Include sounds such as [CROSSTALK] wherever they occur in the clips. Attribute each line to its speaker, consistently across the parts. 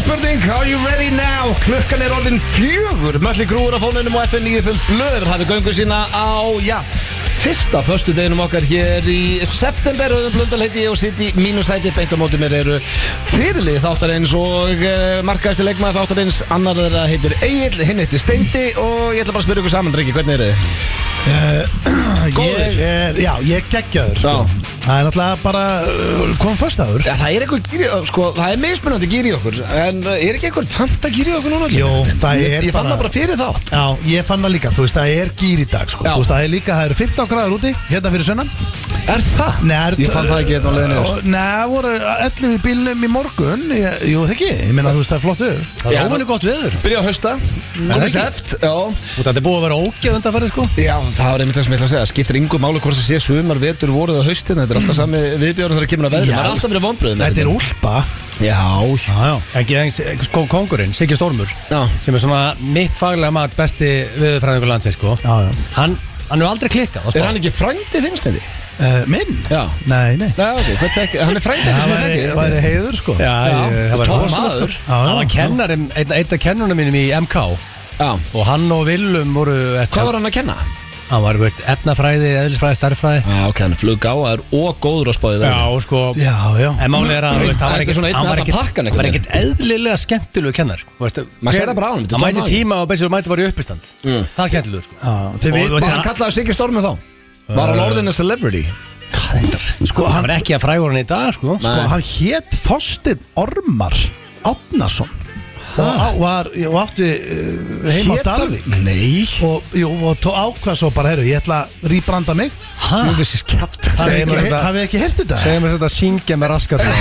Speaker 1: spurning, are you ready now? Klukkan er orðin fjögur Mölli grúur á fónunum og FN 95 blöður hafi göngu sína á, já Fyrsta föstu deginum okkar hér í september Öðum blöndal heiti ég og sitt í mínusæti Beint á móti mér eru fyrirlið þáttarins og uh, markaðist í leikmaði þáttarins Annar þeirra heitir Egil, hinn heitir Steindi Og ég ætla bara að spyrja ykkur saman, Riki, hvernig eru þið? Góður.
Speaker 2: Ég er, já, ég er geggjaður sko.
Speaker 1: Já.
Speaker 2: Það er náttúrulega bara uh, komum fyrst aður
Speaker 1: Já, það er eitthvað gýri, sko, það er mismunandi gýri okkur En uh, er ekki eitthvað fanta gýri okkur núna? allir?
Speaker 2: Jó, það
Speaker 1: Ég,
Speaker 2: er
Speaker 1: ég fann
Speaker 2: bara-
Speaker 1: það bara fyrir þátt
Speaker 2: Já, ég fann það líka, þú veist, það er gýr í dag sko.
Speaker 1: Já.
Speaker 2: Þú veist, það er líka, það eru 15 gráður úti Hérna fyrir sunnan
Speaker 1: Er það?
Speaker 2: Nei, það eru-
Speaker 1: Ég fann það ekki hérna á leiðinni yfir.
Speaker 2: Nei, það voru 11 í bílum í morgun ég, Jú, það ekki, ég meina, þú veist, það er flott viður
Speaker 3: Það
Speaker 1: Já,
Speaker 3: er óvinni gott veður
Speaker 1: Byrja að hausta Komið
Speaker 3: ekki?
Speaker 1: sleft Já
Speaker 3: Og þetta er búið að vera ógeð undanferði sko
Speaker 1: Já, það var einmitt það sem ég ætla að segja Skiptir yngu máli hvort það sé sumar, vetur, voruð og haustin Þetta er alltaf sami viðbjörn þegar kemur að veðri
Speaker 2: Já.
Speaker 1: Það er alltaf verið vonbröðum
Speaker 2: Þetta er úlpa
Speaker 1: Já,
Speaker 2: Já, já
Speaker 3: En geðings, sko, kongurinn, Siggi Stormur
Speaker 1: Já.
Speaker 3: Sem er svona mitt faglega mat besti veðurfræðingur landsins sko
Speaker 2: Já, já.
Speaker 3: Hann, hann er aldrei klikkað á spá.
Speaker 1: er hann ekki frændi þinnstendi?
Speaker 2: Uh, minn?
Speaker 1: Já.
Speaker 2: Nei, nei
Speaker 1: Já, ok, hvað tek- hann er frændi ekki
Speaker 2: Það
Speaker 1: sem er
Speaker 2: væri,
Speaker 1: frændi
Speaker 2: væri heiður sko
Speaker 3: Já,
Speaker 1: Já,
Speaker 3: ég- það var
Speaker 1: topp
Speaker 3: rosalega
Speaker 1: maður.
Speaker 3: sko.
Speaker 2: Já, já.
Speaker 3: Hann var kennarinn, einn, einn af kennunum mínum í MK
Speaker 1: Já,
Speaker 3: Og hann og Willum voru
Speaker 1: hvað var hann að kenna?
Speaker 3: Hann var veist, efnafræði, eðlisfræði, starffræði
Speaker 1: Já, ok, hann er fluggáðar og góður að spáði
Speaker 3: Já, og sko
Speaker 2: Já, já
Speaker 3: En málið er að þú veist, hann var
Speaker 1: Þetta er
Speaker 3: ekkert-
Speaker 1: svona einn
Speaker 3: hann var
Speaker 1: allan
Speaker 3: ekkert-
Speaker 1: pakkan
Speaker 3: Hann var
Speaker 1: einhvern
Speaker 3: ekkert eðlilega skemmtilegu kennar sko. Þú veist,
Speaker 1: Maður
Speaker 3: hver-
Speaker 1: sér það bara á honum, þetta er Mm.
Speaker 3: Hann
Speaker 1: tómaður.
Speaker 3: mæti tíma og bensir mæti bara í uppistand Það er skemmtilegu sko.
Speaker 2: Já, þið
Speaker 3: Og
Speaker 2: veit
Speaker 3: þú veist,
Speaker 1: Var hann kallaði Siggi Stormi þá? Var hann orðin að celebrity?
Speaker 2: Sko,
Speaker 3: Hann
Speaker 2: hann,
Speaker 3: var ekki að frægur hann í dag sko.
Speaker 2: sko, hann hét Þorstein Ormar Átnason og, á, var, og átti uh, heima á
Speaker 1: Hét hann-
Speaker 2: Dalvik
Speaker 1: Nei
Speaker 2: og, jú, og tó ákvað svo bara, herru, ég ætla að rýbranda mig
Speaker 3: Ha?
Speaker 1: Jú, þessi skjáft
Speaker 3: Segðu
Speaker 2: Hafið
Speaker 3: mér
Speaker 2: ekki,
Speaker 3: þetta.
Speaker 2: hafi ekki hert þetta?
Speaker 3: Segðu mér þetta að syngja með raskat [LAUGHS]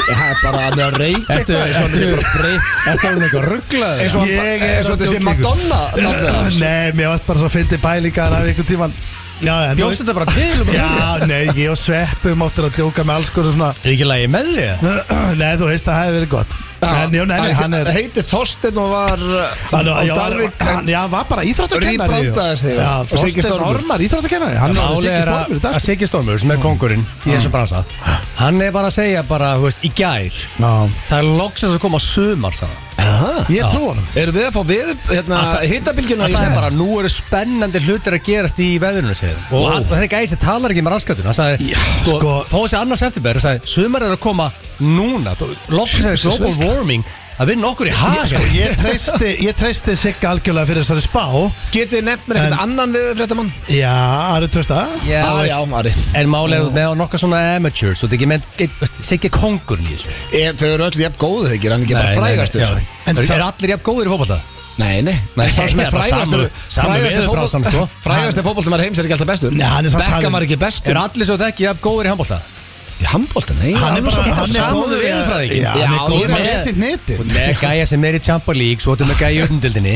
Speaker 1: Það er bara að með að reyka
Speaker 3: Ertu
Speaker 1: eitthvað eins og hann er bara breytt
Speaker 3: Þetta er eitthvað rugglaður
Speaker 1: Eins og hann
Speaker 2: Ég
Speaker 1: bara-
Speaker 2: er
Speaker 1: eins og
Speaker 2: að
Speaker 1: þetta sé
Speaker 2: djóka ykkur.
Speaker 1: Madonna nafnið [LAUGHS] hans.
Speaker 2: Nei, mér varst bara svo fyndi bælingar af einhvern tíman Já, en þú veist
Speaker 3: Bjóst þetta bara til og bara-
Speaker 2: Já, nei, ég og Sveppum áttir að djóka með alls konar svona [CLEARS THROAT]
Speaker 3: Er ekki lægi með þig?
Speaker 2: Nei, þú veist að það hefði verið gott En já, nei, nei, hann er
Speaker 1: Heiti Þorsten og var uh,
Speaker 2: Hann
Speaker 1: á
Speaker 2: var, já,
Speaker 1: Darvik
Speaker 2: hann, já, hann var bara íþróttakennari jú.
Speaker 1: Rebrandaði sig, já.
Speaker 2: Já,
Speaker 1: Og Siggi
Speaker 2: Þorsten
Speaker 1: Stormur.
Speaker 2: Ormar íþróttakennari Hann var
Speaker 3: Máli
Speaker 2: Siggi
Speaker 3: er að
Speaker 2: Stormur í dag
Speaker 3: að
Speaker 2: sko.
Speaker 3: Siggi Stormur Ah. sem er kongurinn í þessum bransa Hann er bara að segja bara, þú veist, í gær
Speaker 2: Já,
Speaker 3: Það er loksins að koma sumar sagði hann.
Speaker 2: ég trú honum
Speaker 1: Erum við að fá við hérna,
Speaker 3: Hann sa-
Speaker 1: hittabilgjuna
Speaker 3: Hann sagði bara, nú eru spennandi hlutir að gerast í veðurinu segir hann. Og hann- og þetta gæði sem talar ekki með raskatun Hann sagði, sko,
Speaker 2: sko.
Speaker 3: þó þessi annars eftirbær Hann sagði, sumar er að koma núna Þú- Loksins er global warming að vinna okkur í
Speaker 2: Ég, sko,
Speaker 3: hagin
Speaker 2: ég treysti, ég treysti Sigga algjörlega fyrir þessari spá
Speaker 1: Getið nefnir eitthvað annan við fréttamann?
Speaker 2: Já, Ari Trösta
Speaker 3: Já, þú
Speaker 1: Á,
Speaker 3: veist,
Speaker 1: já, Ari
Speaker 3: En málið er með nokkar svona amateurs og þetta er ekki með Siggi kongurinn í þessu
Speaker 1: Ég- Eh, Þau eru öll jafn góðu þegar hann er ekki bara
Speaker 3: Nei, nei,
Speaker 1: frægastur
Speaker 3: nei, já.
Speaker 2: En
Speaker 3: Eru-
Speaker 2: sá-
Speaker 3: eru allir jafn góðir í fótbolta?
Speaker 1: Nei, nei, nei
Speaker 3: Nei,
Speaker 1: sá sem
Speaker 3: það
Speaker 1: er
Speaker 3: er bara
Speaker 1: frægastur
Speaker 3: samur- samur veðurbrásan,
Speaker 1: [LAUGHS]
Speaker 3: sko.
Speaker 1: Frægastur fótboltum er heims er ekki alltaf bestur
Speaker 2: Nei, hann er samt
Speaker 1: Beckham
Speaker 2: talinn.
Speaker 1: er ekki bestur
Speaker 3: Er allir svo þekki jafn góðir í handbólta?
Speaker 1: Í handbólta, nei
Speaker 2: Hann er
Speaker 1: alveg
Speaker 2: bara,
Speaker 1: svo-
Speaker 2: hann er
Speaker 3: samúður
Speaker 2: góður
Speaker 3: veðurfræðingi.
Speaker 2: Já,
Speaker 1: Já,
Speaker 2: hann er
Speaker 1: ég
Speaker 2: góður
Speaker 1: með-
Speaker 2: að lesa í neti
Speaker 3: Með gæja sem er í Champa League Svo ertu með gæja í öllindildinni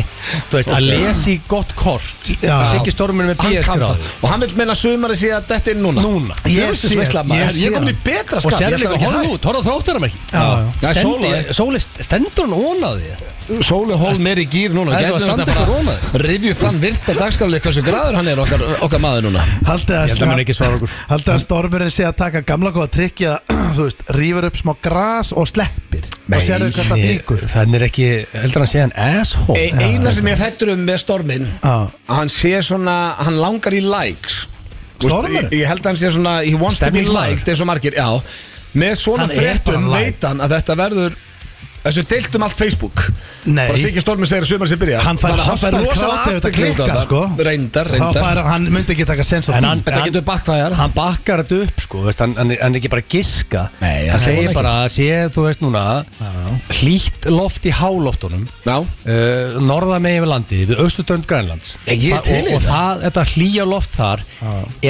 Speaker 3: Þú veist, að lesa í gott kort
Speaker 2: Já.
Speaker 3: Siggi Stormur með
Speaker 1: Hann
Speaker 3: BS
Speaker 1: kann það
Speaker 3: gráðu
Speaker 1: Og hann vil meina sumari sé að detta inn núna
Speaker 3: Núna.
Speaker 1: Ég
Speaker 2: Ég
Speaker 1: sé
Speaker 2: sé-
Speaker 1: Ég, ég
Speaker 2: ég sé
Speaker 1: komin í
Speaker 2: hann.
Speaker 1: betra
Speaker 3: Og
Speaker 1: skap ég
Speaker 3: sérleika,
Speaker 1: ætla ekki að
Speaker 3: horfðu
Speaker 1: hæ-
Speaker 3: út, horfðu þráttur hann ekki
Speaker 2: Já, já.
Speaker 1: Það er
Speaker 3: Stendi-
Speaker 1: sóla, eh.
Speaker 3: Sóli, stendur hann ónaði
Speaker 1: Sóli Holm er í gýr núna
Speaker 3: Það er svo
Speaker 1: Gætum
Speaker 3: að standa
Speaker 1: þetta
Speaker 3: ykkur
Speaker 1: bara
Speaker 3: róna.
Speaker 1: Rivju fram virta dagskaflið Hversu graður hann er okkar, okkar maður núna
Speaker 2: Haldið að
Speaker 3: Ég held að hann ekki svara okkur.
Speaker 2: Haldið að stormurinn sé að taka gamla góða trikki að, [CLEARS THROAT] þú veist, rýfur upp smá gras og sleppir Og sérðu hvað það þýkur
Speaker 3: Þannig er ekki, heldur hann sé hann asshole
Speaker 1: e, Eina sem ég hrættur um með Stormin
Speaker 2: Já.
Speaker 1: Hann sé svona, hann langar í likes Þú veist,
Speaker 2: Stormurinn?
Speaker 1: Ég, ég held að hann sé svona, he wants to be
Speaker 3: Stemningsmaður.
Speaker 1: liked eins og margir, já Með svona
Speaker 2: Hann er
Speaker 1: fréttum
Speaker 2: bara
Speaker 1: veit hann að þetta verður Þessu deilt um allt Facebook
Speaker 2: Nei.
Speaker 1: Bara Siggi Stormi segir að sumar sem byrja
Speaker 2: Hann fær
Speaker 1: Þannig að
Speaker 2: hostar
Speaker 1: rosalega
Speaker 2: krát ef þetta
Speaker 1: athygli út á
Speaker 2: klikkar,
Speaker 1: þetta.
Speaker 2: sko.
Speaker 1: Reyndar,
Speaker 2: Þá
Speaker 1: reyndar
Speaker 2: fær hann, myndi ekki taka sens á
Speaker 3: En
Speaker 2: því
Speaker 3: hann-
Speaker 1: Þetta getur bakkvæðar
Speaker 3: Hann bakkar þetta upp sko, veist, hann, hann, hann er ekki bara að giska
Speaker 1: Nei,
Speaker 3: Hann
Speaker 1: það er
Speaker 3: segir
Speaker 1: hann
Speaker 3: bara að sé, þú veist núna Hlýtt loft í háloftunum
Speaker 1: Já,
Speaker 3: uh, norða megin við landi við austurströnd Grænlands
Speaker 1: Ég- ég er
Speaker 3: Það-
Speaker 1: til í
Speaker 3: og, og
Speaker 1: þetta.
Speaker 3: það, þetta hlýja loft þar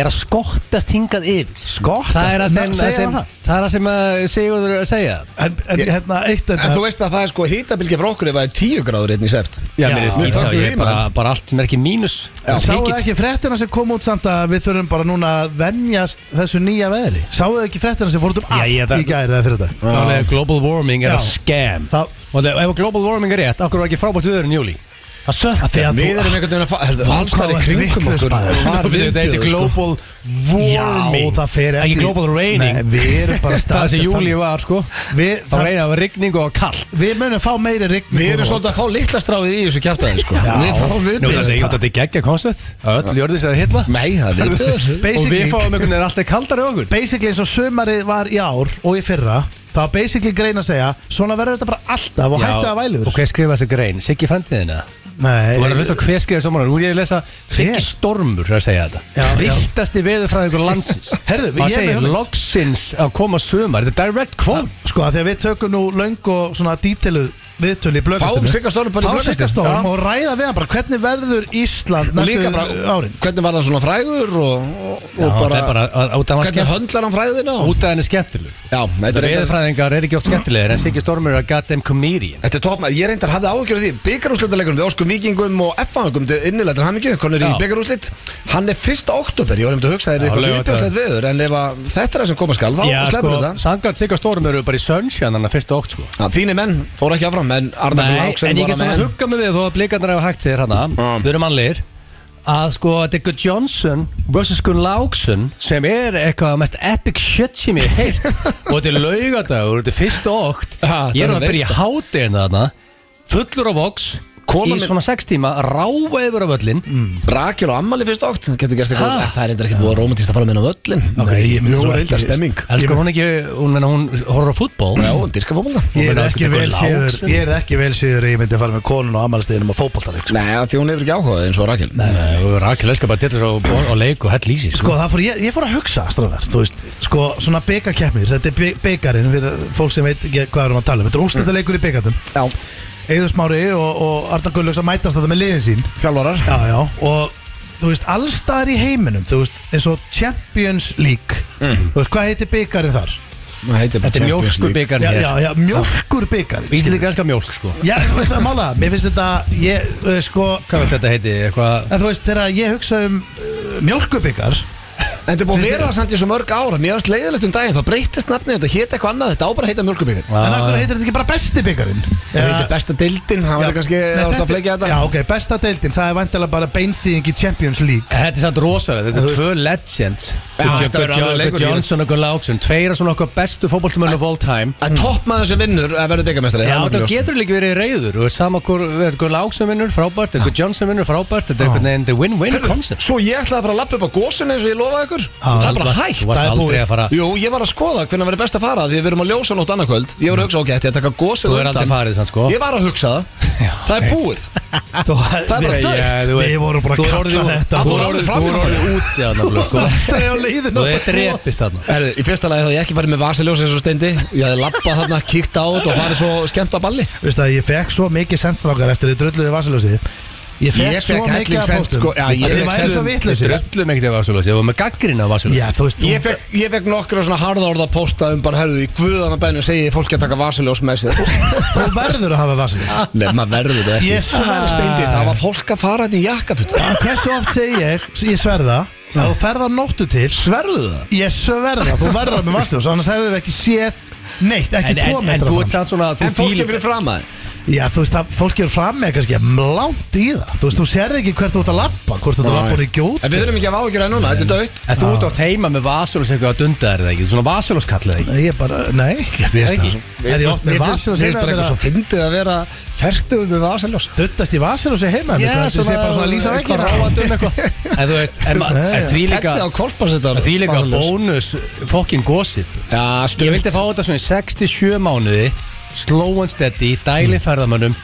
Speaker 3: er að skottast hingað yfir
Speaker 2: Skottast?
Speaker 3: það er að sem,
Speaker 2: Segir
Speaker 3: að sem,
Speaker 2: hann það?
Speaker 3: það er að sem að Sigurður er að segja
Speaker 2: En, en
Speaker 1: Ég-
Speaker 2: hérna, eitt
Speaker 1: en þú
Speaker 2: þetta
Speaker 1: veist að það er sko hýtabilgi frá okkur ef það er 10 gráður einn í seft
Speaker 3: já,
Speaker 2: mér er skýrt
Speaker 1: það,
Speaker 3: það,
Speaker 1: ég
Speaker 3: ég er bara, bara allt sem er ekki mínus
Speaker 1: Já.
Speaker 2: Sáu
Speaker 3: Þykir-
Speaker 2: þið ekki fréttina sem kom út samt að við þurfum bara núna að venjast þessu nýja veðri Sáu þið ekki fréttina sem fórt um
Speaker 3: Já, ég-
Speaker 2: allt í gæri eða fyrir þetta
Speaker 3: Þannig að global warming er
Speaker 2: Já.
Speaker 3: að scam
Speaker 2: Það-
Speaker 3: og það- ef global warming er rétt, okkur var ekki frábært viður en júli Það sökk
Speaker 2: Af því að
Speaker 1: Við erum
Speaker 2: þú- Ah,
Speaker 1: einhvern veginn að fara Herðu,
Speaker 2: Vá, hvað
Speaker 1: allstæði
Speaker 2: þú ert
Speaker 1: kringum
Speaker 2: vitlaus,
Speaker 1: okkur
Speaker 2: maður.
Speaker 1: var
Speaker 3: Þetta
Speaker 1: viðbjöður,
Speaker 3: heitir
Speaker 1: sko.
Speaker 3: global warming
Speaker 2: Já, það fer
Speaker 3: Ekki
Speaker 2: eftir-
Speaker 3: global raining
Speaker 2: Nei, við erum bara
Speaker 3: Það sem
Speaker 2: staðsett
Speaker 3: júli var sko
Speaker 2: Við,
Speaker 3: Það
Speaker 2: það,
Speaker 3: reyna að vera rigning og kallt
Speaker 2: við munum fá meiri rigning
Speaker 1: Við erum svolítið að fá litla stráið í þessu kjartaði sko.
Speaker 2: Já.
Speaker 1: Við fáum
Speaker 3: Nú,
Speaker 1: viðbjöður
Speaker 3: þetta er- Þetta er geggja koncept Öll jörðis að hitna
Speaker 1: Nei, það er viðbjöður
Speaker 3: Og við
Speaker 2: Basically-
Speaker 3: fáum einhvern veginn alltaf kaldari okkur
Speaker 2: Basically eins og sömarið var í ár og í fyrra Það var basically grein að segja Svona verður þetta bara alltaf og hætti að væluður
Speaker 3: Og hver skrifa þessi grein? Siggi frendiðina?
Speaker 2: Nei,
Speaker 3: Þú verður að hlusta á hver skrifa þessi omar Nú er ég að lesa Siggi
Speaker 2: Eh, Hver?
Speaker 3: Stormur er að segja
Speaker 2: Já,
Speaker 3: þetta
Speaker 2: já.
Speaker 3: Vistasti veður frá einhver landsins
Speaker 2: Herðu, ég er
Speaker 3: Hann
Speaker 2: með
Speaker 3: segir
Speaker 2: hugmynd.
Speaker 3: loksins að koma sömar Þetta er direct quote
Speaker 2: Sko að því að við tökum nú löng og svona dítiluð viðtölu í blöggastunum
Speaker 1: Fáum Sigga Storm bara í Blöðkastinu.
Speaker 2: Storm
Speaker 1: Já.
Speaker 2: og ræða við hann bara hvernig verður Ísland
Speaker 1: Og
Speaker 2: næstu
Speaker 1: líka bara,
Speaker 2: árin
Speaker 1: hvernig var það svona frægur og, og,
Speaker 3: Já,
Speaker 1: og
Speaker 3: það
Speaker 1: bara,
Speaker 3: er bara að- út af hann
Speaker 1: hvernig
Speaker 3: skemmt-
Speaker 1: höndlar hann fræðina og,
Speaker 3: Út af henni skemmtileg
Speaker 1: Já, þetta er reyndar-
Speaker 3: Veðurfræðingar er ekki oft skemmtilegir En Siggi Stormur er að goddamn comedian
Speaker 1: Þetta er topmæð, ég reyndar hafði áhugjur af því Byggarúslitaleikunum við Óskum Víkingum og F-fangum til innilega til hamingju, konur í
Speaker 3: Já.
Speaker 1: byggarúslit Hann er 1. oktober, ég var nefndi að hugsa þetta
Speaker 3: Já,
Speaker 1: eitthvað
Speaker 3: laugardagur. sko.
Speaker 1: viðbjörnslegt veður En ef að þetta er það sem koma skal, þá sleppur þetta
Speaker 3: Sangat Sigga Stormur eru bara í sunshine Þannig að fyrstu ótt sko
Speaker 1: Já, Þínir menn fór ekki áfram, en Arnar
Speaker 3: Nei,
Speaker 1: Gunnar Áksen
Speaker 3: en ég
Speaker 1: var
Speaker 3: get
Speaker 1: að
Speaker 3: svona
Speaker 1: menn.
Speaker 3: að hugga mig við þó að blikarnar hafa hægt sér hana
Speaker 1: Já.
Speaker 3: Við erum mannlegir Að sko, þetta er Good Johnson vs. Gunn Láksson sem er eitthvað mest epic shit sem ég heilt
Speaker 1: [LAUGHS]
Speaker 3: og þetta er laugadagur, þetta er fyrst ókt
Speaker 1: Ha, þetta
Speaker 3: Ég er
Speaker 1: er
Speaker 3: að byrja í hátinn þarna fullur á voks
Speaker 1: Kona Mm.
Speaker 3: í
Speaker 1: mín-
Speaker 3: svona sex tíma, ráa yfur af öllin
Speaker 1: Rakel og Ammali fyrst átt Getur gert
Speaker 3: Ha?
Speaker 1: eitthvað Eh, Það er eitthvað ekkert búið romantist að fara með henni á öllin
Speaker 2: Nei, ég myndi
Speaker 1: Jú,
Speaker 2: nú
Speaker 1: heildar
Speaker 2: ekki-
Speaker 1: stemming
Speaker 3: Elsku hún ekki, hún, meina, hún horfður á fútból
Speaker 1: Já, hún dyrka fótbolta
Speaker 2: Ég er
Speaker 3: meina,
Speaker 2: ekki
Speaker 3: þetta er
Speaker 2: vel
Speaker 3: Gunnar
Speaker 2: síður
Speaker 3: Laxson.
Speaker 2: Ég er ekki vel síður að ég myndi að fara með konun og amalsteginum á fótballtaleik sko.
Speaker 1: Nei, af því hún hefur ekki áhugað eins og Rakel
Speaker 3: Eh, Rakel elskar bara að dilla svo á leik og hell í sig
Speaker 2: Sko það fór, ég, ég fór að hugsa strafverð, þú veist, sko svona byggakeppnir, þetta er by- byggarinn fyrir fólk sem veit ekki hvað erum að tala um, þetta er úrslutaleikur í byggatum,
Speaker 1: Já,
Speaker 2: Eður Smári og, og Arnar Gullöks að mætast þetta með liðin sín,
Speaker 1: fjálvarar
Speaker 2: já já, og þú veist, allstaðar í heiminum, þú veist, eins og Champions League, þú veist, hvað heitir byggarinn þar?
Speaker 3: Þetta er mjólkur byggarn
Speaker 2: Já,
Speaker 3: hér
Speaker 2: já, já, mjólkur byggarinn.
Speaker 3: Íslendingar elskar mjólk sko
Speaker 2: Já, þú veist, það er mála, mér finnst þetta, ég, þú veist, sko,
Speaker 3: Hvað vil þetta heiti? Eitthvað
Speaker 2: en þú veist, þegar ég hugsa um uh, mjólkurbyggar,
Speaker 1: En þetta er búið að vera það samt í svo mörg ára Mér finnst leiðilegt um daginn, þá breytist nafnið Þetta hétt eitthvað annað, þetta á bara að heita mjölkubíkar
Speaker 3: Já.
Speaker 1: ja.
Speaker 2: en akkur heitir þetta ekki bara besti byggarinn?
Speaker 1: Þetta heitir besta dildin, það
Speaker 2: Já.
Speaker 1: var kannski
Speaker 2: Nei,
Speaker 1: Það var
Speaker 2: þetta-
Speaker 1: að fleikja þetta
Speaker 2: Já, ok, besta deildin, það er vantilega bara beinþýðing í Champions League
Speaker 3: Þetta er samt rosalega, þetta
Speaker 2: En þú
Speaker 3: er
Speaker 2: veist-
Speaker 3: tvö legends
Speaker 1: Já, þetta verður alveg leikur hér.
Speaker 3: Johnson og Gunn Láksson Tveira svona okkar bestu fótboltamönnum of all time
Speaker 1: Að toppmaður sem vinnur að verður byggamestari
Speaker 3: Já, það getur líka verið reyður og sama hver Gunn Láksson vinnur frábært Gunn Johnson vinnur frábært Þetta er einhvern veginn the win-win concept
Speaker 1: Svo ég ætlaði að fara að lappa upp á gósinu eins og ég lofaði ykkur Það er bara hægt
Speaker 3: Þú varst
Speaker 2: það er
Speaker 3: aldrei
Speaker 2: búið.
Speaker 3: að fara
Speaker 1: Jú, ég var að skoða hvernig verður best að fara Því við erum að ljósa nótt annað kvöld Ég var að hugsa, ok, ætti ég að taka gósið
Speaker 3: Þú er aldrei farið sann sko
Speaker 1: Ég var að hugsa [LAUGHS] það Það er búið
Speaker 2: Þú-
Speaker 1: Það er bara
Speaker 2: Við-
Speaker 1: dautt.
Speaker 3: Já, þú veit-
Speaker 2: Við vorum bara að
Speaker 3: þú er
Speaker 2: kalla
Speaker 3: orðið-
Speaker 2: þetta
Speaker 1: Að
Speaker 3: Þú
Speaker 1: þú
Speaker 3: er
Speaker 1: er
Speaker 3: orðið
Speaker 1: fram-
Speaker 3: þú er orðið úti að
Speaker 2: Það er á leiðin
Speaker 3: Þú er drepist þarna
Speaker 1: Herðu, í fyrsta lagi þá hafði ég ekki farið með vasaljós eins og steindi Ég hafði lappað þarna, kíkt á þetta og farið svo skemmt að balli
Speaker 2: Veistu að ég fekk svo mikið sendstrákar eftir þið drulluðu vasaljósið Ég fekk
Speaker 1: Ég
Speaker 2: svo
Speaker 1: fekk
Speaker 2: mikið
Speaker 1: helling
Speaker 2: að
Speaker 1: sent,
Speaker 2: postum
Speaker 1: sko, já, ég
Speaker 2: Þið
Speaker 1: fékk
Speaker 2: væri
Speaker 1: sent-
Speaker 2: svo
Speaker 3: Við
Speaker 2: vitlausir
Speaker 3: dröllum ekkert af Vasulósi Við varum með gaggrinna af Vasulósi
Speaker 2: Já, þú veist
Speaker 1: Ég fekk, ég fekk nokkra svona harða orða posta um bara, herðu, í guðana bænum segi ég fólki að taka vasaljós með sér [LAUGHS]
Speaker 2: Þú verður að hafa vasaljós
Speaker 1: Nei, maður Ah, verður þetta ekki
Speaker 2: Ég sver-
Speaker 1: Steindi, það var fólk að fara þetta í jakkafutt
Speaker 2: Hversu oft segi ég, ég sverða að þú ferð á nóttu til
Speaker 1: Sverðu það?
Speaker 2: Ég sverða, þú verður með vasaljós Annars hefðu við ekki séð neitt, ekki
Speaker 3: En,
Speaker 2: tvo
Speaker 3: en, en
Speaker 2: metra
Speaker 3: þú ert
Speaker 2: fram
Speaker 3: samt svona þú
Speaker 1: En fólk
Speaker 3: fíl-
Speaker 1: er fyrir fram að
Speaker 2: Já, þú veist að fólk er fram með kannski langt í það Þú veist, þú sérði ekki hvert þú ert að lappa Hvort þú ert að lappa úr í gjót
Speaker 1: En við þurfum ekki að vágjur að núna, þetta er dött
Speaker 3: En þú ert átt heima með vasulós eitthvað að dunda þér eða ekki? Svona vasulós kallið ekki?
Speaker 2: Ég er bara, nei
Speaker 3: finnst það.
Speaker 2: Er ég oft með
Speaker 1: Ég er
Speaker 2: vasaljós heima
Speaker 1: bara eitthvað svo fyndið að vera Fertuð með vasaljós
Speaker 2: Duttast í vasaljós heima
Speaker 3: Já,
Speaker 2: Þetta sé bara svona að lýsa
Speaker 3: eitthvað
Speaker 2: vekkina
Speaker 3: ráð að dunda eitthvað En þú veist, en ma-
Speaker 2: Já, já.
Speaker 3: en því líka
Speaker 1: Tettið á kolpasettar
Speaker 3: Því líka bónus fokkin gósið
Speaker 1: Já,
Speaker 3: Ég
Speaker 1: stuð
Speaker 3: vildi fá þetta svona í 67 mánuði Slow and steady,
Speaker 2: Mm.
Speaker 3: dæli ferðamönnum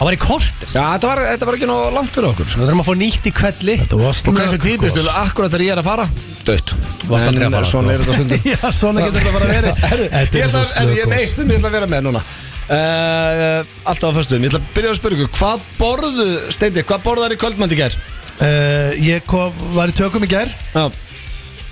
Speaker 3: Það var í kortir
Speaker 1: Já, þetta var, þetta var ekki nóg langt fyrir okkur
Speaker 3: Nú þurfum að fá nýtt í kvelli
Speaker 2: Þetta var
Speaker 1: Og hversu típist,
Speaker 2: snögg
Speaker 1: akkurat þegar ég er að fara Dött
Speaker 3: varst aldrei að fara,
Speaker 1: Svona er þetta stundum
Speaker 2: [LAUGHS] Já, svona getur þetta bara [LAUGHS] verið
Speaker 1: Herru,
Speaker 2: Þetta
Speaker 1: Ég
Speaker 2: er
Speaker 1: ætla
Speaker 2: svo sko.
Speaker 1: að, ég er
Speaker 2: snögg
Speaker 1: neitt sem ég ætla að vera með núna Uh, alltaf á föstuðum, ég ætla að byrja að spyrja ykkur Hvað borðu, Steindi, hvað borðar í kvöldmandi gær?
Speaker 2: Eh, Ég kom, var í tökum í gær
Speaker 1: Já,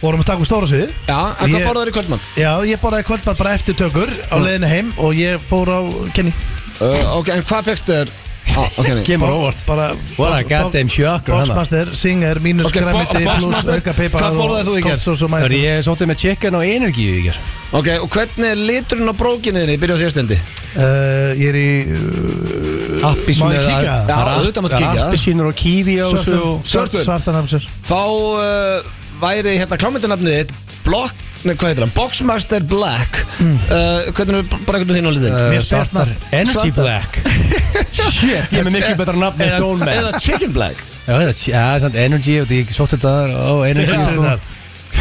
Speaker 2: Vorum að taka um stóra svið
Speaker 1: já en hvað
Speaker 2: Ég-
Speaker 1: borðar í kvöldmand?
Speaker 2: Já, ég borðaði kvöldmann bara eftir tökur á leiðinu heim og ég fór á Kenny
Speaker 1: Uh, ok, en hvað fegstu þér? Ah, ok, nei.
Speaker 3: Kemur óvart
Speaker 2: Bara
Speaker 3: What a goddamn shocker, hana.
Speaker 2: Boxmaster, Singer, mínus
Speaker 1: Ok,
Speaker 2: okay,
Speaker 1: bo-
Speaker 2: græmiti, pluss
Speaker 1: Boxmaster,
Speaker 2: auka peipar
Speaker 1: hvað borðaði þú í gær?
Speaker 2: Kotsos og
Speaker 3: Þegar
Speaker 2: mæstur
Speaker 3: ég sótti með chicken og energy í ger
Speaker 1: Ok, og hvernig er liturinn á brókinniðinni? Ég byrja á þér stendi
Speaker 2: uh, Ég er í uh,
Speaker 3: Appisínur
Speaker 2: Má ég kíkja?
Speaker 1: Já, auðvitað máttu kíkja.
Speaker 3: Appisínur og kífi á þessu
Speaker 2: svörtum
Speaker 3: og-
Speaker 1: Svörtum.
Speaker 2: svörtum Svartanamsur
Speaker 1: Þá uh, væri hérna klámyndunafnið þitt Block, nei hvað heitir hann? Boxmaster Black
Speaker 2: Mm.
Speaker 1: uh, Hvernig er bara einhvern þín á liðin?
Speaker 3: Eh,
Speaker 2: Mér
Speaker 3: svartar.
Speaker 2: svartar.
Speaker 3: Energy
Speaker 2: Svartar. [LAUGHS]
Speaker 3: Black Shit, ég er með miklu betra nafn en Stone Man
Speaker 1: Eða Chicken Black
Speaker 3: Já, það er samt Energy, og því ég sótt þetta á Energy sko.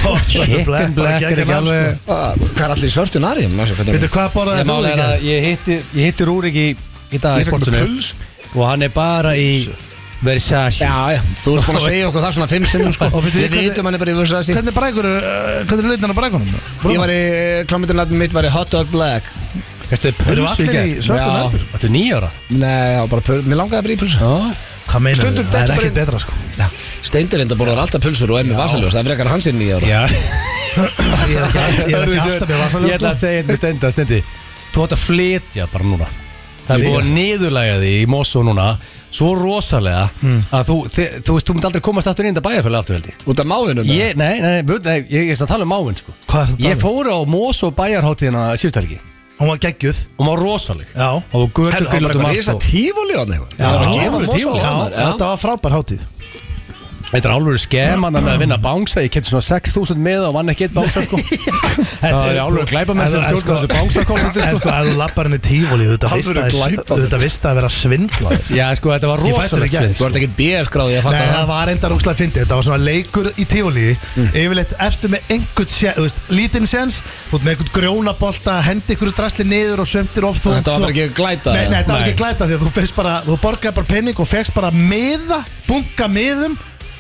Speaker 2: Chicken
Speaker 3: Chicken Black er ekki
Speaker 2: sko.
Speaker 3: alveg
Speaker 1: Ah, Hvað er allir í svörtu nari?
Speaker 2: Veitur hvað borðaði
Speaker 3: Ég
Speaker 2: þú
Speaker 3: máli er
Speaker 2: líka?
Speaker 3: að ég hitti, ég hitti Rúrik í, í dag í
Speaker 1: Ég fekk með
Speaker 3: sportinu
Speaker 1: puls
Speaker 3: og hann er bara í Versace
Speaker 1: Já, já, þú ert búin að segja okkur það svona fimm sinnum sko
Speaker 2: [LAUGHS] Og veitir,
Speaker 1: Við
Speaker 2: hvernig-
Speaker 1: vitum hann er bara í vörsa þessi
Speaker 2: Hvernig brækur, er, uh, hvernig er leitin á brækunum?
Speaker 1: Ég var í, klámyndunafnið mitt var í Hot Dog Black
Speaker 3: Veistu,
Speaker 2: Eru
Speaker 3: pulsu
Speaker 2: allir í svörtum
Speaker 3: Já,
Speaker 2: heldur?
Speaker 3: þetta er nýjára
Speaker 1: Nei, já, bara pul, mér langaði að byrja í pulsu
Speaker 2: Hvað meinar
Speaker 1: Stundum
Speaker 2: Það er
Speaker 1: dettur
Speaker 2: ekkert
Speaker 1: bara
Speaker 2: betra sko
Speaker 1: Steindir enda borðar alltaf pulsur og emmi vasaljós Það er frekar hans inn í ára
Speaker 3: Já
Speaker 2: Ég er ekki- ég er ekki alltaf með sko.
Speaker 3: Ég ætla að
Speaker 2: vasaljós
Speaker 3: segja þetta við stendi, stendi Þú ætla að flytja bara núna Það er
Speaker 2: Flytja?
Speaker 3: búið að niðurlæga því í Mosó núna Svo rosalega
Speaker 2: Hmm.
Speaker 3: að þú, þi, þú veist, þú mynd aldrei komast aftur inn í þetta bæjarfélag aftur held ég
Speaker 1: [LAUGHS] Út af máðunum
Speaker 3: Ég, nei, nei, nei, nei, ég er að tala um máin sko
Speaker 2: Hvað er það að tala
Speaker 3: Ég
Speaker 2: um?
Speaker 3: fór á Mosó bæjarháttíðina síðustelgi
Speaker 2: Hún var geggjuð
Speaker 3: og maður rosaleg
Speaker 2: Já.
Speaker 3: og
Speaker 1: Heldur, það var
Speaker 3: götugrillutum
Speaker 1: bara risa
Speaker 2: sko.
Speaker 1: tífóli á það eitthvað Það var að
Speaker 3: Já,
Speaker 1: gefa
Speaker 3: voru
Speaker 1: mosa á
Speaker 3: tífóli.
Speaker 1: það.
Speaker 2: Já, þetta var frábær hátíð
Speaker 3: Þetta er alveg skemanna með að vinna bángsa Ég kætti svona 6.000 með og vann ekki eitt bángsa
Speaker 2: [LAUGHS]
Speaker 3: sko.
Speaker 2: Þetta
Speaker 3: Það er alveg glæpa með sem
Speaker 2: En- en
Speaker 3: stjórnar
Speaker 2: sko-
Speaker 3: þessu bángsakonsepti,
Speaker 2: En
Speaker 3: sko.
Speaker 2: sko, ef þú lappar henni tífóli Þú
Speaker 1: Alvöru glæpamenn.
Speaker 2: þetta vist að vera svindlaður
Speaker 3: Já sko þetta var
Speaker 2: Ég fæ þetta
Speaker 3: rosalegt
Speaker 2: ekki að-
Speaker 3: svindl.
Speaker 1: Þú ert ekkert BS-gráði að
Speaker 2: Nei,
Speaker 1: fatta
Speaker 2: það var enda rúgslega fyndið Þetta var svona leikur í tífóli Yfirleitt ertu með einhvern sé, þú veist, lítinn séns Þú ert með einhvern grjónabolta Hendi ykkur drasli niður og svömmtir of þú,
Speaker 1: Þetta var
Speaker 2: þú-
Speaker 1: bara ekki glæta,
Speaker 2: Nei, nei
Speaker 1: eða?
Speaker 2: þetta var
Speaker 3: Nei.
Speaker 2: ekki glæta Því að þú, fékkst bara, þú borgaði bara penning og fegst bara meða Bunga meðum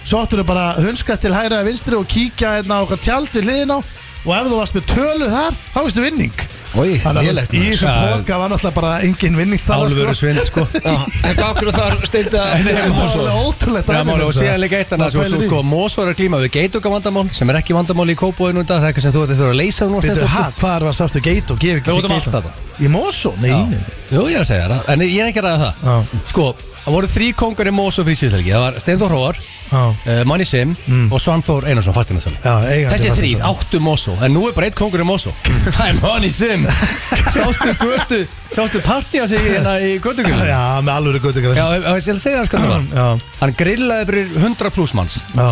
Speaker 2: Svo áttur þau bara að hunskast til hægra að vinstri Og kíkja hérna á okkar tjald við hliðin á Og ef þú varst með tölu þar, þá veistu vinning
Speaker 1: Í,
Speaker 2: Þannig að þú
Speaker 1: lélegt
Speaker 2: veist, í
Speaker 1: maður.
Speaker 2: þessum
Speaker 3: Já.
Speaker 2: póka var náttúrulega bara engin vinningstala
Speaker 3: Álfur og svind sko
Speaker 1: Já, En okkur þar steinda
Speaker 2: Þetta var alveg ótrúlegt sko.
Speaker 3: Já,
Speaker 2: dæmi
Speaker 3: máli, og
Speaker 2: þess að-
Speaker 3: síðan líka eitt annað
Speaker 2: Það
Speaker 3: sko, svo,
Speaker 2: pælir í.
Speaker 3: sko, Mosó er að glíma við geituga vandamál sem er ekki vandamál í kópói núna það er eitthvað sem þú ætti þurfa að leysa núna
Speaker 2: Býtu, hæ, hvað er það sástu geit og gefi ekki
Speaker 3: Við vorum
Speaker 2: geit?
Speaker 3: alltaf það.
Speaker 2: Í Mosó? Nei, nei.
Speaker 3: Jú, ég er að segja það En ég er ekki að ræða það
Speaker 2: Já.
Speaker 3: Sko, það voru þrý kongar í Mosó fyrir síðutelgi Það var Steindur Hróar,
Speaker 2: Já.
Speaker 3: uh, Manni Sim og Svanþór Einarsson, fastinarsal
Speaker 2: Já, eigandi
Speaker 3: Þessi þrýr
Speaker 2: fasteignasalar.
Speaker 3: áttu Mosó En nú er bara eitt kongur í Mosó Það er Manni Sim Sástu götu, sástu partíja sig hérna í götugunum Já,
Speaker 2: Já, með alvöru gutt ykkur
Speaker 3: ég ég ætla að segja það sko það var.
Speaker 2: Já,
Speaker 3: Hann grillaði fyrir 100 pluss manns
Speaker 2: já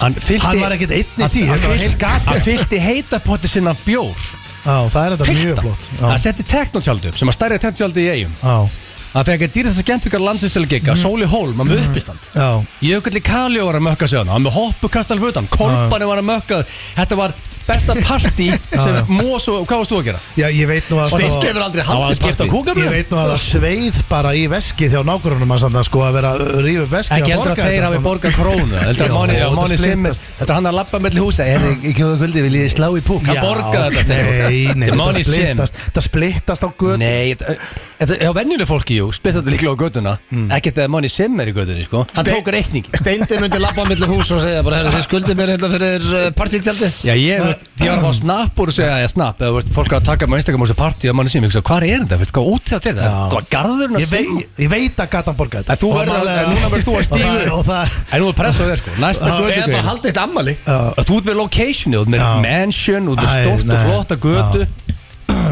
Speaker 3: Hann, fyllti,
Speaker 2: Hann var ekkert einn í því,
Speaker 3: Hann,
Speaker 2: þetta var
Speaker 3: fyllti-
Speaker 2: heil gata.
Speaker 3: hann fyllti heitapotti sinna af bjór
Speaker 2: Já, það er þetta mjög
Speaker 3: Fyllta
Speaker 2: flott
Speaker 3: Hann
Speaker 2: Já,
Speaker 3: setti teknotjaldi upp sem að stærja teknotjaldi í eigum
Speaker 2: já,
Speaker 3: Það fengi að dýra þess að gentvika landsins til að
Speaker 2: Mhm.
Speaker 3: gegga Sóli Hólm, hann með uppistand
Speaker 2: já
Speaker 3: Jökulli Kalli var að mökka sig hann Hann með hoppukastal fötan, kolpani var að mökka Þetta var besta partí
Speaker 2: [LAUGHS]
Speaker 3: sem Mós og hvað varst þú að gera?
Speaker 2: Já, ég veit nú að sko-
Speaker 1: Steinda hefur aldrei
Speaker 3: Það var að
Speaker 1: haldið
Speaker 3: skipta
Speaker 1: partí.
Speaker 2: Ég
Speaker 3: kúkabröðum
Speaker 2: veit nú að það sveið bara í veski þjá nágrunum að sann að sko að vera að rífa upp veski
Speaker 3: Ekki
Speaker 2: og
Speaker 3: heldur að
Speaker 2: borga
Speaker 3: þeir
Speaker 2: þetta,
Speaker 3: hafi
Speaker 2: sko.
Speaker 3: borgað krónu Heldur
Speaker 2: Já,
Speaker 3: að Máni, já,
Speaker 2: þetta
Speaker 3: Máni
Speaker 2: splittast.
Speaker 3: Simmi Þetta er hann að labba melli húsa Er ekki þú kvöldi, vil ég slá í púk
Speaker 2: Já,
Speaker 3: Hann borgaði þetta
Speaker 2: Nei, nei,
Speaker 3: Þetta er
Speaker 2: þetta
Speaker 3: Máni Simmi
Speaker 2: splittast Þetta splittast á gutt
Speaker 3: Nei, þetta- þetta er á venjuleg fólki, jú Splitt þetta líklega á göduna
Speaker 2: Hmm.
Speaker 3: Ekki þegar Máni Simmi er í gödunni, sko Hann
Speaker 1: Spe-
Speaker 3: tók reikningi
Speaker 1: Steindi myndi labba á milli hús og segja bara, herru, þið skuldið mér hérna fyrir uh, partíkjaldi
Speaker 3: Já, ég, þú veist, ég var að fá snapp úr og segja að ég snapp eða, þú veist, fólk er að taka með Instagram úr þessu partí og manni sem, ég hugsa, hvað er þetta, veist, hvað út þetta er það?
Speaker 2: Já.
Speaker 3: Það var garðurinn að
Speaker 2: Ég vei-
Speaker 3: segja
Speaker 2: ég veit að gatan borga þetta
Speaker 3: En þú
Speaker 2: Og
Speaker 3: verður að-
Speaker 2: málega-
Speaker 3: en núna verður þú að
Speaker 2: Og
Speaker 3: stíga
Speaker 2: það-
Speaker 3: upp.
Speaker 2: Og það
Speaker 3: En nú er pressa á þér, sko, næsta
Speaker 1: Eða bara
Speaker 3: götu
Speaker 1: haldið eitt ammali
Speaker 3: [LAUGHS] Þú ert með locationið, þú ert með
Speaker 2: Já.
Speaker 3: mansion, þú ert með
Speaker 2: Æ,
Speaker 3: stórt og
Speaker 2: nei.
Speaker 3: flotta götu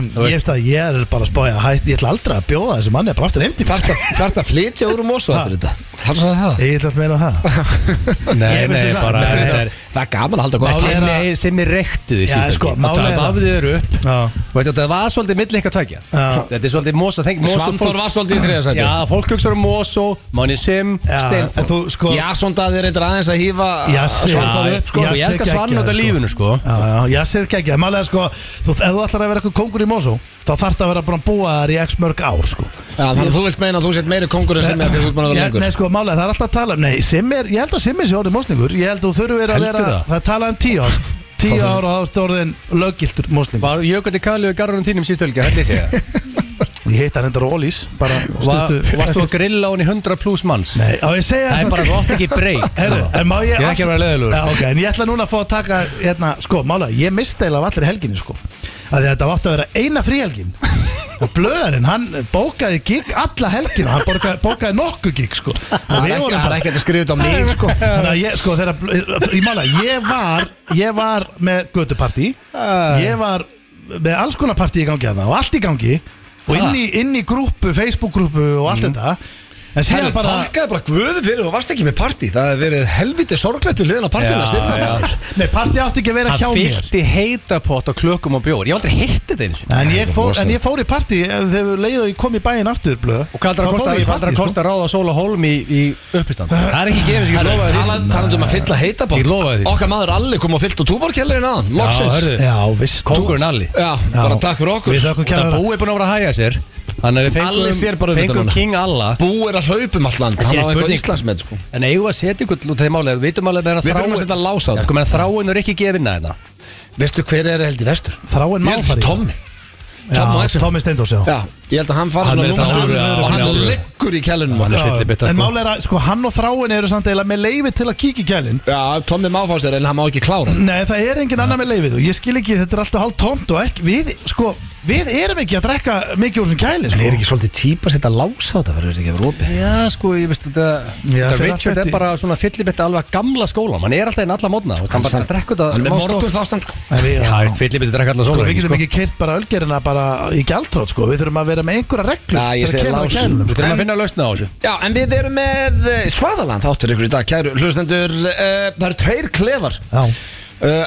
Speaker 2: Ég veist að ég er bara að spája hætt, Ég ætla aldrei að bjóða þessu manni bara aftur heim til
Speaker 1: Þarft að- þarft að flytja úr um osu eftir þetta Hann sagði það
Speaker 2: Ég ætla að meina það
Speaker 3: Nei,
Speaker 2: Ég
Speaker 3: nei,
Speaker 2: vissi það.
Speaker 3: bara
Speaker 2: Nei,
Speaker 3: þetta
Speaker 2: nei.
Speaker 3: er-
Speaker 1: Það er gaman að halda góð
Speaker 2: Málið er að-
Speaker 3: Simmi- Simmi rekti því
Speaker 2: Já, sko,
Speaker 3: síðan
Speaker 2: málið er
Speaker 3: Það
Speaker 2: það.
Speaker 3: bafði þér upp
Speaker 2: Já.
Speaker 3: Þú veist, þetta var svolítið milli eitthvað tækja
Speaker 2: Já.
Speaker 3: Þetta er svolítið mosa þeng- mosa-
Speaker 1: Svamþór var svolítið í þriðasæti
Speaker 3: Já, fólk hugsaður um Mosó, Máni Sim,
Speaker 2: en
Speaker 3: Steinþór
Speaker 2: þú sko
Speaker 1: Já, svona það er reyndar aðeins að hýfa
Speaker 2: Já, sí.
Speaker 1: Svamþór upp sko
Speaker 2: Já,
Speaker 3: Sko, ég elskar
Speaker 2: Siggi ekki
Speaker 3: svann út af
Speaker 2: það, sko.
Speaker 3: lífinu, sko
Speaker 2: Já, já, ég sér ekki ekki, málega sko þú, Ef þú ætlar að vera eitthvað kongur í Mosó Þá þarf það að vera búin að búa þar í x mörg ár sko
Speaker 1: Já, þannig að þú vilt meina að þú sett meiri kongur en sem ég að því þú ert mann að vera
Speaker 2: Ég-
Speaker 1: lengur
Speaker 2: Nei sko, málega það er alltaf að tala um Nei, sem er, ég held að Simmi sé orðið moslingur Ég held að þú þurfur að
Speaker 3: Heldur
Speaker 2: vera
Speaker 3: það?
Speaker 2: Það er talað um tíu ár Tíu ár og þá ertu orðin löggiltur moslingur
Speaker 3: Var Jökull í kallu í garðunum þínum síðtölgi, held ég
Speaker 2: [LAUGHS]
Speaker 3: segja
Speaker 2: Ég heit hann endur Ólís Bara
Speaker 3: Var-
Speaker 2: stuttu
Speaker 3: Varst þú að grilla hún í 100 pluss manns?
Speaker 2: Nei, á ég segja
Speaker 3: Það er
Speaker 2: samt-
Speaker 3: bara gott ekki sko. breyk
Speaker 2: Herru, en má ég
Speaker 3: Ég er ekki að vera sko. leiðilegur,
Speaker 2: Já, ok, en ég ætla núna að fá að taka hérna, sko, mála, ég misteila af allir helginni, sko að þetta átti að vera eina fríhelgin og blöðarinn, hann bókaði gig alla helgin, hann bókaði, bókaði nokku gig,
Speaker 3: [LAUGHS]
Speaker 2: sko
Speaker 1: Það er ekki- það er ekkert að skrifa þetta á mig sko
Speaker 2: Þannig að ég, sko, þegar, ég mála, ég var ég var með gödupartí ég var með alls konar partí í gangi þarna og allt í gangi og inn í, inn í grúpu, Facebook-grúpu og allt
Speaker 3: Mm.
Speaker 2: þetta en
Speaker 1: Herru,
Speaker 2: síðan bara
Speaker 1: þakkaði bara guðu fyrir þú varst ekki með partí Það hefur verið helviti sorglegt við liðin á partína
Speaker 3: Já,
Speaker 1: seinna.
Speaker 3: já.
Speaker 2: Nei, partí átti ekki að vera hjá
Speaker 3: Hann
Speaker 2: mér
Speaker 3: fylgti heitapott á klökum og bjór Ég hef aldrei hirti þetta einu sinni
Speaker 2: En ég, fór, en ég fór í partí eh, þegar leiðu ég kom í bæinn aftur blöð,
Speaker 3: Og hvað
Speaker 2: þá fór ég í
Speaker 3: er
Speaker 2: partí
Speaker 3: að
Speaker 2: sko.
Speaker 3: kosta ráða sól og hólm í, í uppistand? Það er ekki gefið, ég
Speaker 1: Herru,
Speaker 3: lofa þér
Speaker 1: tala- Talandi um að fylla heita bótt
Speaker 3: Ég lofaði því.
Speaker 1: Okkar maður Alli kom og fyllt á túborkjellirinn aðan
Speaker 3: Já,
Speaker 1: Loksins
Speaker 3: hörðu,
Speaker 2: Já, visst
Speaker 3: kongurinn Alli
Speaker 1: Já, bara takk fyrir okkur
Speaker 2: Við þökkum
Speaker 3: Það
Speaker 2: kærlega.
Speaker 3: búið búin að vera að hæja sér Þannig að við
Speaker 1: Alli sér bara um
Speaker 3: fengum,
Speaker 1: þetta
Speaker 3: fengum
Speaker 1: núna.
Speaker 3: King Alla
Speaker 1: Bú er að hlaupum allan
Speaker 3: Það sé
Speaker 1: Hann á eitthvað
Speaker 3: spurning.
Speaker 1: Íslandsmet sko
Speaker 3: En eigum við að setja ykkur út af því málið Við vitum alveg að
Speaker 1: Við þurfum að setja lás á
Speaker 3: Já,
Speaker 1: þetta.
Speaker 3: sko, menn þráin er ekki gefinna hérna
Speaker 1: Veistu hver er held í vestur?
Speaker 2: Þráinn
Speaker 1: Ég held
Speaker 2: Málfari.
Speaker 1: að Tommy Tommy og
Speaker 2: Já,
Speaker 1: Axel
Speaker 2: Tommy Steindors, já
Speaker 1: Já, ég held að hann fara
Speaker 3: Hann
Speaker 1: svona
Speaker 3: er þetta
Speaker 1: núna
Speaker 3: alvöru, já,
Speaker 1: Og
Speaker 3: hann er
Speaker 1: hann
Speaker 3: alvöru.
Speaker 1: leggur í kjælunum
Speaker 3: Hann
Speaker 1: hann
Speaker 3: er
Speaker 2: Já,
Speaker 3: fyllibitta,
Speaker 2: En
Speaker 3: sko.
Speaker 2: máli er að sko, hann og þráin eru samt eiginlega með leifi til að kíkja í gælin
Speaker 1: Já, Tommy má fá sér en hann má ekki klára
Speaker 2: Nei, það er engin annar með leifið og ég skil ekki, þetta er alltaf hálf tómt og ekki, við, sko, við erum ekki að drekka mikið úr þessum kæli, sko.
Speaker 1: ekki svolítið típa að setja lása á þetta fyrir þetta ekki að vera opið
Speaker 3: Já, sko, ég veist þetta
Speaker 2: Já,
Speaker 3: þetta
Speaker 2: fer allt
Speaker 3: Richard
Speaker 2: eftir-
Speaker 3: er bara svona fyllibitta alveg að gamla skólan Hann er alltaf inn alla mótna Hann bara drekkur þetta
Speaker 1: Hann er
Speaker 3: má
Speaker 1: með
Speaker 3: stopp.
Speaker 1: morgun þástan sko
Speaker 2: En við,
Speaker 3: Já,
Speaker 2: já,
Speaker 3: veist, fyllibitta drekka alla
Speaker 2: sko,
Speaker 3: skólan
Speaker 2: við getum ekki keirt bara ölgerina bara í gjaldtrótt, sko, við þurfum að vera með einhverja reglur
Speaker 1: Já, ég segi
Speaker 2: til að keyra á
Speaker 1: lás.
Speaker 2: gælunum,
Speaker 3: Við
Speaker 2: sko.
Speaker 3: þurfum að finna lausna á þessu
Speaker 1: Já, en við erum með eh, Svaðaland þáttur ykkur í dag, kæru hlustendur uh, Það eru tveir klefar uh,
Speaker 2: Já,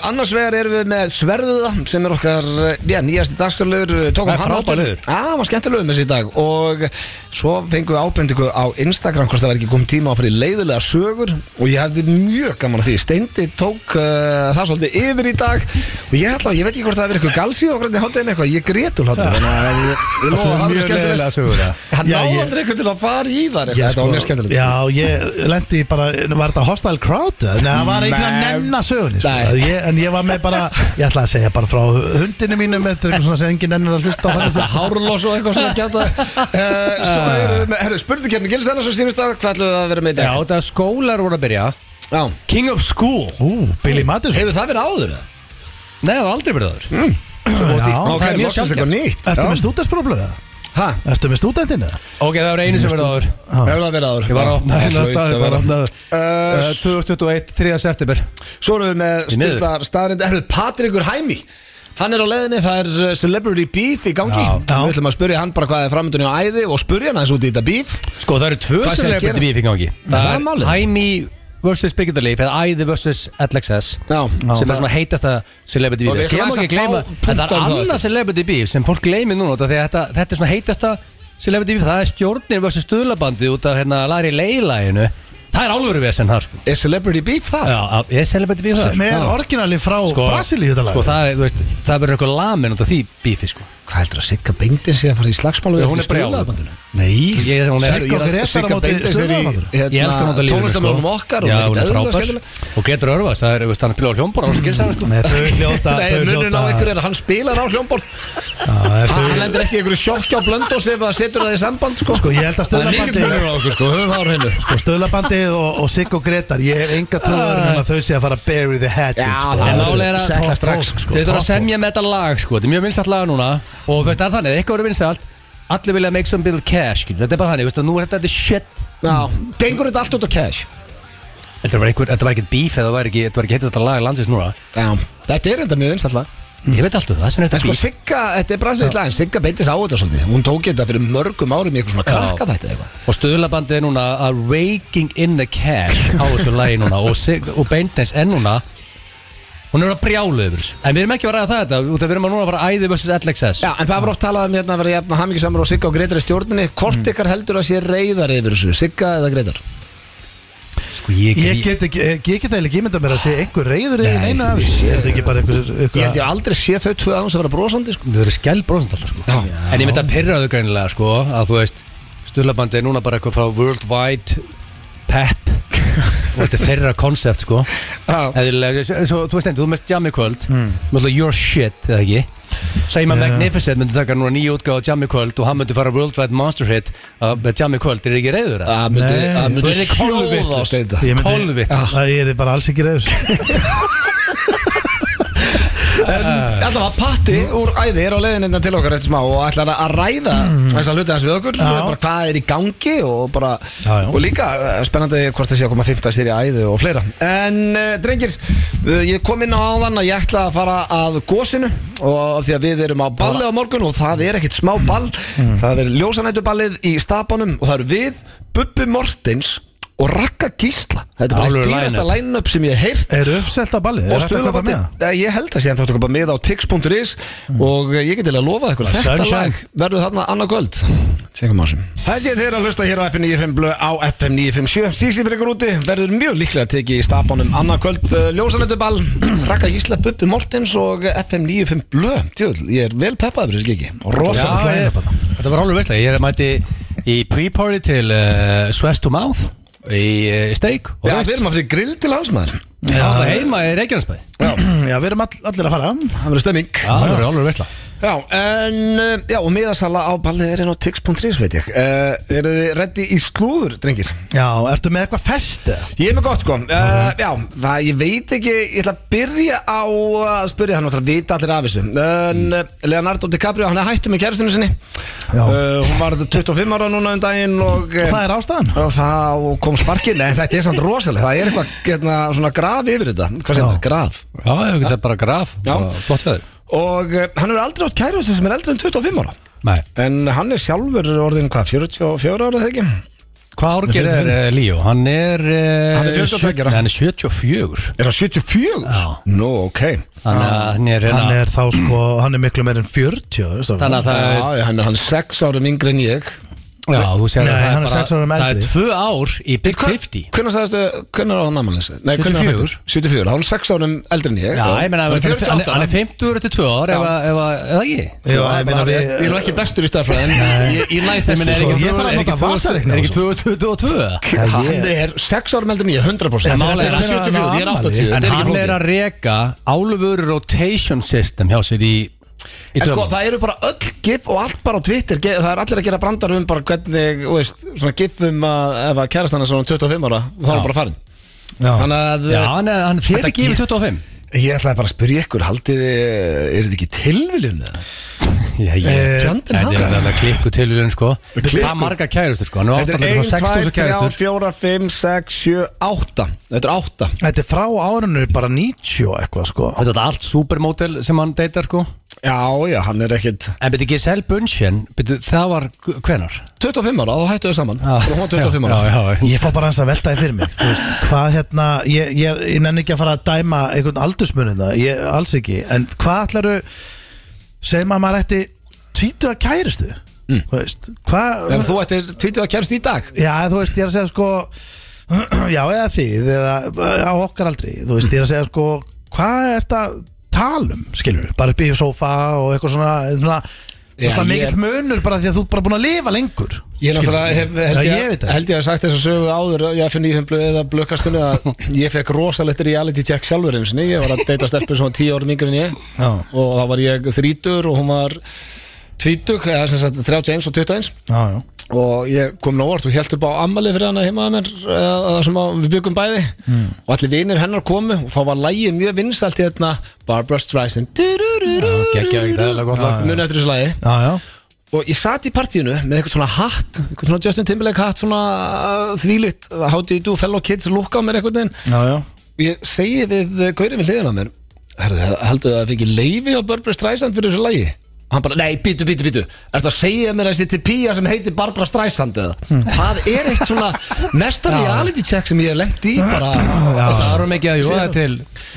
Speaker 1: Annars vegar erum við með Sverðuða sem er okkar, eh, já, nýjasti dagskarlegur Tókum
Speaker 3: Það er
Speaker 1: hann
Speaker 3: frábær liður.
Speaker 1: Já, hann var skemmtilegur með sér í dag og svo fengum við ábendingu á Instagram hvort það var ekki komið tíma á fyrir leiðilega sögur og ég hefði mjög gaman að því Steindi tók uh, það svolítið yfir í dag og ég ætla, ég veit ekki hvort það er eitthvað galsi og hvernig hátta eitthvað, ég grétul hátta þannig að ég, ég lofa að það verður skemmtilegt.
Speaker 3: sögur
Speaker 1: Hann
Speaker 2: Já,
Speaker 1: náði
Speaker 2: ég-
Speaker 1: aldrei eitthvað til að fara í þar eitthvað, sko. Þetta var mjög skemmtilegt
Speaker 2: Já, ég lendi bara, var þetta hostile crowd? eða? Nei, það var eitthvað að
Speaker 1: Nei.
Speaker 2: nenna sögunni, sko.
Speaker 1: Nei.
Speaker 2: Ég, en ég var með bara, ég ætla að segja bara frá hundinu mínum, þetta er eitthvað svona sem enginn ennur að hlusta á hann, sko.
Speaker 1: Hárlós og eitthvað
Speaker 3: [LAUGHS]
Speaker 1: svona gæta uh, Svo eru við með, herru, spurningkjarni Gils Ennars og sínist að hvað ætlum við að vera með í
Speaker 3: Já,
Speaker 1: dag?
Speaker 3: þetta er skólar voru að byrja
Speaker 1: Já, Já.
Speaker 3: King of School
Speaker 2: Ú, Billy Madison.
Speaker 1: Hefur það verið áður?
Speaker 3: Nei, það var aldrei byrjað þaður
Speaker 1: Mm.
Speaker 2: Já.
Speaker 3: það er mjög
Speaker 1: loksins
Speaker 3: sjaldgæft.
Speaker 1: eitthvað nýtt
Speaker 2: Ertu
Speaker 1: Já.
Speaker 2: með stúdentsprófblöða?
Speaker 1: Ha,
Speaker 2: Ertu með stúdentinu?
Speaker 3: Ok, það var einu sem verið áður
Speaker 1: hefur það verið áður?
Speaker 3: Ég var að opna
Speaker 1: Já,
Speaker 3: hérna
Speaker 1: hlaut
Speaker 3: þetta,
Speaker 1: að
Speaker 3: ég var
Speaker 1: vera.
Speaker 3: að opna það
Speaker 1: Eh,
Speaker 3: Eh, 2021, 3. september
Speaker 1: Svo erum við með
Speaker 3: Í niður.
Speaker 1: spurningar staðrind Herru, Patrikur Hæmi Hann er á leiðinni, það er eh, Celebrity Beef í gangi
Speaker 3: Já.
Speaker 1: Við ætlum að spurja hann bara hvað er framöndunni á æði og spurja hann aðeins út í þetta beef
Speaker 3: Sko, það eru tvö
Speaker 1: Hvað sé
Speaker 3: sem
Speaker 1: að
Speaker 3: er
Speaker 1: gera?
Speaker 3: betur við í gangi
Speaker 1: Það er
Speaker 3: Það
Speaker 1: málið.
Speaker 3: er Hæmi vs. Big Leaf eða Æði vs. LXS
Speaker 1: Já.
Speaker 3: sem er
Speaker 2: það-
Speaker 3: svona heitasta celebrity
Speaker 1: Og við
Speaker 3: beef
Speaker 1: ætlum
Speaker 3: ég má
Speaker 1: aðeins
Speaker 3: ekki
Speaker 1: að fá
Speaker 3: gleyma, en það
Speaker 1: punkta um
Speaker 3: er
Speaker 1: það
Speaker 3: annað celebrity beef sem fólk gleymir núna út af því að þetta, þetta er svona heitasta celebrity beef, það er stjórnir vs. stuðlabandi út af hérna Larry Leilæginu það er álveru vesen þar sko
Speaker 1: Er Celebrity Beef það?
Speaker 3: Já, ég er celebrity beef þar
Speaker 2: sem er
Speaker 3: Já.
Speaker 2: orginali frá sko, Brasilíu þetta lag
Speaker 3: sko, það, er, þú veist, það verður eitthvað lamin út af því bífi sko.
Speaker 1: Hvað heldur að Sigga Beintin sé að fara í slagsmálu
Speaker 3: Já, hún er brjáluð.
Speaker 1: Nei,
Speaker 3: Ég er- hún er-
Speaker 1: Herru, ég að-
Speaker 2: Sigga Grétar á
Speaker 1: Sigga
Speaker 2: móti
Speaker 1: Beintin sé í
Speaker 2: Sturlabandinu.
Speaker 3: ég elskar hann út af lífinu
Speaker 1: tónlistamálunum Hérna, okkar
Speaker 3: sko. Já,
Speaker 1: og
Speaker 3: hún er
Speaker 1: ekkert eðlilega
Speaker 3: frábær.
Speaker 1: skemmtileg.
Speaker 3: og Gretur Örvas, það er, þú veist, hann pilar á hljómbor og skilsa hann sko
Speaker 2: Nei, þau hljóta
Speaker 1: [LAUGHS] Nei,
Speaker 2: þau
Speaker 1: munurinn á ykkur
Speaker 2: hljóta
Speaker 1: er að hann spilar á hljómborð
Speaker 2: Já, er
Speaker 1: Hann
Speaker 2: þau-
Speaker 1: lendir ekki í ykkur sjokki á blöndóst ef það setur það í samband sko
Speaker 2: Sko, ég held að
Speaker 1: Það er líka
Speaker 2: Sturlabandið-
Speaker 1: munur á okkur sko, höfum það á hreinu
Speaker 2: sko, stöðlabandið og, og Sigg og Gretar ég hef enga trúður en að þau sé að fara að bury the hatchet
Speaker 1: Já,
Speaker 2: sko.
Speaker 1: það er
Speaker 2: eru
Speaker 1: málið er að-
Speaker 2: top
Speaker 1: Sækla strax,
Speaker 2: fólk,
Speaker 3: sko, Þið þarf að
Speaker 2: top
Speaker 3: semja með þetta lag sko, þetta er mjög vinsalt lag núna og þú veist það er þannig, ef eitthvað verður vinsalt allir vilja make some bill cash, skil. þetta er bara þannig, þú veist að nú er þetta þetta er shit
Speaker 1: Já, gengur þetta allt út á cash
Speaker 3: Þetta var, einhver, þetta var ekkert beef eða það var ekki, þetta var ekki heitast þetta lag landsins núna
Speaker 1: Já, þetta er enda mjög einstaklega
Speaker 3: Ég veit alltaf það sem er
Speaker 1: En
Speaker 3: þetta
Speaker 1: sko
Speaker 3: beef
Speaker 1: Sigga, þetta er bransinslega en Sigga Beintis á þetta svolítið Hún tók þetta fyrir mörgum árum í eitthvað svona
Speaker 3: Já.
Speaker 1: krakkafætti eða eitthvað
Speaker 3: Og stöðlabandið er núna að raking in the cash á þessu lagi núna og, sig, og beintens er núna hún er að brjálu yfir þessu En við erum ekki að ræða það þetta, út af við erum að núna að fara æði vs. LXS
Speaker 1: Já, en það var oft talað um hérna að vera jafn og hamingisamur og Sigga og Gretar í stjórninni Hvort ykkar heldur að sé reyðar yfir þessu, Sigga eða Gretar?
Speaker 3: Sko ég,
Speaker 2: ég get ekki, ég ég get eiginlega ekki ímynda mér að sé einhver reyður
Speaker 1: Nei,
Speaker 2: eða eina af
Speaker 1: ég
Speaker 2: þessu
Speaker 1: sé-
Speaker 2: er þetta ekki bara einhver
Speaker 1: Ég held
Speaker 2: einhver-
Speaker 1: ég aldrei sé þau tvö aðeins að vera brosandi sko.
Speaker 3: Þau eru skælbrósand alltaf sko
Speaker 1: Já.
Speaker 3: En ég myndi að pyrra þau greinilega sko Að þú veist, stulabandi er núna bara eitthvað frá Worldwide Pep Og þetta er þeirra konsept sko
Speaker 1: Já,
Speaker 3: Eðlilega, eins og- eins og þú veist endi, þú mest jammi kvöld
Speaker 1: Hmm.
Speaker 3: Mjög mm. your shit, eða ekki Seima Magnificent myndi taka núna nýja útgáð á jammi kvöld Og hann myndi fara Worldwide Monster Hit uh, Með jammi kvöld, er ekki reyður það?
Speaker 1: það myndi,
Speaker 2: Nei.
Speaker 1: það
Speaker 3: Þú
Speaker 1: myndi
Speaker 3: yrðir
Speaker 1: sjóða á
Speaker 3: kolvitlaus.
Speaker 1: steita
Speaker 2: Ah. Ég myndi-
Speaker 3: Kolvitt
Speaker 2: það er bara alls ekki reyður
Speaker 1: Alltaf að patti úr æði er á leiðinina til okkar eftir smá og ætlar að ræða þess að hluti hans við okkur bara, hvað er í gangi og bara
Speaker 2: Já, já.
Speaker 1: og líka eh, spennandi hvort það sé að koma 15 sér í æði og fleira en uh, drengir, uh, ég kom inn á áðan að ég ætla að fara að gósinu og því að við erum á balli á morgun og það er ekkit smá ball það er ljósanættuballið í stapanum og það eru við Bubbi Mortens og Rakka Gísla þetta er bara
Speaker 3: Alvöru
Speaker 1: eitt dýrasta line-up sem ég hef heyrt
Speaker 2: Eru uppselt á ballið?
Speaker 1: og
Speaker 2: Er hægt að kaupa
Speaker 1: stuðlabandi,
Speaker 2: miða?
Speaker 1: ég held að sé hann þáttu að köpa miða á tix.is og eh, ég get eiginlega að lofa ykkur að þetta
Speaker 3: Sunshine.
Speaker 1: lag verður þarna annað kvöld tjekum á þessum Held ég þeir að hlusta hér á FM 95 blöð á FM 957 Sísi fyrir ykkur úti verður mjög líklega að teki í stapanum annað kvöld [CLEARS THROAT] ljósanönduball Rakka Gísla Bubbi Mortens og eh, FM 95 blöð Tjóðl, ég er vel peppaður fyrir skiki
Speaker 2: Rosa.
Speaker 1: rosa
Speaker 2: Rosalega klæðin upp
Speaker 3: Já,
Speaker 2: þarna.
Speaker 3: ég- þetta var alveg veistlega Ég er að mæti í pre-party til uh, Sweats to Mouth Í uh, steak og
Speaker 1: Já,
Speaker 3: rautt.
Speaker 1: við erum að fyrir grill til hásmaður
Speaker 3: Ég á það heima í Reykjanesbæði
Speaker 2: [CLEARS THROAT] Já, við erum all, allir að fara
Speaker 1: Það verður stemming
Speaker 3: Já, það var alveg veistlega
Speaker 1: Já, en, uh, já, og miðasala á ballið er inn á tix.is, veit ég uh, Eru þið reddi í slúður, drengir?
Speaker 2: Já, ertu með eitthvað fest eða?
Speaker 1: Ég er með gott, sko uh, Já, það, ég veit ekki, ég ætla að byrja á að spyrja hann og það vita allir af þessu En, uh, Leonardo DiCaprio, hann er hættu með kæristinu sinni
Speaker 2: Já.
Speaker 1: uh, Hún var 25 ára núna um daginn og, eh,
Speaker 2: Og það er ástæðan?
Speaker 1: Og það og kom sparkið, nei, þetta er samt rosalega Það er eitthvað, getna, svona graf yfir þetta Hvað sem
Speaker 2: Já.
Speaker 1: það, graf
Speaker 3: Já, ég hef ekki sett bara graf
Speaker 1: Já.
Speaker 3: bara Flott við
Speaker 1: Og uh, hann er aldrei átt kæristu sem er eldri en 25 ára
Speaker 3: Nei,
Speaker 1: En hann er sjálfur orðin hvað, 44 ára þegar ekki?
Speaker 3: hvað árgerð er uh, Líó? Hann er uh,
Speaker 1: Hann er 42 ára.
Speaker 3: Nei, Hann er 74
Speaker 1: Er hann 74?
Speaker 3: Já.
Speaker 1: Nú, ok
Speaker 3: Þannig að hann er
Speaker 2: Hann
Speaker 3: hérna
Speaker 2: er þá sko, hann er miklu meir en 40 veist
Speaker 3: Þannig að það er
Speaker 1: Já, hann er hann 6 árum yngri en ég
Speaker 3: Já, þú
Speaker 2: Nei,
Speaker 3: sér að það
Speaker 2: hann er
Speaker 3: bara-
Speaker 2: sex árum
Speaker 3: Það er
Speaker 2: eldri.
Speaker 3: tvö ár í Big 50
Speaker 1: Hvernig sagðist, hvernig er hann amalins?
Speaker 3: 74.
Speaker 1: 74, hann er 6 árum eldri en ég
Speaker 3: Já, ég meina
Speaker 1: Hann er
Speaker 3: hann er-
Speaker 1: 48
Speaker 3: hann er- hann er 50 eftir tvö ár ef
Speaker 1: Já.
Speaker 3: að, ef að, eða ekki
Speaker 2: Já,
Speaker 1: Það
Speaker 2: ég
Speaker 1: er
Speaker 2: meina
Speaker 1: bara-
Speaker 2: við
Speaker 1: Ég ég er nú ekki bestur í staðfræðin Ég ég næ þessu
Speaker 3: er
Speaker 1: sko.
Speaker 3: ekki
Speaker 2: ég þarf að
Speaker 3: er ekki
Speaker 2: nota
Speaker 3: 20
Speaker 2: vasareikni
Speaker 3: Er ekki
Speaker 2: og
Speaker 3: 2022 eða?
Speaker 2: ég-
Speaker 1: Hann er 6 árum eldri en ég, 100%
Speaker 2: En
Speaker 1: Mál
Speaker 2: fyrir
Speaker 1: er hann
Speaker 2: eftir að
Speaker 1: 74, ég er
Speaker 2: hann
Speaker 1: 80 þetta
Speaker 3: En
Speaker 1: ekki
Speaker 3: hann
Speaker 1: flókið.
Speaker 3: er að reka álfuru rotation system hjá sér í, í
Speaker 1: En sko,
Speaker 3: dömum.
Speaker 1: það eru bara öll gif og allt bara á Twitter ge- Það er allir að gera brandar um bara hvernig, þú veist, svona gif um að ef að kærast hann er svona 25 ára þá er
Speaker 3: Já.
Speaker 1: hann bara farin
Speaker 2: Já.
Speaker 1: Þannig að
Speaker 3: Já, hann, er- hann fyrir
Speaker 1: Þetta
Speaker 3: ekki yfir
Speaker 1: ge-
Speaker 3: 25
Speaker 1: Ég ætlaði bara að spyrja ykkur, haldið þið- er þetta ekki tilviljun eða?
Speaker 3: Já, ég
Speaker 1: fjandinn
Speaker 3: Þetta er
Speaker 1: hann.
Speaker 3: þetta klikku tilvíðun sko
Speaker 1: Klikku.
Speaker 3: Það er marga kærustur sko Hann er
Speaker 1: Þetta er
Speaker 3: áttandi
Speaker 1: 1, 2,
Speaker 3: svo
Speaker 1: 3,
Speaker 3: 6000 kærustur
Speaker 1: 4, 5, 6, 7, 8 Þetta er 8
Speaker 2: Þetta er frá árinu bara 90 og eitthvað sko
Speaker 3: Þetta er allt supermodel sem hann deytar sko
Speaker 1: Já, já, hann er ekkit
Speaker 3: En byrju Giselle Bunchen byrju, Það var hvenar?
Speaker 1: 25 ára, þá hættu þau saman
Speaker 3: Já.
Speaker 1: Og hún var 25 ára
Speaker 3: Já, já, já
Speaker 2: Ég fá bara hans að velta þið fyrir mig Þú veist, Hvað hérna, ég, ég, ég nenni ekki að fara að dæma einhvern aldursmunin það, ég, alls ekki En hvað ætlaru Segir maður að maður ætti tvítu að kærustu mm. veist, Hvað
Speaker 1: En þú ættir 20 að kærast í dag
Speaker 2: Já, þú veist, ég er að segja sko [CLEARS THROAT] Já, eða þið, eða á okkar aldrei Þú veist, ég er að segja sko Hvað er þetta talum, skilur um, Bara upp í sófa og eitthvað svona, svona
Speaker 1: Já,
Speaker 2: Það er
Speaker 1: ég-
Speaker 2: mikill munur bara því að þú ert bara búin að lifa lengur
Speaker 1: Ég er náttúrulega, hef, held,
Speaker 2: Já,
Speaker 1: ég,
Speaker 2: ég veit það.
Speaker 1: held ég að sagt þess að sögu áður ég finn í þeim blöð eða blökkastunni [LAUGHS] að ég fekk rosalegt reality check sjálfur einu sinni, ég var að deyta stelpur svona 10 árum yngri en ég
Speaker 2: Já.
Speaker 1: og þá var ég þrítur og hún var tvítug, eða sem sagt 31 og 21
Speaker 2: Já, já
Speaker 1: og ég kom návart og held upp á ammali fyrir hana heima að mér eða, sem að við byggum bæði
Speaker 3: Hmm.
Speaker 1: og allir vinir hennar komu og þá var lægið mjög vinsalt hérna Barbra Streisand
Speaker 3: geggjað, ekki, það er alveg gott lag.
Speaker 1: muni eftir þessu lægi
Speaker 2: Já, já,
Speaker 1: og ég satt í partíinu með eitthvað svona hatt eitthvað svona Justin Timberlake hatt svona uh, þvílitt, how do you do fellow kids lúkka á mér eitthvað neginn
Speaker 2: já, já.
Speaker 1: ég segi við Gaurið við hliðina á mér Herðu, heldur það að fengi leifi á Barbra Streisand fyrir þessu lagi? Og hann bara, nei, býtu, býtu, býtu Ertu að segja mér að þetta er pía sem heitir Barbra Streisand eða?
Speaker 3: Hmm.
Speaker 1: Það er eitt svona
Speaker 3: [LAUGHS]
Speaker 1: mesta reality check sem ég hef lengt í bara
Speaker 3: Það var mikið að jóða til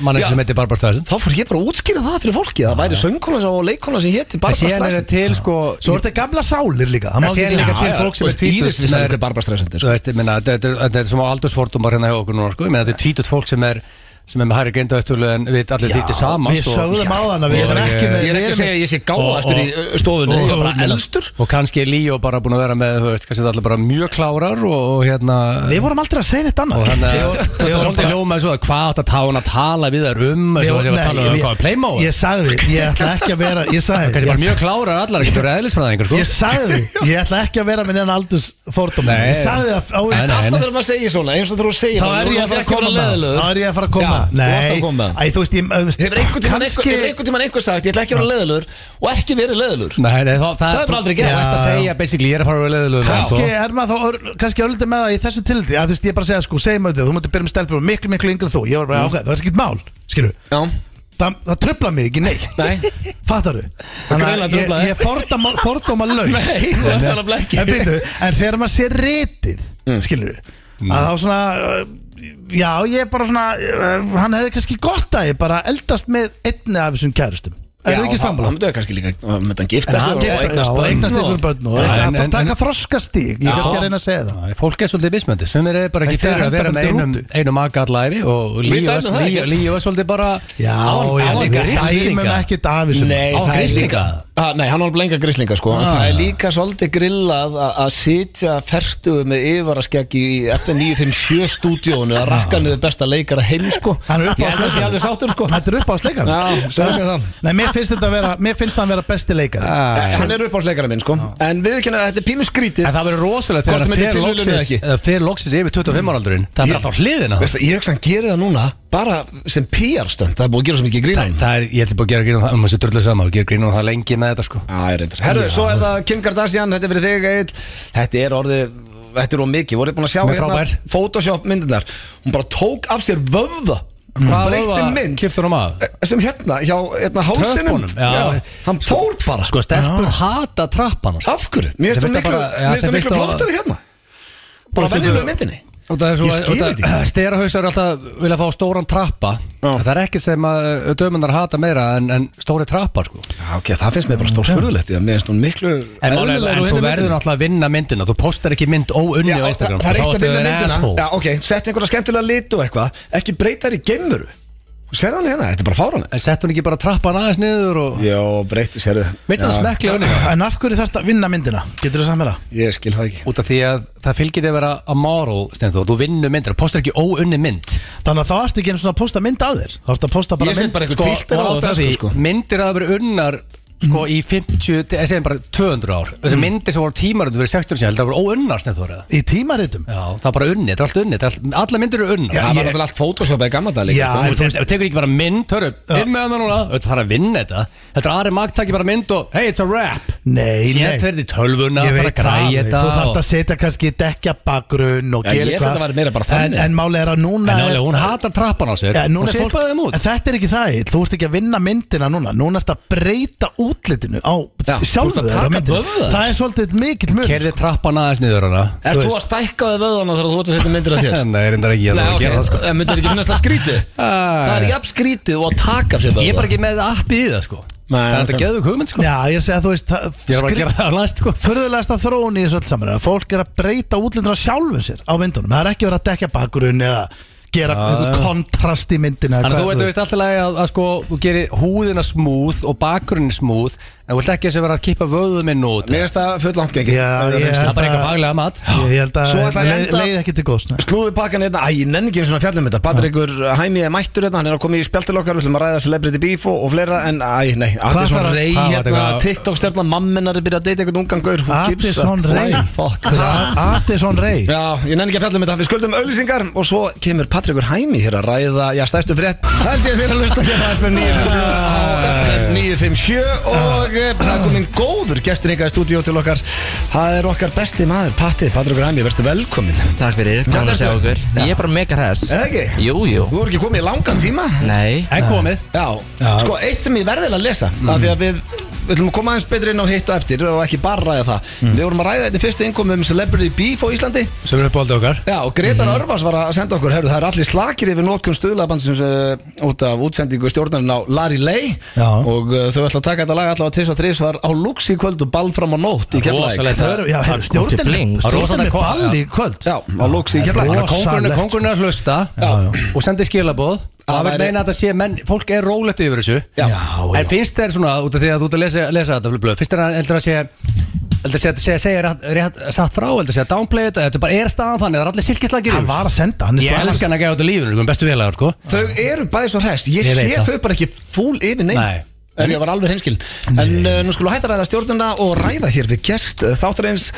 Speaker 3: manni
Speaker 1: Já.
Speaker 3: sem heitir Barbara Streisand
Speaker 1: Þá fór ég bara að útskýra það fyrir fólki að Það væri söngkona og leikkona sem hétti
Speaker 3: Það
Speaker 1: Barbra
Speaker 3: séðan er
Speaker 1: Streisand
Speaker 3: þetta til sko
Speaker 2: Svo er þetta gamla sálir líka Það má
Speaker 3: Það
Speaker 2: ekki
Speaker 3: séðan
Speaker 2: gleyma.
Speaker 3: er líka til
Speaker 1: Já, já,
Speaker 3: fólk sem
Speaker 1: þú
Speaker 3: er
Speaker 1: veist,
Speaker 3: tvítur
Speaker 1: Íris
Speaker 3: sem
Speaker 1: vissi
Speaker 3: er-
Speaker 1: alveg hver Barbra Streisand er, sko.
Speaker 3: Þú veist, ég meina, Þetta þetta- þetta er sem á aldursfordumar hérna hjá okkur núna sko Ég meina, Þetta er tvítur fólk sem er sem er með hærri geindaðstölu en við allir þýttir saman sko.
Speaker 2: Við sögðum á þann að við
Speaker 3: Og,
Speaker 2: erum ekki
Speaker 3: eh,
Speaker 2: með
Speaker 1: Ég er ekki að segja að ég sé gáðastur í uh, stofunni Ég er bara elstur
Speaker 3: Og kannski er Líó bara búin að vera með, þú veist, kannski þetta allir bara mjög klárar og, og hérna
Speaker 2: Við vorum aldrei að segja neitt annað
Speaker 3: Og þannig að þetta
Speaker 2: Við
Speaker 3: er
Speaker 2: vorum
Speaker 3: svolítið
Speaker 2: bara-
Speaker 3: hljómaði svo að hvað átt að tána að tala við þær um
Speaker 2: Við
Speaker 3: eins og
Speaker 2: vorum-
Speaker 3: þess að við
Speaker 2: nei,
Speaker 3: tala um
Speaker 2: ég-
Speaker 3: hvað er playmóð
Speaker 2: Ég sagði, ég ætla ekki að vera Ég sagði,
Speaker 3: Kannski bara
Speaker 2: ég,
Speaker 3: mjög klárar allar, ekki verið eðlisfræðingar sko
Speaker 2: ég
Speaker 1: [LAUGHS]
Speaker 2: sagði Ég ætla ekki að vera með neina aldurs fordóma
Speaker 3: Nei.
Speaker 2: Ég sagði að á,
Speaker 3: Nei, nei.
Speaker 1: Alltaf þegar maður segir svona, eins og þegar þú segir
Speaker 2: Þá er ég að fara að koma með það. Þá er ég að fara að koma
Speaker 1: það? Þú varst að
Speaker 2: Nei,
Speaker 1: koma með það?
Speaker 2: Æ, þú veist, ég þú veist,
Speaker 1: Hefur einhvern tímann einhver,
Speaker 2: kannski-
Speaker 1: hefur einhvern tímann einhver sagt Ég ætla ekki að vera leðilur og ekki verið leðilur
Speaker 3: Nei, nei, það,
Speaker 1: Það er bara aldrei gerst.
Speaker 3: Ég ætla að segja, basically, ég er að fara að vera leðilegur
Speaker 2: kannski er maður þá ör- kannski örlítið með það í þessu tildi að þú veist ég bara segja sko, segjum auðvitað, þú mútti byrja með stelpur og miklu miklu yngri en þú, ég var
Speaker 1: Mm.
Speaker 2: bara, ok, það er ekkert mál skilju,
Speaker 1: Já,
Speaker 2: það, það tröfla mig ekki neitt
Speaker 1: nei
Speaker 2: fattar þannig
Speaker 1: Greinilega
Speaker 2: að ég,
Speaker 1: truflaði.
Speaker 2: ég fordama, fordama laus
Speaker 1: Nei, þú ert alveg ekki
Speaker 2: en, byrju, en þegar maður sé ritið mm. að þá svona uh, já, ég er bara svona uh, hann hefði kannski gott að ég bara eldast með einni af þessum kærustum er það ekki
Speaker 1: Hann
Speaker 2: sammála?
Speaker 1: myndi kannski líka að mynda að gifta
Speaker 3: En
Speaker 1: sig
Speaker 3: hann
Speaker 1: og
Speaker 3: gifta-
Speaker 2: Já,
Speaker 1: eignast
Speaker 2: og
Speaker 1: börn
Speaker 2: eignast
Speaker 1: og-
Speaker 2: einhvern börn og
Speaker 3: Já,
Speaker 2: eignast-
Speaker 3: en-
Speaker 2: þá
Speaker 3: en-
Speaker 2: taka þroskastík ég
Speaker 1: Já.
Speaker 2: kannski að reyna að segja það
Speaker 3: Nei, Fólk er svolítið mismöndi, sumir er bara ekki
Speaker 2: Þetta er
Speaker 3: fyrir að vera með
Speaker 2: hendabendur
Speaker 3: einum,
Speaker 2: úti.
Speaker 3: einum maka allæfi og
Speaker 1: Við
Speaker 3: lífa
Speaker 1: dæmum það ekkert.
Speaker 3: er svolítið bara
Speaker 2: Já,
Speaker 3: Á-
Speaker 2: já,
Speaker 3: á að
Speaker 2: við
Speaker 3: grislinga.
Speaker 2: dæmum ekkert af þessu
Speaker 1: Nei,
Speaker 3: Á
Speaker 1: það er
Speaker 3: grislinga?
Speaker 1: líka ah, Nei, hann var blenga grislinga sko ah. Það er líka svolítið grillað að- að sitja fertuðu með yfaraskegg í FN957 stúdíónu að rakka niður besta leikara heim sko
Speaker 2: Hann er upp á
Speaker 1: Ég held að sé alveg sáttur sko
Speaker 2: Þetta er upp á sleikar
Speaker 1: Já, segðu mér það.
Speaker 2: Nei, mér finnst þetta að vera Mér finnst það að vera besti leikari
Speaker 1: Eh, Hann er uppáhaldsleikara minn sko En við kynna að þetta er pínu skrítið
Speaker 3: En það verður rosalega þegar
Speaker 1: Hvort sem
Speaker 3: hann
Speaker 1: þetta er
Speaker 3: fer
Speaker 1: tilviljun eða
Speaker 3: loksins-
Speaker 1: ekki.
Speaker 3: eða fer loksins yfir 25 áraaldurinn Það er bara alltaf á hliðina
Speaker 1: Veistu, Ég hugsa hann gerir það núna bara sem PR-stönd Það er búið að gera svo mikið
Speaker 3: Það,
Speaker 1: grínum
Speaker 3: það er, ég held sem búið að gera grínum það, maður sé drullu saman, við gerum grínum það lengi með þetta sko
Speaker 1: Herðu, svo er það Kim Kardashian, þetta er fyrir þig Egill. Þetta er orðið, þetta er of mikið Voruð þið búin að sjá hérna
Speaker 3: Hún er frábær.
Speaker 1: Photoshop myndirnar Hún bara tók af sér vöfða Hún
Speaker 3: Hvað
Speaker 1: breytti
Speaker 3: vöfða
Speaker 1: mynd
Speaker 3: kippti hún á maður?
Speaker 1: Eh, sem hérna, hjá hérna hálsinum
Speaker 3: Tröppunum, já.
Speaker 1: Hann fór bara
Speaker 3: Sko, stelpur hata sko. trappan
Speaker 1: Af hverju? Mér finnst
Speaker 3: Þetta
Speaker 1: það miklu, mér finnst
Speaker 3: finnst bara- já, þetta
Speaker 1: það miklu
Speaker 3: finnst það-
Speaker 1: flottari hérna Bara
Speaker 3: Fórstu
Speaker 1: venjulega
Speaker 3: bara-
Speaker 1: myndinni Ég skil þetta ekki.
Speaker 3: Sterahausar er alltaf vilja fá stóran trappa
Speaker 1: Já.
Speaker 3: Það er ekki sem að uh, dömunar hata meira en, en stóri trappar sko
Speaker 1: Já, ok, það finnst mér bara stór fyrðulegt Mér finnst hún miklu
Speaker 3: En, málið
Speaker 1: eðlilegri
Speaker 3: er bara-
Speaker 1: á
Speaker 3: en
Speaker 1: hinni
Speaker 3: þú verður
Speaker 1: myndinni.
Speaker 3: náttúrulega að vinna myndina Þú postar ekki mynd óunni
Speaker 1: Já,
Speaker 3: á Instagram sko.
Speaker 1: Það það er
Speaker 3: þá
Speaker 1: eitt að
Speaker 3: ertu
Speaker 1: vinna
Speaker 3: an
Speaker 1: myndina
Speaker 3: asshole.
Speaker 1: Já, ok, sett einhverja skemmtilega lit og eitthvað Ekki breyta þær í geimuru Þú sér hann hérna, þetta er bara fáran
Speaker 3: En sett hún ekki bara trappan aðeins niður og
Speaker 1: Jó, breyti sér
Speaker 3: Mitt það smekkli unni
Speaker 2: En af hverju þarfst að vinna myndina? Getur það samverða?
Speaker 1: Ég skil það ekki
Speaker 3: Út af því að það fylgir þig að vera a moral Stenþó, þú vinnur myndir, postar ekki óunni mynd
Speaker 2: Þannig að þá ertu ekki einu svona að posta mynd á þér Þá ertu að posta bara
Speaker 1: Ég set
Speaker 2: mynd
Speaker 1: bara
Speaker 3: Sko,
Speaker 1: eitthvað filter á
Speaker 3: og
Speaker 1: þetta
Speaker 3: það því,
Speaker 1: sko
Speaker 3: myndir að það verið unnar sko í 50, eða segjum bara 200 ár þessi
Speaker 2: Mm.
Speaker 3: myndir sem voru tímaröndu verið 60 síðan, það voru óunnar snett voru það
Speaker 2: Í tímaritum
Speaker 3: Já, það er bara unni, þetta er allt unni, þetta er allt, alla myndir eru unnar
Speaker 2: Já,
Speaker 1: Það var
Speaker 2: ég-
Speaker 1: náttúrulega allt photoshopað í gamla dag
Speaker 2: Já,
Speaker 1: líka sko.
Speaker 2: en
Speaker 3: Þú
Speaker 2: þú
Speaker 3: veist, ef þú tekur ekki bara mynd, hörru, inn með það núna, auðvitað þarf að vinna þetta Þetta er aðri magt, takk bara mynd og, hey, it's a rap
Speaker 2: Nei, nei
Speaker 3: Sér verði tölvuna,
Speaker 2: Ég
Speaker 3: þarf
Speaker 2: veit
Speaker 3: að
Speaker 2: það,
Speaker 3: græja þetta
Speaker 2: þú
Speaker 3: og-
Speaker 2: þarfst að setja kannski dekja bakgrunn og
Speaker 1: Já,
Speaker 2: gera
Speaker 1: ég held að það væri meira bara
Speaker 2: En,
Speaker 1: þannig.
Speaker 2: en máli er að núna
Speaker 3: En
Speaker 2: er-
Speaker 3: nálega, hún hatar trappan á sér
Speaker 2: Já, núna
Speaker 3: Hún
Speaker 2: er fólk-
Speaker 3: svipaði þeim út
Speaker 2: En þetta er ekki það, Egill. þú ert ekki að vinna myndina núna Núna ert að breyta útlitinu á
Speaker 1: Já,
Speaker 2: sjálfu
Speaker 1: þú ert að
Speaker 2: þeirra
Speaker 1: taka
Speaker 2: myndina.
Speaker 1: vöðvar.
Speaker 2: Það er svolítið mikill sko. mun
Speaker 3: Kerði trappan aðeins niður hana
Speaker 1: Er
Speaker 2: Þú
Speaker 1: þú
Speaker 2: veist.
Speaker 1: að stækka þig vöðana þegar þú ert að setja myndir af þér?
Speaker 3: Nei, reyndar ekki,
Speaker 1: [LAUGHS]
Speaker 3: ég
Speaker 1: Nei,
Speaker 3: þarf að
Speaker 1: ok,
Speaker 3: gera það sko
Speaker 1: en myndir ekki finnast það [LAUGHS] skrítið
Speaker 3: Ah.
Speaker 1: Það er jafn skrítið og að taka af sér
Speaker 3: Ég er
Speaker 1: vöðana
Speaker 3: bara ekki með appi í það sko
Speaker 1: Nei,
Speaker 3: Það er
Speaker 1: ok.
Speaker 3: þetta geðu hugmynd sko
Speaker 2: Já, ég segi að þú veist það-
Speaker 3: Ég er bara að
Speaker 2: skri-
Speaker 3: gera það á næst sko
Speaker 2: Furðulegasta þróun í þessu öll saman er að Fólk er að breyta útlitinu á sjálfu sér á myndunum Það er ekki verið að dekja bakgrunn eða gera einhvern kontrast í myndina
Speaker 3: Þannig að þú veit veist alltaf lagi að, að sko Þú gerir húðina smúð og bakgrunnin smúð En þú vilt ekki að þessi vera að kippa vöðum inn út
Speaker 1: Mér finnst það full langt gengi
Speaker 2: Já, ég
Speaker 3: Það er
Speaker 2: held
Speaker 3: bara eitthvað
Speaker 2: að-
Speaker 3: faglega mat
Speaker 2: Ég ég held að
Speaker 1: Svo ætla ég
Speaker 2: leið-
Speaker 1: enda-
Speaker 2: leið ekki til góðs nei.
Speaker 1: Klúðu pakkan hérna, æ, ég nenni ekki eins og fjallum um þetta Patrikur Hæmi er mættur hérna, hann er að koma í spjaltil okkar Við ætlum að ræða Celebrity Beef og, og fleira En æ, nei, Addison
Speaker 2: þarf að-
Speaker 1: Ray
Speaker 3: hvað var
Speaker 1: hérna,
Speaker 3: þetta?
Speaker 1: TikTok-stjarnar, mamminar er byrjað að deyta einhvern ungan gaur Who gives a
Speaker 2: Addison Ray
Speaker 1: flying fuck?
Speaker 2: Addison Ray
Speaker 1: Já, ég nenni ekki að fjallum þetta, við skuldum auðlýsingar Og svo kemur Patrikur Hæmi hér að ræða Já, stæstu frétt Held ég þeir að lusta hér á FM 957 á FM 957 Og eh, það er komin góður gestur ykkar í stúdíó til okkar Það er okkar besti maður, Patti, Patrikur Hæmi, verðstu velkomin
Speaker 4: Takk fyrir, gaman að sjá
Speaker 1: ertu?
Speaker 4: okkur Ég er bara mega hress
Speaker 1: Eða ekki?
Speaker 4: Jú, jú
Speaker 1: Þú voru ekki komið í langan tíma
Speaker 4: Nei
Speaker 3: En komið
Speaker 1: Já, sko eitt sem ég verðil að lesa af því að við, við ætlum að koma aðeins betri inn á hitt og eftir og ekki bara ræða það Við vorum að ræða þetta í fyrstu innkomu um Celebrity Beef á Íslandi
Speaker 3: Sem er upp á aldrei okkar
Speaker 1: Já, og Gretar Örvas var að senda okkur Herru, það er allir slakir yfir nótkun stuðlabandsins uh, út af útsendingu stjórnarinn á Larry Lay
Speaker 2: Já.
Speaker 1: og uh, þau ætla að taka þetta lag allavega tís og þrís var á Lux í kvöld og ball fram á nótt í Keflæk
Speaker 3: Rosalegt.
Speaker 2: Það eru- Já, heyrðu,
Speaker 4: kom til bling.
Speaker 2: stjórnin Stjórnin er
Speaker 3: Rosalega kom-
Speaker 2: ball í kvöld
Speaker 1: Já, á Lux í
Speaker 2: Það
Speaker 1: Keflæk
Speaker 2: er Rosalegt, sko.
Speaker 3: Þannig að Kóngurinn er- kóngurinn er að hlusta Og sendi skilabóð
Speaker 1: Það
Speaker 3: Það verður
Speaker 1: væri-
Speaker 3: meina að það sé menn Fólk er rólegt yfir þessu
Speaker 1: Já.
Speaker 2: Já,
Speaker 3: En finnst þér svona, út af því að þú ert að lesa, lesa þetta blöð, blöð, finnst þér að heldur að sé heldur að sé að segja, segja rétt, rétt satt frá heldur að segja downplay þetta, þetta bara er staðan þannig það er allir silkislagir
Speaker 2: hann var að senda hann er
Speaker 3: ég
Speaker 2: bara-
Speaker 3: elska hann að gera út af lífinu, sko, bestu félagar sko.
Speaker 1: Þau eru bæði svo hrest, ég,
Speaker 3: Ég veit
Speaker 1: sé
Speaker 3: það.
Speaker 1: þau bara ekki fúl yfir neinn
Speaker 3: Nei.
Speaker 1: En ég var alveg hreinskil En uh, nú skulum við hætta að ræða stjórnina og ræða hér við gest uh, Þáttar eins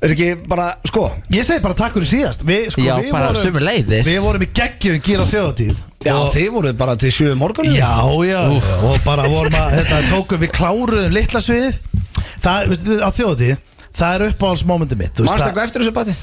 Speaker 1: er ekki bara, sko
Speaker 2: Ég segi bara takk fyrir síðast Við, sko,
Speaker 4: Já,
Speaker 2: við
Speaker 4: bara
Speaker 2: vorum-
Speaker 4: sömuleiðis.
Speaker 2: Við vorum í geggjum gýra þjóðatíð
Speaker 1: Já, þið voru bara til sjö um morgunum
Speaker 2: Já, já, og bara vorum að þetta, tókum við kláruðum litla sviðið Það, veistu, á þjóði Það er uppáhaldsmómenti mitt þú veist,
Speaker 1: Manstu
Speaker 2: það-
Speaker 1: eitthvað eftir þessu bati?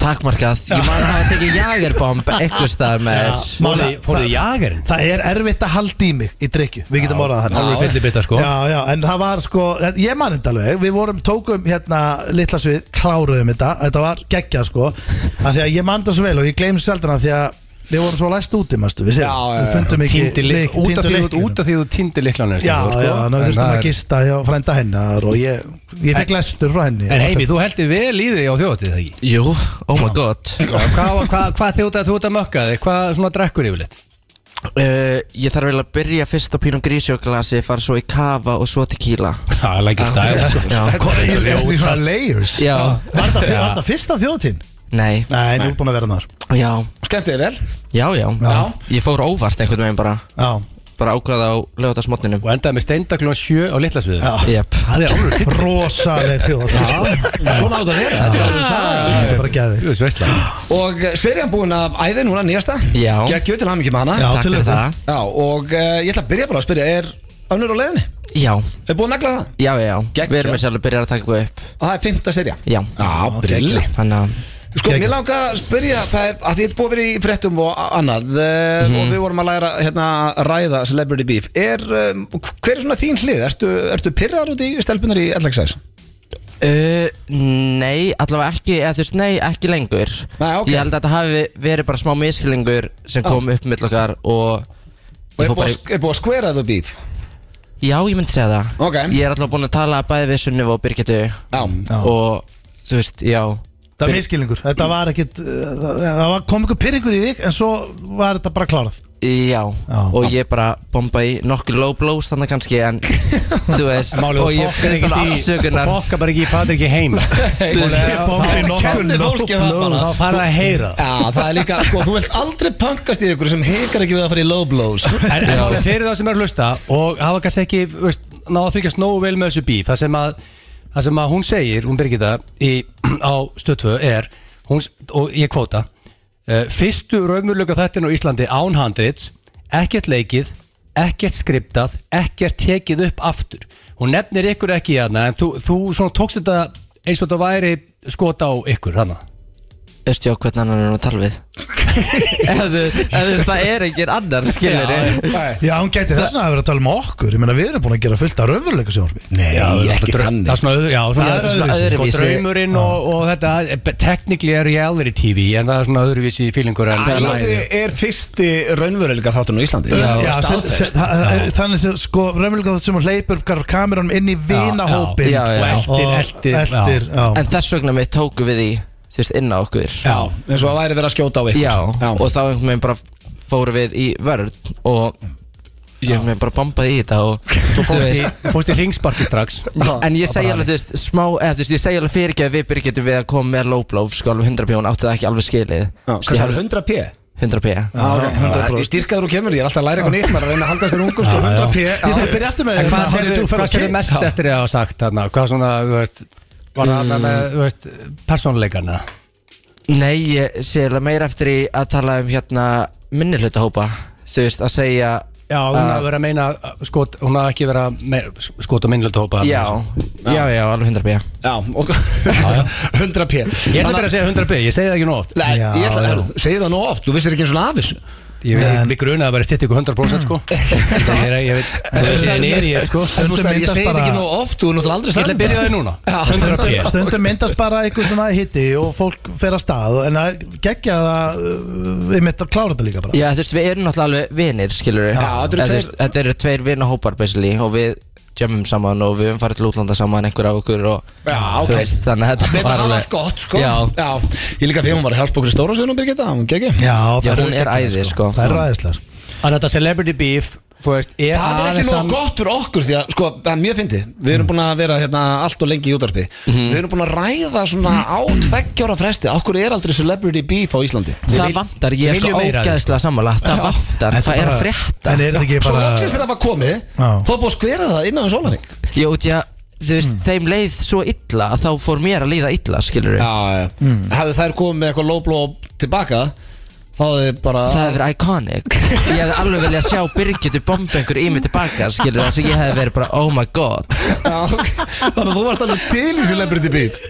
Speaker 4: Takkmarkað, ég man að hafa tekið jagerbomb einhver staðar með þér
Speaker 2: Mála-
Speaker 3: Fóruðu- fóruðu í
Speaker 2: það-
Speaker 3: jagerinn?
Speaker 2: Það er erfitt að halda í mig í drikju Við getum orðað þannig
Speaker 3: Alveg fyllibita, sko.
Speaker 2: Já, já, en það var sko Ég man þetta alveg Við vorum, tókum hérna litla svið Kláruðum þetta Þetta var geggjað sko að Því að ég man þetta svo vel Og ég gleym sjaldan að því að Við vorum svo læst úti, mastu Við,
Speaker 1: Já, já,
Speaker 2: við
Speaker 1: já.
Speaker 2: fundum ekki
Speaker 3: Týndi lyk-
Speaker 2: lyk-
Speaker 3: út af
Speaker 2: týndu
Speaker 3: því þú-
Speaker 2: lyklinum.
Speaker 3: út af því þú sko, týndi liklan
Speaker 2: Já, já, ná þurftum að gista hjá frænda hennar og ég, ég fekk lestur frá henni
Speaker 3: En heimi, þú heldur vel í þig á þjóðatíð, það ekki?
Speaker 4: Jú, oh my god
Speaker 3: Hvað hva, hva, hva þjóðatíð þú ert að mökka þig? Hvað svona drekkur yfirleitt?
Speaker 4: Uh, ég þarf vel að byrja fyrst á pínum grísjóklasi, fara svo í kafa og svo tequila
Speaker 3: Það er ekki
Speaker 2: sko.
Speaker 3: stæl
Speaker 4: Já,
Speaker 2: Hvað er þetta í svona layers?
Speaker 4: Já.
Speaker 2: Var þetta- var þetta fyrsta þjóðtíðin?
Speaker 4: nei,
Speaker 2: Nei, þú er búin að vera þar
Speaker 4: já,
Speaker 1: Skemmt þið vel
Speaker 4: já, já
Speaker 2: Já.
Speaker 4: Ég fór óvart einhvern veginn bara
Speaker 2: Já,
Speaker 4: Bara ákvaða á lögutarsmotninum
Speaker 3: Og endaði með steindaklun 7 á litla sviðu
Speaker 2: Já.
Speaker 4: Jep,
Speaker 3: Það er alveg fyrir
Speaker 2: rosaleg þjóðtíðin
Speaker 1: Svona átt að vera Þetta er alveg saga
Speaker 2: Þetta er bara gæði
Speaker 3: Þú veist það
Speaker 1: Og eh, serían búin af æði núna nýjasta
Speaker 4: Já.
Speaker 1: Gekk til hamingi með hana
Speaker 2: Já,
Speaker 4: takk
Speaker 2: til
Speaker 4: fyrir
Speaker 2: þetta.
Speaker 4: það
Speaker 1: Já, og uh, ég ætla að byrja bara að spyrja Er önnur á leiðinni?
Speaker 4: Já,
Speaker 1: Er búin að negla það?
Speaker 4: já, já,
Speaker 1: Geggjað.
Speaker 4: við erum að sjálf að byrja að taka eitthvað upp
Speaker 1: Og það er fymta serja
Speaker 4: Já.
Speaker 1: Já, brilli
Speaker 4: Þannig að,
Speaker 1: Sko,
Speaker 2: Geggjað.
Speaker 1: mér langa að spyrja það er að því þetta er búið að vera í fréttum og a- annað mm
Speaker 4: Mhm.
Speaker 1: og við vorum að læra hérna að ræða Celebrity Beef er, um, hver er svona þín hlið? Ertu, ertu pyrrar út í stelpunar í LXS?
Speaker 4: uh, nei, allavega ekki, eða þú veist, nei, ekki lengur
Speaker 1: Nei, ok.
Speaker 4: Ég held að þetta hafi verið bara smá miskilingur sem kom upp mill okkar og
Speaker 1: Og
Speaker 4: ég
Speaker 1: er
Speaker 4: fór bara
Speaker 1: búið,
Speaker 4: í-
Speaker 1: að- er búið að skvera þú beef?
Speaker 4: Já, ég myndi segja það
Speaker 1: Ok.
Speaker 4: Ég er alltaf búinn að tala bæði við Sunnifu og Birgitu
Speaker 1: Já,
Speaker 4: Og þú veist, já
Speaker 2: Það er miskilingur, þetta var ekkit uh, Það það var- kom ykkur pyrringur í þig en svo var þetta bara klárað
Speaker 4: Já,
Speaker 2: Já.
Speaker 4: og ég bara bomba í nokkur low blows þannig kannski en þú veist, og ég finnst alveg afsökunar
Speaker 3: Fokka bara ekki í Patrik í
Speaker 4: [LAUGHS]
Speaker 3: heim
Speaker 4: Þú veist,
Speaker 2: Ég bombaði
Speaker 1: það-
Speaker 2: nokkur
Speaker 1: kennir fólki það bara.
Speaker 2: low
Speaker 3: Þá
Speaker 2: blows.
Speaker 3: fara að heyra það.
Speaker 1: Já, það er líka, sko, þú vilt aldrei punkast í ykkur sem heikar ekki við að fara í low blows
Speaker 3: En en það er fyrir það sem er að hlusta og hafa kannski ekki veist, ná að fylgjast nógu vel með þessu bíf það sem að, það sem að hún segir, hún Birgitta í, [CLEARS THROAT] á stöðtöðu er hún, s- og ég kvóta uh, fyrstu raumurlöka þættin á Íslandi án handrits, ekkert leikið ekkert skriptað, ekkert tekið upp aftur, hún nefnir ykkur ekki hérna, en þú, þú svona tókst þetta eins og þetta væri skot á ykkur hana.
Speaker 4: veist já hvernig annan er nú að tala við Eða þú eða þú veist, það er engin annar, skilur
Speaker 2: Já, hún gæti þess vegna að vera að tala um okkur Ég meina, við erum búin að gera fullt af raunveruleika sjónvarpi
Speaker 1: Nei, ekki
Speaker 3: Það er
Speaker 1: þannig
Speaker 3: svona öðru, já, svona,
Speaker 2: Það er
Speaker 3: svona
Speaker 4: öðruvísi.
Speaker 3: Sko,
Speaker 4: Öðruvísi.
Speaker 3: draumurinn og, og þetta eh, Technically er reality TV En það er svona öðruvísi fílingur en það er
Speaker 1: Æði
Speaker 3: lagið.
Speaker 1: er fyrsti raunveruleika þáttunum í Íslandi
Speaker 2: Já,
Speaker 1: staðfest.
Speaker 2: se- se- þa- þa- Þannig sem sko raunveruleika þess sem hún hleypur kameranum inn í vinahópin
Speaker 4: Já, já.
Speaker 2: Og
Speaker 3: Og eltir, eltir, já.
Speaker 2: eltir, já.
Speaker 4: En þess vegna við tókum við í, þú veist, inn á okkur
Speaker 1: Já, eins og að væri verið að skjóta á ykkur
Speaker 4: Já, og þá einhvern veginn bara fórum við í vörð og ég einhvern veginn bara bombaði í þetta og
Speaker 3: Þú fórst í- þú fórst í ringsparki strax
Speaker 4: En ég segi alveg, þú veist, smá, eða þú veist, ég segi alveg fyrirgeð við Birgitum við að koma með low blow, sko, alveg 100 pjón, átti það ekki alveg skilið. Sko,
Speaker 1: Já, Hvað það er 100 p?
Speaker 4: 100 p.
Speaker 1: Já, ok, styrkaður og kemur, ég er alltaf að læra eitthvað nýtt maður er að reyna að halda sér ungur, sko, 100 p
Speaker 2: Ég þarf að byrja eftir með
Speaker 3: En hvað
Speaker 2: hérna, honey,
Speaker 3: sérðu
Speaker 2: do
Speaker 3: hvað
Speaker 2: fellow
Speaker 3: sérðu
Speaker 2: kids.
Speaker 3: mest eftir að hafa sagt þarna Hvað svona, þú veist Var það þarna með, þú veist, persónuleikana
Speaker 4: Nei, ég segi alveg meira eftir í að tala um hérna minnihlutahópa, þú veist, að segja,
Speaker 3: Já, hún
Speaker 4: Ah.
Speaker 3: hafði verið að meina uh, skot Hún hafði ekki verið að meina, skot og sko. minnilegt hópa
Speaker 4: já, já, já, alveg 100 p.
Speaker 1: Já, og 100 p
Speaker 3: Ég ætla bara að segja 100 bygg, ég segi það ekki nú oft
Speaker 1: Nei,
Speaker 2: Já,
Speaker 1: ég ætla
Speaker 2: já.
Speaker 1: að segja það nú oft, þú vissir ekki eins og af þessu
Speaker 3: Ég veit, við grunaði að vera stitt ykkur 100% [LAUGHS] sko Ég er- Ég veit, þú veist, ég er í þetta sko
Speaker 1: En þú
Speaker 2: Stundum
Speaker 1: sagði, ég segi
Speaker 2: myndast
Speaker 1: þetta
Speaker 2: bara-
Speaker 1: ekki nú oft, þú er náttúrulega aldrei
Speaker 3: Ég ætla að byrja það núna 100 p
Speaker 2: [LAUGHS] Stundum myndast bara einhver svona hitti og fólk fer að stað en það er geggjað að uh, við mitt að klára þetta líka bara
Speaker 4: Já, þú veist, við erum náttúrulega alveg vinir, skilur við.
Speaker 1: Já, þetta eru tveir-
Speaker 4: Þetta eru tveir vinahópar, basically, og við jammum saman og við höfum farið til útlanda saman, einhver af okkur og,
Speaker 1: Já, ok.
Speaker 4: þú veist, þannig að þetta
Speaker 1: Betur
Speaker 4: var
Speaker 1: hafa
Speaker 4: alveg-
Speaker 1: allt gott, sko
Speaker 4: Já.
Speaker 1: Ég líka fyrir hún var að hjálpa okkur í stóra sögnum, Birgitta, hún geggi
Speaker 2: Já,
Speaker 4: Já,
Speaker 2: það eru
Speaker 4: hún er
Speaker 2: geggjaðar,
Speaker 4: æði, sko.
Speaker 2: Það eru ræðislegar
Speaker 3: Þannig að þetta celebrity beef þú veist, er
Speaker 1: Það er ekki
Speaker 3: aðeins
Speaker 1: nóg
Speaker 3: sam-
Speaker 1: gott fyrir okkur því að, sko, það er mjög fyndið Við erum búin að vera hérna allt og lengi í útarpi Við erum búin að ræða svona á tveggjára fresti Okkur er aldrei celebrity beef á Íslandi
Speaker 4: Það
Speaker 3: vil-
Speaker 4: vantar, ég er
Speaker 3: viljum
Speaker 4: sko
Speaker 3: meira,
Speaker 4: ógæðslega sammála Það vantar, það er að frétta
Speaker 2: En er þetta ekki
Speaker 1: Svo
Speaker 2: bara
Speaker 1: loksins fyrir að hafa komið
Speaker 2: Já.
Speaker 1: Þá er búið að skvera það innan um sólaring
Speaker 4: Ég út ég, þú veist, þeim leið svo illa að Þá fór mér að líða illa, skilur við
Speaker 1: Mm. Já, já Hefðu þær komið með eitthvað lóbló tilbaka þá er bara
Speaker 4: Það hefði verið iconic Ég hefði alveg viljað sjá Birgitu bomba einhver í mig tilbaka Skilur þess að ég hefði verið bara oh my god
Speaker 1: [LAUGHS] Já, ok. Þannig að þú varst alveg til í celebrity beef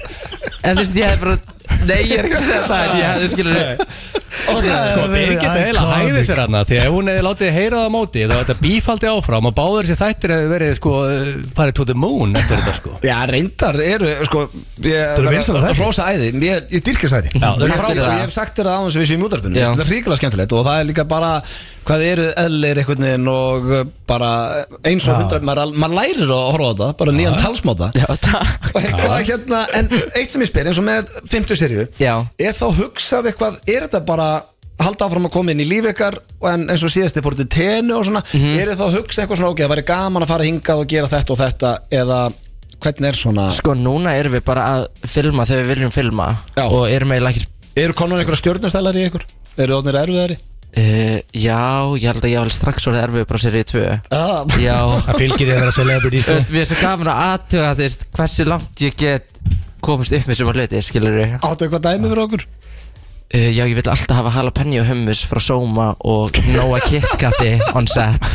Speaker 4: En þú veist ég hefði bara Nei ég er ekki að segja það en Ég hefði skilur
Speaker 2: [LAUGHS]
Speaker 1: Ok,
Speaker 3: Sko,
Speaker 2: Það hefði verið
Speaker 3: Birgit heila
Speaker 2: iconic.
Speaker 3: hægði sér hann Því að ef hún hefði látið heyra það á móti Þá var þetta bífaldi áfram og báður sér þættir hefði verið sko eh, farið to the moon eftir þetta sko
Speaker 1: Já, reyndar eru, sko Þú
Speaker 2: eru vinsælir þættir.
Speaker 1: Rósa æði, ég, ég dyrkist æði
Speaker 3: Já,
Speaker 1: Ég
Speaker 4: þetta
Speaker 1: frá-
Speaker 4: er
Speaker 1: og
Speaker 4: það.
Speaker 1: Ég hef sagt þér það aðeins við séum í útarpinu
Speaker 4: Já.
Speaker 1: Það er hrikalega skemmtilegt og það er líka bara hvað þið eru eðlir einhvern veginn og uh, bara eins og hundar maður, al- maður lærir að horfa á þetta, bara nýjan talsmáta
Speaker 4: Já það
Speaker 1: Og hvað hérna, en eitt sem ég spyr eins og með 50 serju
Speaker 4: Já.
Speaker 1: er þá hugsað eitthvað, er þetta bara halda áfram að koma inn í líf ykkar og en eins og síðast þið fóruð til tenu og svona er þið þá að hugsa eitthvað svona, ok, það væri gaman að fara hingað og gera þetta og þetta eða hvernig er svona,
Speaker 4: Sko núna erum við bara að filma þegar við viljum filma
Speaker 1: Já.
Speaker 4: Og erum eiginlega ekkert
Speaker 1: eru konar einhverja stjórnastælar í ykkur, eru það erfiðari
Speaker 4: uh, Já ég held að ég hafði strax orðið erfið bara sér í tvö
Speaker 1: ah,
Speaker 4: Já [LAUGHS]
Speaker 3: Það fylgir þið að vera celebrity
Speaker 4: Þú veist mér er svo gaman að aðtuga þú veist Hversu langt ég get komist upp með sem að hluti Skilur
Speaker 1: áttu eitthvað dæmi fyrir okkur
Speaker 4: Uh, já, ég vil alltaf hafa jalapeno hummus frá Soma og Noah KitKati on set.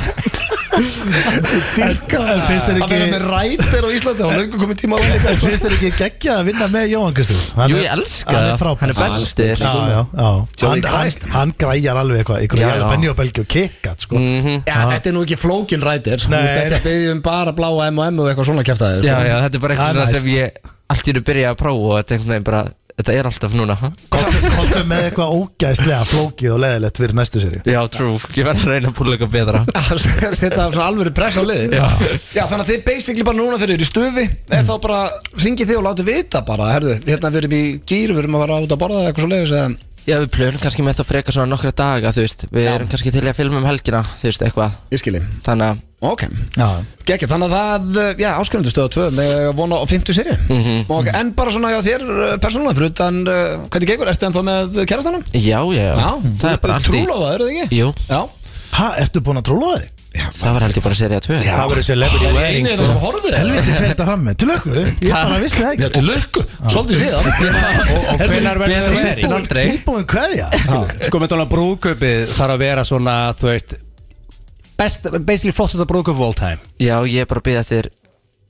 Speaker 2: Dyrka En finnst þér
Speaker 1: að vera með
Speaker 2: ekki
Speaker 1: rætir á Íslandi og löngu komið tíma á þetta
Speaker 2: En finnst þér ekki geggja að vinna með Jóhann Kristur
Speaker 4: Jú, ég elska
Speaker 2: Hann
Speaker 4: það.
Speaker 2: er frábær
Speaker 4: Hann er bestur.
Speaker 2: Já, já, já
Speaker 1: Joey
Speaker 2: Hann, hann,
Speaker 1: Christ.
Speaker 2: hann græjar alveg eitthvað Ykkur
Speaker 4: Já, Mhm.
Speaker 2: jæla
Speaker 4: já.
Speaker 2: benni og belgi og kikkat sko.
Speaker 1: Já, þetta er nú ekki flókin rætir Þú
Speaker 2: Nei.
Speaker 1: veist, Þetta byggjum bara bláa M&M og eitthvað svona kæftæði
Speaker 4: Já, já, þetta er bara
Speaker 2: Það er næst.
Speaker 4: eitthvað svona sem ég allt í hennu byrja að prófa og þetta er einhvern veginn bara, þetta er alltaf núna. ha?
Speaker 2: Kontum með eitthvað ógæðslega flókið og leðilegt fyrir næstu séri
Speaker 4: Já, true. Ég verð að reyna að búla eitthvað betra.
Speaker 1: að setja svona alvöru press á liðin já. þannig að þið basically bara núna þegar þið eru í stuði er þá bara ringið þið og látið vita bara herðu, hérna við erum í gýr, við erum að vera út að borða eða eitthvað svo leiðis eða
Speaker 4: Já, við plönum kannski með þetta frekar svona nokkra daga, þú veist. Við erum kannski til í að filma um helgina, þú veist, eitthvað.
Speaker 1: ég skilji,
Speaker 4: Þannig að,
Speaker 1: ok
Speaker 2: Já,
Speaker 1: Gekki, þannig að það, já, áskjöndu stöða 2 með að vona á 50 seri mm
Speaker 4: Mhm.
Speaker 1: en bara svona já, þér eh, persónulega fyrir utan eh, hvernig gengur, ertu ennþá með kærastanum?
Speaker 4: já, já, já. það er bara allt í.
Speaker 1: Trúlofa, eru þið ekki?
Speaker 4: Jú,
Speaker 1: Já,
Speaker 2: ha, ertu búin að trúla þig?
Speaker 4: það var held ég bara serið að tvö. Já.
Speaker 3: Það verður celebrity
Speaker 1: það er
Speaker 3: wedding
Speaker 1: einu
Speaker 3: sko.
Speaker 1: þetta sem horfið
Speaker 2: Helviti fer þetta fram með, til lökku Ég bara vissi það
Speaker 1: Já,
Speaker 2: ekki
Speaker 1: til lukku, svolítið
Speaker 4: [LAUGHS]
Speaker 1: síðan
Speaker 3: Og hvenar verður það
Speaker 4: Betra
Speaker 3: seri?
Speaker 4: en aldrei.
Speaker 2: Tilbúin kveðja
Speaker 3: Sko með tónlega brúðkaupið þarf að vera svona, þú veist Best, basically flottast að brúðkaup of all time
Speaker 4: já, ég er bara að býða eftir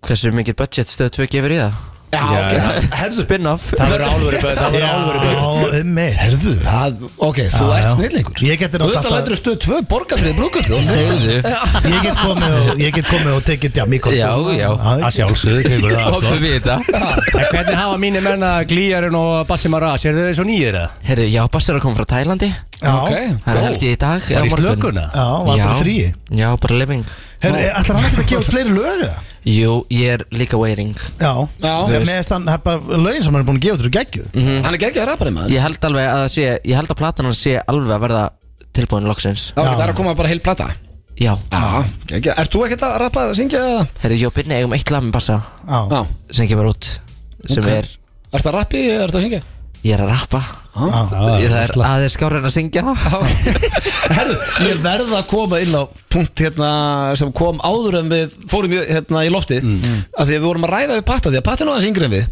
Speaker 4: hversu mikið budget stöð tvö gefur í það.
Speaker 1: Já,
Speaker 3: Já,
Speaker 1: ok,
Speaker 3: já.
Speaker 1: herðu
Speaker 4: Spin-off.
Speaker 3: Það verður álverið Það verður álverið
Speaker 2: Já, um mig, herðu
Speaker 1: Það, ok, þú
Speaker 2: Já,
Speaker 1: ert
Speaker 2: já.
Speaker 1: snillingur
Speaker 2: Ég geti nátt
Speaker 1: Þetta
Speaker 2: alltaf-
Speaker 1: lætur stöð 2 borgar fyrir brúkupjóð
Speaker 4: Segðu.
Speaker 2: Ég get komið og, ég get komið og tekið Djamíkot
Speaker 4: Já, já.
Speaker 3: Að sjálfsögðu kemur það sko.
Speaker 4: Hoppum við í þetta.
Speaker 3: En hvernig hafa mínir menna glýjarinn og Bassi Maras, er þau svo nýjir eða?
Speaker 4: Herru, já, Bassur er að koma frá Tælandi
Speaker 2: Já,
Speaker 1: Ok,
Speaker 4: Það er held ég í dag
Speaker 3: Var
Speaker 4: eða
Speaker 3: í
Speaker 4: morgun.
Speaker 3: slökuna?
Speaker 2: já var bara
Speaker 4: Já,
Speaker 2: fríi
Speaker 4: Já, bara living
Speaker 2: Herðu, ætlar hann ekki að gefa út fleiri lög eða?
Speaker 4: Jú, ég er líka waiting
Speaker 2: Já,
Speaker 1: Já. Mhm.
Speaker 2: Þú veist. Meðist hann, það er bara lögin sem hann er búin að gefa út eru geggjuð
Speaker 4: Mhm.
Speaker 1: Hann er geggjað rapari maður
Speaker 4: Ég held alveg að það sé Ég held að platan hans sé alveg að verða tilbúin loksins
Speaker 1: Já, ok, það er að koma bara heil plata
Speaker 4: Já
Speaker 1: Já, geggjað Ert þú ekkert að rappa, syngja eða?
Speaker 4: Herru, ég og Binni eigum eitt lag með Bassa
Speaker 2: Já,
Speaker 1: Já
Speaker 4: sem kemur út sem
Speaker 1: Ok.
Speaker 4: er
Speaker 1: Ert að rappi eða ert að syngja?
Speaker 4: Ég er að rappa
Speaker 2: já
Speaker 4: Ég- Ah. Það er aðeins skárið en að syngja
Speaker 1: Já,
Speaker 4: [LAUGHS]
Speaker 1: Herðu, ég verð að koma inn á punkt hérna sem kom áður en við fórum í- hérna í loftið af því að við vorum að ræða við Patta því að Patta er nú aðeins yngri en við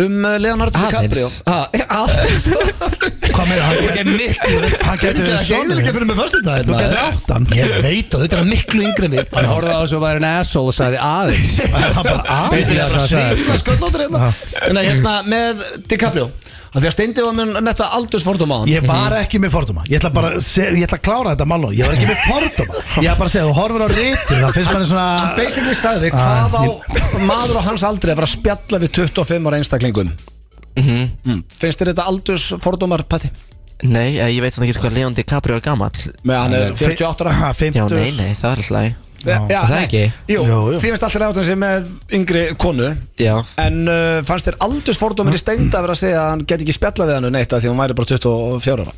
Speaker 1: um eh, Leonardo
Speaker 4: Aðeins.
Speaker 1: DiCaprio Ha, [LAUGHS] eh, Aðeins
Speaker 2: Hvað meira, hann
Speaker 1: Ég er miklu
Speaker 2: Hann gæti verið sonur
Speaker 1: heiðilega fyrir mig fyrstu dag
Speaker 2: Þú gæti átt hann
Speaker 1: Ég veit og þetta er miklu yngri en við
Speaker 3: Hann horfði á þessu og var en asshole og sagði aðeins
Speaker 2: Hann bara, að
Speaker 1: Ég
Speaker 3: Basically
Speaker 1: er
Speaker 3: það
Speaker 1: bara
Speaker 3: sem hann sagði
Speaker 1: svífna sköldlótur hérna En að hérna með DiCaprio Af því að Steindi var með netta aldursfordum á hann
Speaker 2: Ég var ekki með fordóma Ég ætla bara að se- Ég ætla að klára þetta málun Ég var ekki með fordóma Ég var bara að segja Þú horfir á rítið Það finnst manni
Speaker 1: Hann
Speaker 2: svona
Speaker 1: basically sagði hvað á maður á hans aldri að vera að spjalla við 25 ára einstaklingum Mm. Finnst þér þetta aldursfordumar, Patti?
Speaker 4: Mhm. Nei, eh, ég veit svona ekki hvað Leon DiCaprio er gamall
Speaker 1: Með hann er 48 ára
Speaker 2: Ha, 50
Speaker 4: Já, nei, nei, það er alltaf lagi
Speaker 1: Já,
Speaker 4: Er það
Speaker 1: nei.
Speaker 4: ekki?
Speaker 1: Jú,
Speaker 2: Jú, jú.
Speaker 1: því finnst alltaf átt hann sé með yngri konu
Speaker 4: Já
Speaker 1: En uh, fannst þér aldursfordómir í steind að vera að segja að hann get ekki spjalla við hann um neitt að því hún væri bara 24 ára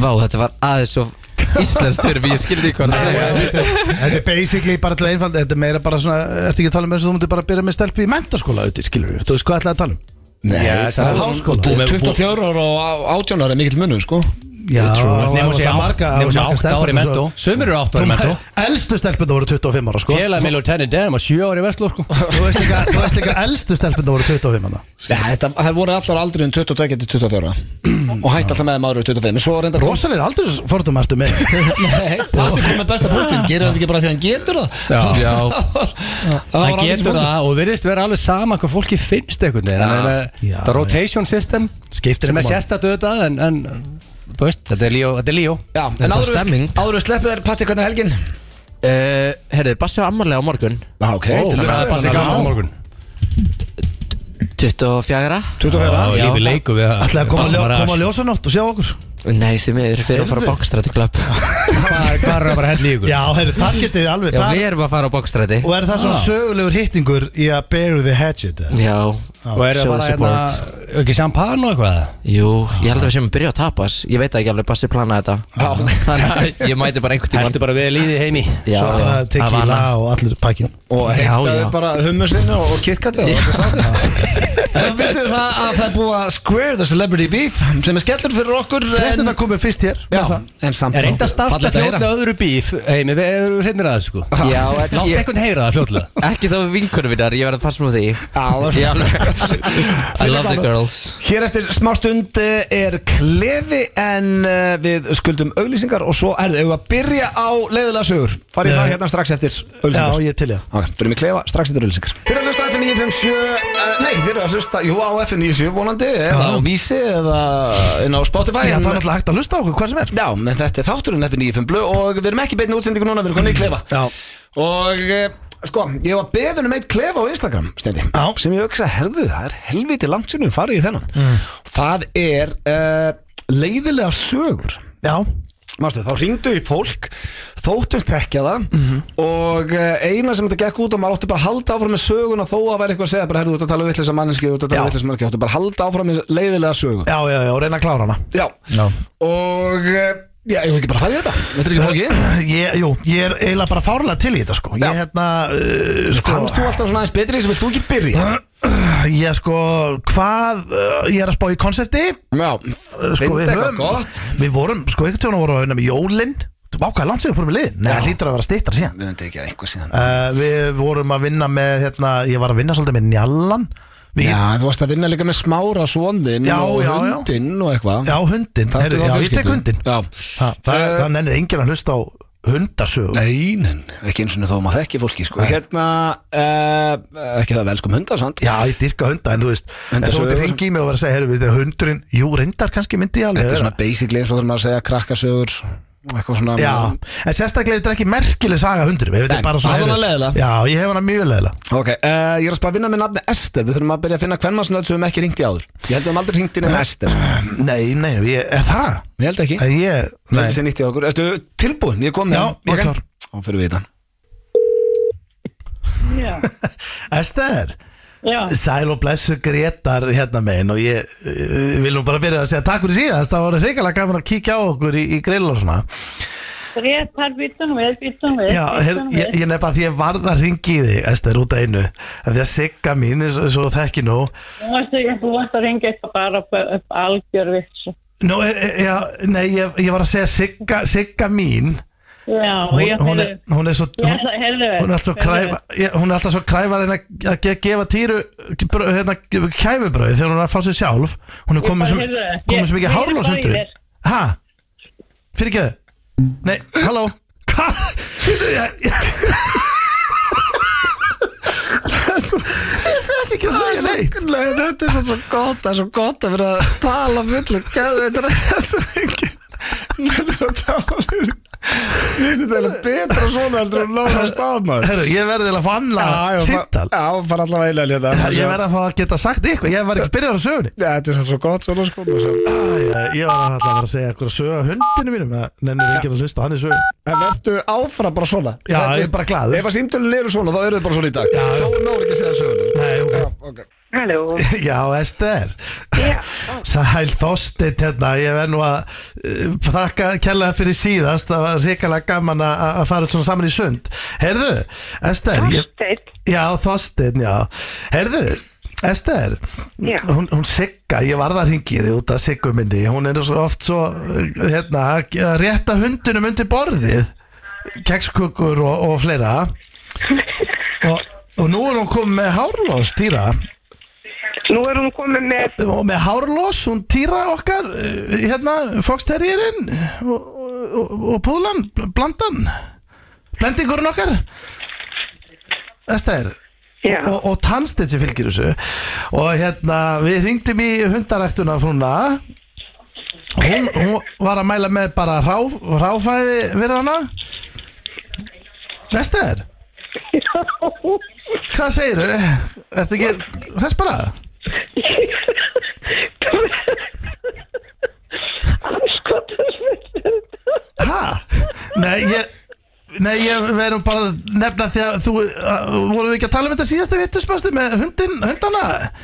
Speaker 4: Vá, þetta var aðeins svo íslenskt fyrir mig Ég skildi ekki hvað það
Speaker 2: Já, þetta er- Þetta er basically bara til einfald Þetta er meira bara svona Ertu ekki að tala um eins og þú mútið bara að byrja með stelpu í mentaskóla auðvitað, skilur við Þú veist hvað ætlaði að tala um?
Speaker 1: Nei,
Speaker 3: Já,
Speaker 1: það er háskóla
Speaker 3: Þú með-
Speaker 1: 24 ára og á- 18 ára er mikill munum sko
Speaker 2: Já,
Speaker 3: Nema
Speaker 2: nema
Speaker 3: sé
Speaker 2: það
Speaker 3: átt-
Speaker 2: marga-
Speaker 3: nema sé
Speaker 2: marga
Speaker 3: 8 ári
Speaker 2: stelpurnar
Speaker 3: mentó
Speaker 2: svo-
Speaker 3: Sumir eru 8
Speaker 2: Þú
Speaker 3: ári mentó
Speaker 2: Elstu stelpunna voru 25 ára sko
Speaker 3: Félag með Lieutenant Dan var 7 ári vestló sko
Speaker 2: [LAUGHS] Þú veist líka, þú veist líka elstu stelpunna voru 25 ára
Speaker 1: Já, þetta, það voru allar um á aldrinum 22 til 24
Speaker 3: [CLEARS THROAT]
Speaker 1: og hætti alltaf með þeim áður 25 en svo reyndar
Speaker 2: Rosalir aldrei fórtum ertu [LAUGHS] með
Speaker 1: Nei, Patti kom með besta
Speaker 3: [CLEARS THROAT]
Speaker 1: punktin gerir þetta ekki bara því hann getur [LAUGHS] það
Speaker 3: Já.
Speaker 1: það
Speaker 3: Það
Speaker 1: var ágætis
Speaker 3: getur
Speaker 1: punktur.
Speaker 3: það og virðist vera alveg sama hvað fólki finnst einhvern veginn En, eh,
Speaker 2: Já,
Speaker 3: Það er rotation system
Speaker 2: Skiptir
Speaker 3: sem er
Speaker 2: ekki máli.
Speaker 3: sérstætt auðvitað en, en þú veist, þetta er Líó Þetta er Líó
Speaker 1: Já,
Speaker 4: Þetta
Speaker 1: en
Speaker 4: er
Speaker 1: áður
Speaker 4: stemming.
Speaker 1: við- áður við sleppu þér Patti hvernig er helgin
Speaker 4: uh, Herðu, Bassi á ammarlega á morgun
Speaker 1: Já, Ah, ok, til
Speaker 3: Þannig að
Speaker 1: lukku.
Speaker 3: það passi
Speaker 1: Já.
Speaker 3: gafst á morgun
Speaker 4: 24
Speaker 3: Já,
Speaker 4: Já.
Speaker 3: ég vil leiku við það
Speaker 2: Ætlaði að koma, að
Speaker 3: Passa
Speaker 2: ljó,
Speaker 3: bara að-
Speaker 2: koma að ljósa nátt og sjá okkur
Speaker 4: Nei, því miður fyrir að fara
Speaker 2: Heyrðu.
Speaker 4: á bókstræti klubb
Speaker 3: Hvað hvað er að bara hella í ykkur?
Speaker 2: Já, heyrðu, þar [LAUGHS] getið þið alveg
Speaker 4: Já,
Speaker 2: þar,
Speaker 4: við erum að fara á bókstræti
Speaker 2: Og er það svona sögulegur hittingur í að bury the hatchet eða?
Speaker 4: Já,
Speaker 3: Og er það
Speaker 4: show
Speaker 3: bara
Speaker 4: support
Speaker 3: hérna, ekki champagne og eitthvað?
Speaker 4: Jú, ég held að við séum að byrja á tapas Ég veit það ekki alveg, Bassi planaði þetta Þannig að [LAUGHS] ég mæti bara einhvern tímann
Speaker 3: Hættu bara vel í því heimi
Speaker 4: Já,
Speaker 2: Svo er það tequila
Speaker 4: Havana.
Speaker 2: og allir pakkin
Speaker 1: og
Speaker 4: Já,
Speaker 1: heitaði
Speaker 4: já.
Speaker 1: bara hummusinn og kitkatið og
Speaker 3: [LAUGHS]
Speaker 1: það vittum við það að það er búið að square the celebrity beef sem er skellur fyrir okkur
Speaker 2: Þetta
Speaker 1: en,
Speaker 2: er komið fyrst hér með
Speaker 1: já,
Speaker 2: það.
Speaker 1: en samt
Speaker 3: Er reynd að starta
Speaker 1: Fallegt heyra.
Speaker 3: fljótlega öðru bíf heimi, við erum reynir að það sko
Speaker 4: Já, en
Speaker 3: Látt
Speaker 4: ég,
Speaker 3: einhvern heyra það fljótlega
Speaker 4: ekki þá við vinkunum mínar Ég verði að passa mér á því
Speaker 1: Já,
Speaker 4: Ég alveg [LAUGHS] I love the girls
Speaker 1: Hér eftir smá stund eh, er klefi en eh, við skuldum auglýsingar og svo er þau að byrja á leiðilega sögur. Farið það
Speaker 2: Nei.
Speaker 1: hérna strax eftir
Speaker 2: Já,
Speaker 1: auglýsingar.
Speaker 2: ég til ég
Speaker 1: Ok, fyrir mig klefa strax eftir auglýsingar. Þeir eru að hlusta á FM 957, eh, nei þeir eru að hlusta, jú á FM 97 vonandi eða á Vísi eða inn á Spotify.
Speaker 2: Já,
Speaker 1: en-
Speaker 2: það er alltaf hægt að hlusta á okkur, hvað sem er
Speaker 1: Já, en þetta er þátturinn FM 95 blöð og við erum ekki beinni útsendingu núna, við erum konið í klefa
Speaker 2: Já.
Speaker 1: Og eh, sko, ég var beðin um eitt klefa á Instagram, stendi
Speaker 2: Já.
Speaker 1: Sem ég hugsa, herðu, það er helviti langt sinni farið í þennan mm. Það er uh, leiðilega sögur
Speaker 2: Já,
Speaker 1: Mástu, þá ringdu í fólk, þóttumst þekkja það
Speaker 2: Mhm.
Speaker 1: og eh, eina sem þetta gekk út og maður átti bara að halda áfram með söguna þó að væri eitthvað að segja bara, herðu, þú ert að tala við þess að manneski, þú ert að tala
Speaker 2: Já.
Speaker 1: við þess að manneski, þú ert bara að halda áfram með leiðilega sögu.
Speaker 2: já, já, já, og reyna að klára hana
Speaker 1: Já,
Speaker 2: Já.
Speaker 1: og eh, já, ég hef ekki bara farið í þetta Þetta er ekki flókið
Speaker 2: Ég, jú, ég er eiginlega bara fárlega til í þetta sko Ég
Speaker 1: Já.
Speaker 2: hérna, uh, sko
Speaker 1: Fannst þú alltaf svona aðeins betri sem vilt þú ekki byrja?
Speaker 2: Ég sko, hvað, uh, ég er að spá í konsepti
Speaker 1: Já,
Speaker 2: Uh, sko,
Speaker 1: finnst
Speaker 2: við
Speaker 1: eitthvað
Speaker 2: höfum-
Speaker 1: gott
Speaker 2: Við vorum, sko, einhvern tjóna vorum við að vinna með jólinn Þú ákvæði landsvíðu fórum við liðin Nei, það hlýtur að vera stýttar síðan
Speaker 1: Við höfum tekið eitthvað síðan
Speaker 2: uh, Við vorum að vinna með, hérna, ég var að vinna svolítið með njallan við,
Speaker 1: Já, þú varst að vinna líka með smára svondin
Speaker 2: Já,
Speaker 1: og
Speaker 2: já, já.
Speaker 1: hundinn og eitthvað
Speaker 2: Já, hundin,
Speaker 1: Þarftu
Speaker 2: Heru,
Speaker 1: þá
Speaker 2: já, ég
Speaker 1: fjölskyldu?
Speaker 2: tek hundin
Speaker 1: Já
Speaker 2: Ha, Það,
Speaker 1: Eh,
Speaker 2: það nennir enginn að hlusta á hundasög
Speaker 1: Nei, nein, ekki eins og þá maður þekki fólki sko. Hérna, uh, ekki það velskum hundar sant?
Speaker 2: Já, ég dyrka hunda, en þú veist En þú
Speaker 1: Hundasögur.
Speaker 2: ert ringi í mig og verið að segja, heyrðu, við þetta hundurinn Jú, reyndar kannski myndi ég alveg
Speaker 1: Þetta er
Speaker 2: vera.
Speaker 1: svona basically eins og þurfum maður að segja krakkasögur og eitthvað svona
Speaker 2: Já, en sérstaklega þetta er ekki merkileg saga hundurum Þetta
Speaker 1: Nei,
Speaker 2: er bara svona
Speaker 1: það var
Speaker 2: heyrðu,
Speaker 1: leiðilega.
Speaker 2: Já, ég hef hana mjög leðilega
Speaker 1: Ok, uh, ég er að spara að vinna með nafni Ester Við þurfum að byrja að finna hvern mannsnöð sem við höfum ekki ringt í áður Ég held að við höfum aldrei ringt í nefn Ester
Speaker 2: Nei, nei, ég, er það?
Speaker 1: Ég held ekki
Speaker 2: Nei, ég,
Speaker 1: Nei.
Speaker 2: nei
Speaker 1: Þetta sé nýtt í okkur Ertu tilbúin? Ég kom með
Speaker 2: Já,
Speaker 1: hann.
Speaker 2: ég
Speaker 1: Ok.
Speaker 2: er klár.
Speaker 1: Þá fyrir við hérna. í þetta
Speaker 2: Ester,
Speaker 5: Já,
Speaker 2: sæl og blessu Gretar hérna megin og ég uh, vil nú bara byrja að segja takk fyrir síðast það var reikalega gaman að kíkja á okkur í, í grill og svona
Speaker 5: Gretar býtum við, býtum við,
Speaker 2: Já, her,
Speaker 5: býtum
Speaker 2: ég, ég nefn að því ég varð að ringi í þig Ester út að einu af því að sigga mín eins og þú þekki nú
Speaker 5: Nú varst að, þú varst að ringa eitthvað bara upp, upp algjör vitsu.
Speaker 2: Nú, e, e, já, nei, ég, ég var að segja sigga, sigga mín
Speaker 5: Já, og
Speaker 2: hún,
Speaker 5: ég
Speaker 2: hún, er,
Speaker 5: fyrir,
Speaker 2: hún er svo
Speaker 5: ég
Speaker 2: hún,
Speaker 5: ætla, heyrðu,
Speaker 2: hún er alltaf kræfa ég- hún er alltaf svo kræfa að reyna að ge- gefa týru brö- hérna, kæfubröð þegar hún er að fá sér sjálf hún er
Speaker 5: bara
Speaker 2: komin sem,
Speaker 5: heyrði það.
Speaker 2: komin
Speaker 5: Ég-
Speaker 2: sem ekki
Speaker 5: ég er
Speaker 2: hárlós
Speaker 5: bara í
Speaker 2: undur
Speaker 5: þér.
Speaker 2: ha, fyrir ekki nei, halló hvað Ég- ég- ég veit ekki að segja neitt
Speaker 1: Nei, þetta er svo gott Það er svo gott að vera að tala fullu Gæðu þetta er svo ekki Menni að tala við Vistu þetta er betra svona heldur en lána staðmaður
Speaker 2: Herru, ég verði til að fá annað sittal
Speaker 1: Já, fara allavega eiginlega í þetta
Speaker 2: ég verði að fá að geta sagt eitthvað ég var ekki byrjar á sögunni
Speaker 1: Já, Þetta er svo gott svona sko maður sem-
Speaker 2: Æ, ég var alltaf að fara að segja eitthvað að söga hundinu mínum en nennir ekki að hlusta hann í sögunni
Speaker 1: En verður áfram bara svona
Speaker 2: Já,
Speaker 1: Það-
Speaker 2: ég er bara glaður.
Speaker 1: Ef að símtölun eru svona, þá eru þið bara svona í dag
Speaker 2: Já.
Speaker 1: Þá náðu ekki að segja sögulegu
Speaker 2: Nei, ok.
Speaker 5: Halló,
Speaker 2: Já, Ester [LAUGHS] Sæl Þorsteinn hérna Ég verð nú að uh, þakka kærlega fyrir síðast Það var reikalega gaman að að fara svona saman í sund Herðu, Ester ég,
Speaker 5: Þorsteinn,
Speaker 2: Já, Þorsteinn, já Herðu, Esther,
Speaker 5: Já.
Speaker 2: hún, hún Sigga, ég varð að ringi þið út af Siggu minni hún er svo oft svo hérna, að rétta hundunum undir borðið kekskukur og, og fleira og, og nú er hún komið með hárlós týra
Speaker 5: Nú er hún komið með
Speaker 2: og með hárlós hún týra okkar eh, hérna, foksterjirinn og, og, og púlan, blandan blendingurinn okkar Esther
Speaker 5: Já,
Speaker 2: og, og tannstinn sem fylgir þessu og hérna við ringdum í hundaræktuna frúna hún, hún var að mæla með bara rá, ráfæði við hana Vester hvað segirðu? Ertu ekki hress bara? Ha? Nei, ég Nei, ég verðum bara að nefna því að þú, að, vorum við ekki að tala um þetta síðasta vittusmösti með hundin, hundana?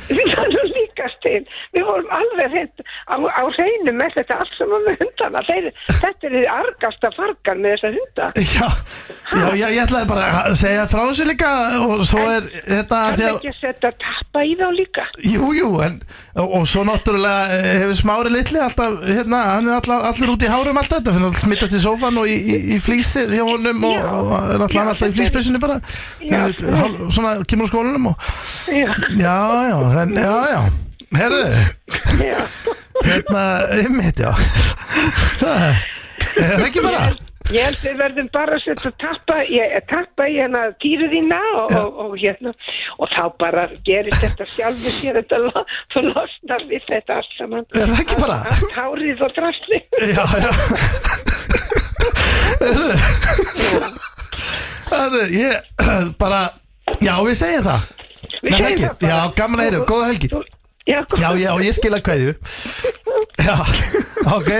Speaker 5: við erum líkast til Við vorum alveg hreint á, á hreinu með þetta allt saman með hundana Þeir, Þetta er þið argasta fargan með þessa hunda
Speaker 2: Já, já, já, ég ætlaði bara að segja frá þessu líka og svo er þetta
Speaker 5: Það
Speaker 2: því
Speaker 5: er
Speaker 2: að,
Speaker 5: ekki að setja tappa í þá líka
Speaker 2: jú, jú, en, og, og svo náttúrulega eh, hefur smári litli alltaf, hérna, hann er alltaf, allir út í hárum alltaf þetta, finnur alltaf smittast í sófan og í, í, í flísið hjá honum og, og er alltaf,
Speaker 5: Já,
Speaker 2: hann alltaf í
Speaker 5: þetta er-
Speaker 2: flísbissinu bara,
Speaker 5: Já.
Speaker 2: Eh, hál- svona kemur úr skólanum og,
Speaker 5: Já,
Speaker 2: já, já, en, já, já, herðu,
Speaker 5: já
Speaker 2: hérna, ymmit, já, er það ekki bara?
Speaker 5: Ég held við verðum bara að setja tappa, ég, tappa í hérna týru þína og, og, og hérna og þá bara gerist þetta sjálfur sér þetta lo, þú losnar við þetta allt saman
Speaker 2: Er það ekki bara?
Speaker 5: Allt hárið og drasli
Speaker 2: Já, já Herðu, ég bara, já við segjum það Nei,
Speaker 5: Við segjum
Speaker 2: helgi,
Speaker 5: það bara.
Speaker 2: já, gaman að heyra, góða helgi.
Speaker 5: Þú- Já,
Speaker 2: Já, já, ég skil að kveðju Já, ok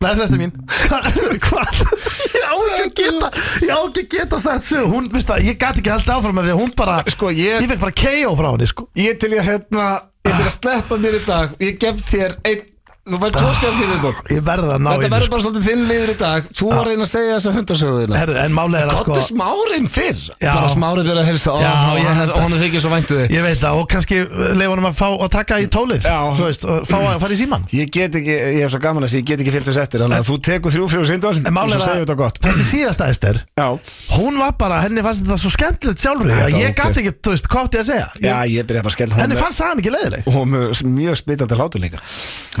Speaker 2: Blessastu mín Hvað? Ég á ekki að geta Ég á ekki að geta sagt svo Hún, veist það, ég gat ekki haldið áfram með því að hún bara
Speaker 1: Sko, ég-
Speaker 2: fekk bara KO frá henni, sko
Speaker 1: Ég til ég hérna Ég til að sleppa mér í dag Ég gef þér einn Þú verður tvo sjálf fyrir viðbót
Speaker 2: Ég verða að ná
Speaker 1: Þetta
Speaker 2: einu,
Speaker 1: verður bara svolítið þinn liður í dag Þú var að reyna að segja þessa hundasöguðina
Speaker 2: Herðu, en málið er að sko
Speaker 1: Kottu smárinn fyrr
Speaker 2: Já.
Speaker 1: Bara smárinn byrja að helsa
Speaker 2: Já, ég held að-
Speaker 1: Hún er þykir svo væntu þig
Speaker 2: Ég veit það og kannski leifa hann að fá að taka í tólið
Speaker 1: Já.
Speaker 2: Þú veist, og fá að fara í síman
Speaker 1: Ég get ekki, ég hef svo gaman að segja, ég get ekki fylgt þess eftir Þannig að þú tekur þrjú frjóðu sindar
Speaker 2: En málið
Speaker 1: segir
Speaker 2: er
Speaker 1: þetta
Speaker 2: að
Speaker 1: gott
Speaker 2: þessi síðasta Ester
Speaker 1: Já,
Speaker 2: Hún var bara, henni fannst þetta svo skemmtilegt sjálfri
Speaker 1: Þetta
Speaker 2: að
Speaker 1: var
Speaker 2: ég gæti
Speaker 1: ógeðslegt.
Speaker 2: ekki, þú veist, hvað átti ég að segja
Speaker 1: já ég byrja bara að skella
Speaker 2: Henni fannst það hann ekki leiðileg
Speaker 1: og með mjög smitandi hlátur líka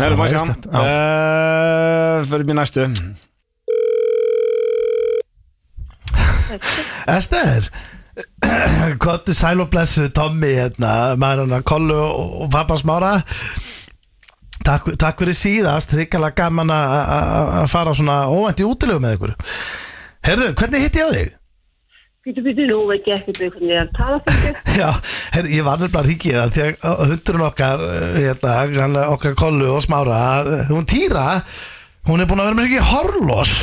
Speaker 1: Herðu, má ég sjá
Speaker 2: veist þetta,
Speaker 1: Eh, Förum í næstu
Speaker 2: Ester [CLEARS THROAT] Kottu sæl og blessu Tommy hérna, maður hann að kollu og, og pappa smára Takk, takk fyrir síðast, ríkala gaman að- að að fara svona óvænt í útilegu með ykkur Herðu, hvernig hitti ég á þig? [LAUGHS]
Speaker 5: Býtu, býtu, nú veit ég ekki byggt hvernig ég er að tala fyrir
Speaker 2: Já, her, ég var nefnilega ríkið það því að hundurinn okkar eh, hérna, hann, er okkar kollu og smára eh, hún týra, hún er búin að vera með svo ekki horlos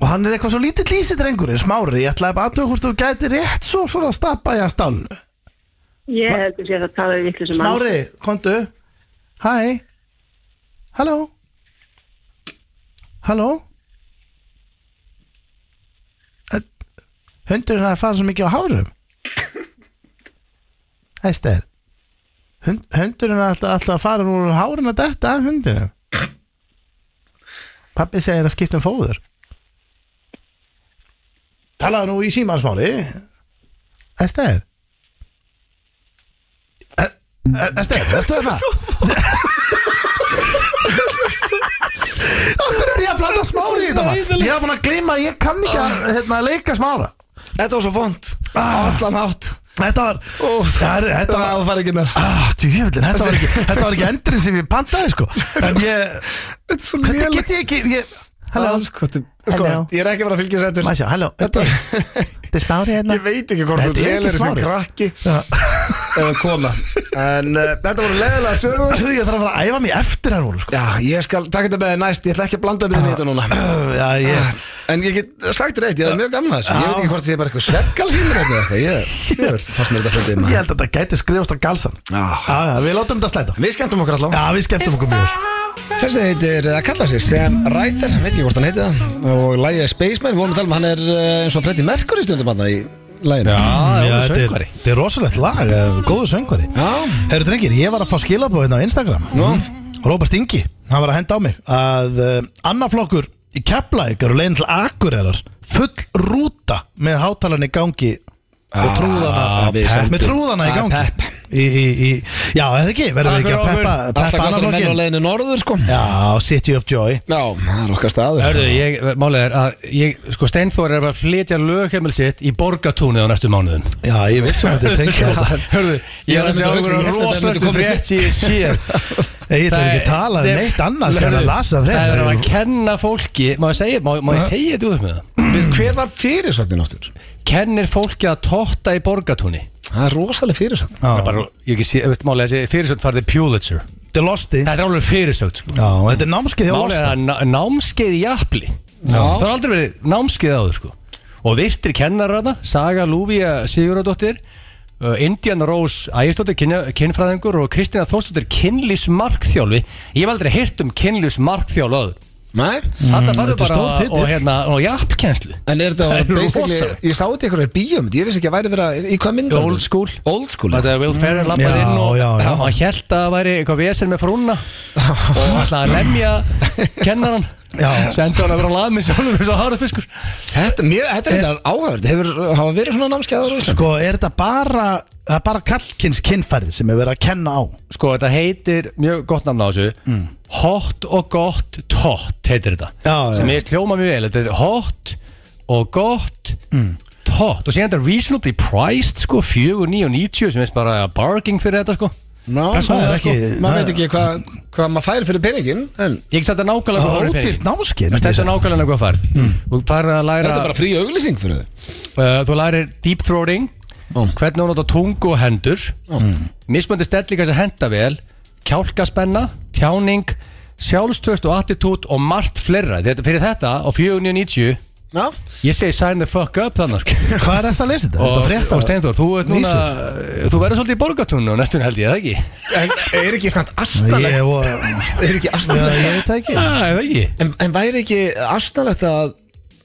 Speaker 2: og hann er eitthvað svo lítill lísi drengurinn, smári ég ætlaði bara að hvort þú gæti rétt svo svona að stappa í hans stálnu
Speaker 5: Ég heldur sér að tala við ykkur sem
Speaker 2: Smári, komdu Hæ Halló Halló Eh, Hundurinn er að fara svo mikið á hárum Æster Hund, Hundurinn er alltaf, alltaf að fara úr hárun að detta af hundinum Pappi segir að skipta um fóður Talaðu nú í símann, Smári Æster Erstu þetta? Erstu þetta? Akkur er ég að blanda smári í þetta maður? Ég hef búin að gleyma að ég kann ekki að hérna, leika smára
Speaker 1: Þetta var svo vond
Speaker 2: Ah.
Speaker 1: Allan hátt
Speaker 2: Þetta var Það er- Þetta
Speaker 1: Það
Speaker 2: var
Speaker 1: var ekki meira
Speaker 2: Ah, djöfullinn, Þetta var ekki Þetta var ekki endurinn sem ég pantaði sko En ég
Speaker 1: Þetta er svo
Speaker 2: Hvernig get ég ekki ég, Halló
Speaker 1: sko, þetta- sko,
Speaker 2: Halló.
Speaker 1: Ég er ekki bara að fylgja sættur
Speaker 2: Mæsja, halló Ah. Þetta
Speaker 1: Þetta-
Speaker 2: er smári hérna
Speaker 1: [LAUGHS] Ég veit ekki hvort
Speaker 2: Þetta
Speaker 1: þú
Speaker 2: er ekki
Speaker 1: lelir sem
Speaker 2: smári.
Speaker 1: krakki
Speaker 2: Já.
Speaker 1: eða kona En uh, þetta voru leðilega sögur
Speaker 2: Ég þarf að fara að æfa mig eftir hérna sko
Speaker 1: Já, ég skal taka þetta með þér næst Ég ætla ekki að blanda mér inn í þetta núna
Speaker 2: [CLEARS THROAT]
Speaker 1: Ah,
Speaker 2: Já, ég
Speaker 1: En ég get sagt þér eitt, ég er mjög gaman að þessu Ég veit ekki hvort það sé bara eitthvað sveppkal sínur eða eitthvað Ég, ég fannst mér þetta fyrir
Speaker 2: Ég
Speaker 1: maður
Speaker 2: held að þetta gæti skrifast á galsan
Speaker 1: Já.
Speaker 2: Já, já, Við látum þetta slæta
Speaker 1: Við skemmtum okkur allavega
Speaker 2: Já, við skemmtum okkur mjög
Speaker 1: Þessi heitir, eða kalla sig Sam Ryder, veit ekki hvort hann heiti það Og lægið er Spaceman, við vorum að tala um að hann er eh, eins og Freddy Mercury stundum hann í læginu
Speaker 3: Já,
Speaker 2: Já,
Speaker 3: já
Speaker 2: þetta er,
Speaker 3: Ah, söngvari
Speaker 2: þetta er rosalegt lag, eh, góður söngvari
Speaker 1: Já.
Speaker 2: Herru drengir, ég var að fá skilabóð hérna á Instagram Nú. Robert Ingi, hann var að henda á mig að uh, annar flokkur í Keflæk eru leiðin til Akureyrar full rúta með hátalarni í gangi og trúðana
Speaker 1: Ah, við sendum.
Speaker 2: með trúðana í
Speaker 1: Ah,
Speaker 2: gangi
Speaker 1: pepp.
Speaker 2: í, í, í, Já, eða ekki, verður við ekki að
Speaker 3: Akureyrar,
Speaker 2: peppa,
Speaker 1: Alltaf
Speaker 2: peppa
Speaker 1: gott að
Speaker 2: annar
Speaker 1: menn á
Speaker 2: flokkin
Speaker 1: leiðinu norður sko Já,
Speaker 2: Já, City of Joy
Speaker 1: það er okkar staður
Speaker 3: Hörðu, ég, málið er að ég, sko Steinþór er að flytja lögheimil sitt í borgatúnið á næstu mánuðum
Speaker 2: Já, ég vissum þetta er tengja
Speaker 1: [LAUGHS]
Speaker 3: Hörðu, ég
Speaker 1: Ég var
Speaker 3: er
Speaker 1: einmitt
Speaker 3: að sjá
Speaker 1: að hugsa, ég
Speaker 3: einhverja
Speaker 1: held að þetta myndi
Speaker 3: rosalegt
Speaker 1: koma
Speaker 3: frétt sem ég sé
Speaker 2: Ég þarf ekki að tala um
Speaker 3: Það er-
Speaker 2: neitt annað sem
Speaker 3: Hörðu,
Speaker 2: að lasa frétt
Speaker 3: Það er að kenna fólki, má ég segja, má, má ég segja þetta út með það?
Speaker 1: Við- Hver var fyrirsögnin áttur?
Speaker 3: Kennir fólki að totta í borgatúni
Speaker 1: Það er rosaleg fyrirsögn
Speaker 3: Það er bara, ég ekki sé, veist málið þessi fyrirsögn farði Pulitzer
Speaker 2: Þetta er losti
Speaker 3: Þetta er alveg fyrirsögn, sko
Speaker 2: Já, og þetta er námskeið hjá
Speaker 3: Málið er
Speaker 2: Ásta
Speaker 3: að ná- námskeið í jafnli
Speaker 1: Já.
Speaker 3: Það er aldrei verið námskeið áður sko Og virtir kennarana, Saga Lúfía Sigurðardóttir uh, Indiana Rose Ægistóttir, kynfræðingur og Kristina Þórsdóttir, kynlífsmarkþjálfi Ég hef aldrei heyrt um kynlífsmarkþjálfi áður
Speaker 1: Nei
Speaker 2: Mm,
Speaker 3: Þetta farðu
Speaker 2: þetta er
Speaker 3: bara
Speaker 2: stór titill.
Speaker 3: og, hérna, og jafnkenslu
Speaker 1: Mm. En er þetta
Speaker 3: Það er
Speaker 1: basically
Speaker 3: rosalegt.
Speaker 1: Ég sá þetta ykkur er bíómynd Ég vissi ekki að væri vera Í hvað mynd var
Speaker 3: Old
Speaker 1: þetta?
Speaker 3: school.
Speaker 1: Old school
Speaker 3: Þetta er Will Ferrell lappað
Speaker 2: Mm, já,
Speaker 3: inn [LAUGHS] og
Speaker 2: já, já.
Speaker 3: hann held að það væri eitthvað vesen með
Speaker 2: [LAUGHS]
Speaker 3: frúna og ætlaði að lemja kennaran
Speaker 2: Já.
Speaker 3: sendi hann að vera lað með sjálfur eins og harðu fiskur
Speaker 1: Þetta, mér, þetta er áhörð Hefur hafa verið svona námskeiðar á Íslandi?
Speaker 2: Sko, er þetta bara Það er bara kallkins kynfærið sem er verið að kenna á
Speaker 3: sko þetta heitir mjög gott nafn á þessu hot og gott tott heitir þetta
Speaker 2: Mm. Já, já.
Speaker 3: sem ég hljóma mjög vel þetta er hot og gott
Speaker 2: Mm.
Speaker 3: tott og síðan þetta er reasonably priced sko 4,990 sem er bara barging fyrir þetta sko
Speaker 1: Ná,
Speaker 2: það er
Speaker 1: maður, sko,
Speaker 2: ekki- það
Speaker 1: maður
Speaker 2: er-
Speaker 1: veit ekki hvað hva maður fær fyrir peningin en
Speaker 3: ég ekki þetta nákvæmlega
Speaker 2: Það
Speaker 3: hvað
Speaker 2: er
Speaker 3: fyrir
Speaker 2: ódýrt
Speaker 3: pening.
Speaker 2: námskeið,
Speaker 3: Það
Speaker 2: myndi ég
Speaker 3: stendur
Speaker 2: segja. Mm.
Speaker 3: nákvæmlega hvað færð Þú færð að læra
Speaker 1: þetta er bara frí auglýsing fyrir þau
Speaker 3: uh, Þú lærir deep throating
Speaker 1: Ó.
Speaker 3: Hvernig hún nota tungu og hendur mm. Mismöndi stellingar sem henda vel Kjálkaspenna, tjáning Sjálfströst og attitút Og margt fleira þetta, Fyrir þetta á 4990
Speaker 1: Já,
Speaker 3: Ég segi sign the fuck up þannig sko.
Speaker 2: Hvað er þetta að lesa þetta? Er
Speaker 3: Og,
Speaker 2: þetta frétta?
Speaker 3: og Steinþór, þú, ert núna, þú verður svolítið í borgatúnu Næstun held ég, eða ekki?
Speaker 1: en er ekki samt
Speaker 2: Ég,
Speaker 1: astanlegt
Speaker 2: og,
Speaker 1: Er ekki
Speaker 2: ég,
Speaker 1: astanlegt
Speaker 2: ég veit það ekki
Speaker 3: Ah, eða ekki?
Speaker 1: en, en væri ekki astanlegt að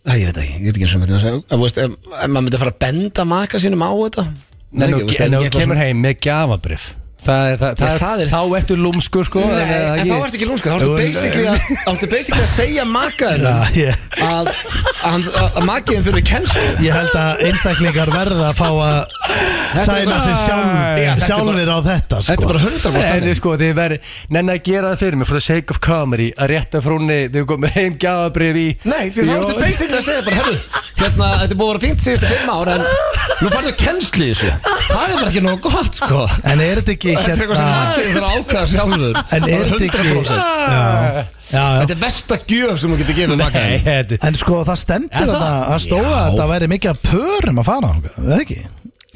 Speaker 1: Æ, ég veit ekki, ég veit ekki eins og hvernig að segja Ef, þú veist, ef, ef maður myndi að fara að benda maka sínum á þetta Nei,
Speaker 3: En
Speaker 1: ekki, þú veist, er
Speaker 3: þú
Speaker 1: ekki eitthvað
Speaker 3: kemur
Speaker 1: svona-
Speaker 3: heim með gjafabrif Það, er- það, það,
Speaker 1: Ég,
Speaker 3: er-
Speaker 1: það er-
Speaker 3: Þá ertu lúmskur sko
Speaker 1: Nei,
Speaker 3: eða- eða
Speaker 1: en þá ertu ekki lúmska, þá ertu
Speaker 3: Jú,
Speaker 1: basically að þá ertu basically að segja makaðinu
Speaker 2: Já, ég,
Speaker 1: að, að, að makiðin þurfi kennslu
Speaker 2: ég held að einstaklingar verða að fá að sæna sig
Speaker 1: Já,
Speaker 2: sjálf,
Speaker 1: þetta er
Speaker 2: sjálfur á þetta
Speaker 1: Þetta er
Speaker 2: sko.
Speaker 1: bara hundar
Speaker 3: En þið sko, þið verið Nenna að gera það fyrir mig For the sake of comedy Að rétta frúnni Þið komið heim gjafabrif í
Speaker 1: Nei, því þá
Speaker 3: Jó.
Speaker 1: ertu basically að segja bara, herru, hérna, þetta er búið að vera fínt síðustu fimm ár, en nú farðu kennslu í þessu. Það er bara ekki nóg gott, sko.
Speaker 2: En er þetta ekki
Speaker 1: Þetta er eitthvað sem
Speaker 2: hérna
Speaker 1: makiðin þarf að ákvæða sjálfur.
Speaker 2: En er þetta ekki Já, já, já.
Speaker 1: Þetta er besta gjöf sem þú getur gefið
Speaker 3: Nei,
Speaker 1: makaðin.
Speaker 3: þetta
Speaker 2: En sko það stendur
Speaker 3: Er
Speaker 2: að
Speaker 3: það?
Speaker 2: það stóða að þetta væri mikið að pörum að fara þangað, eða ekki?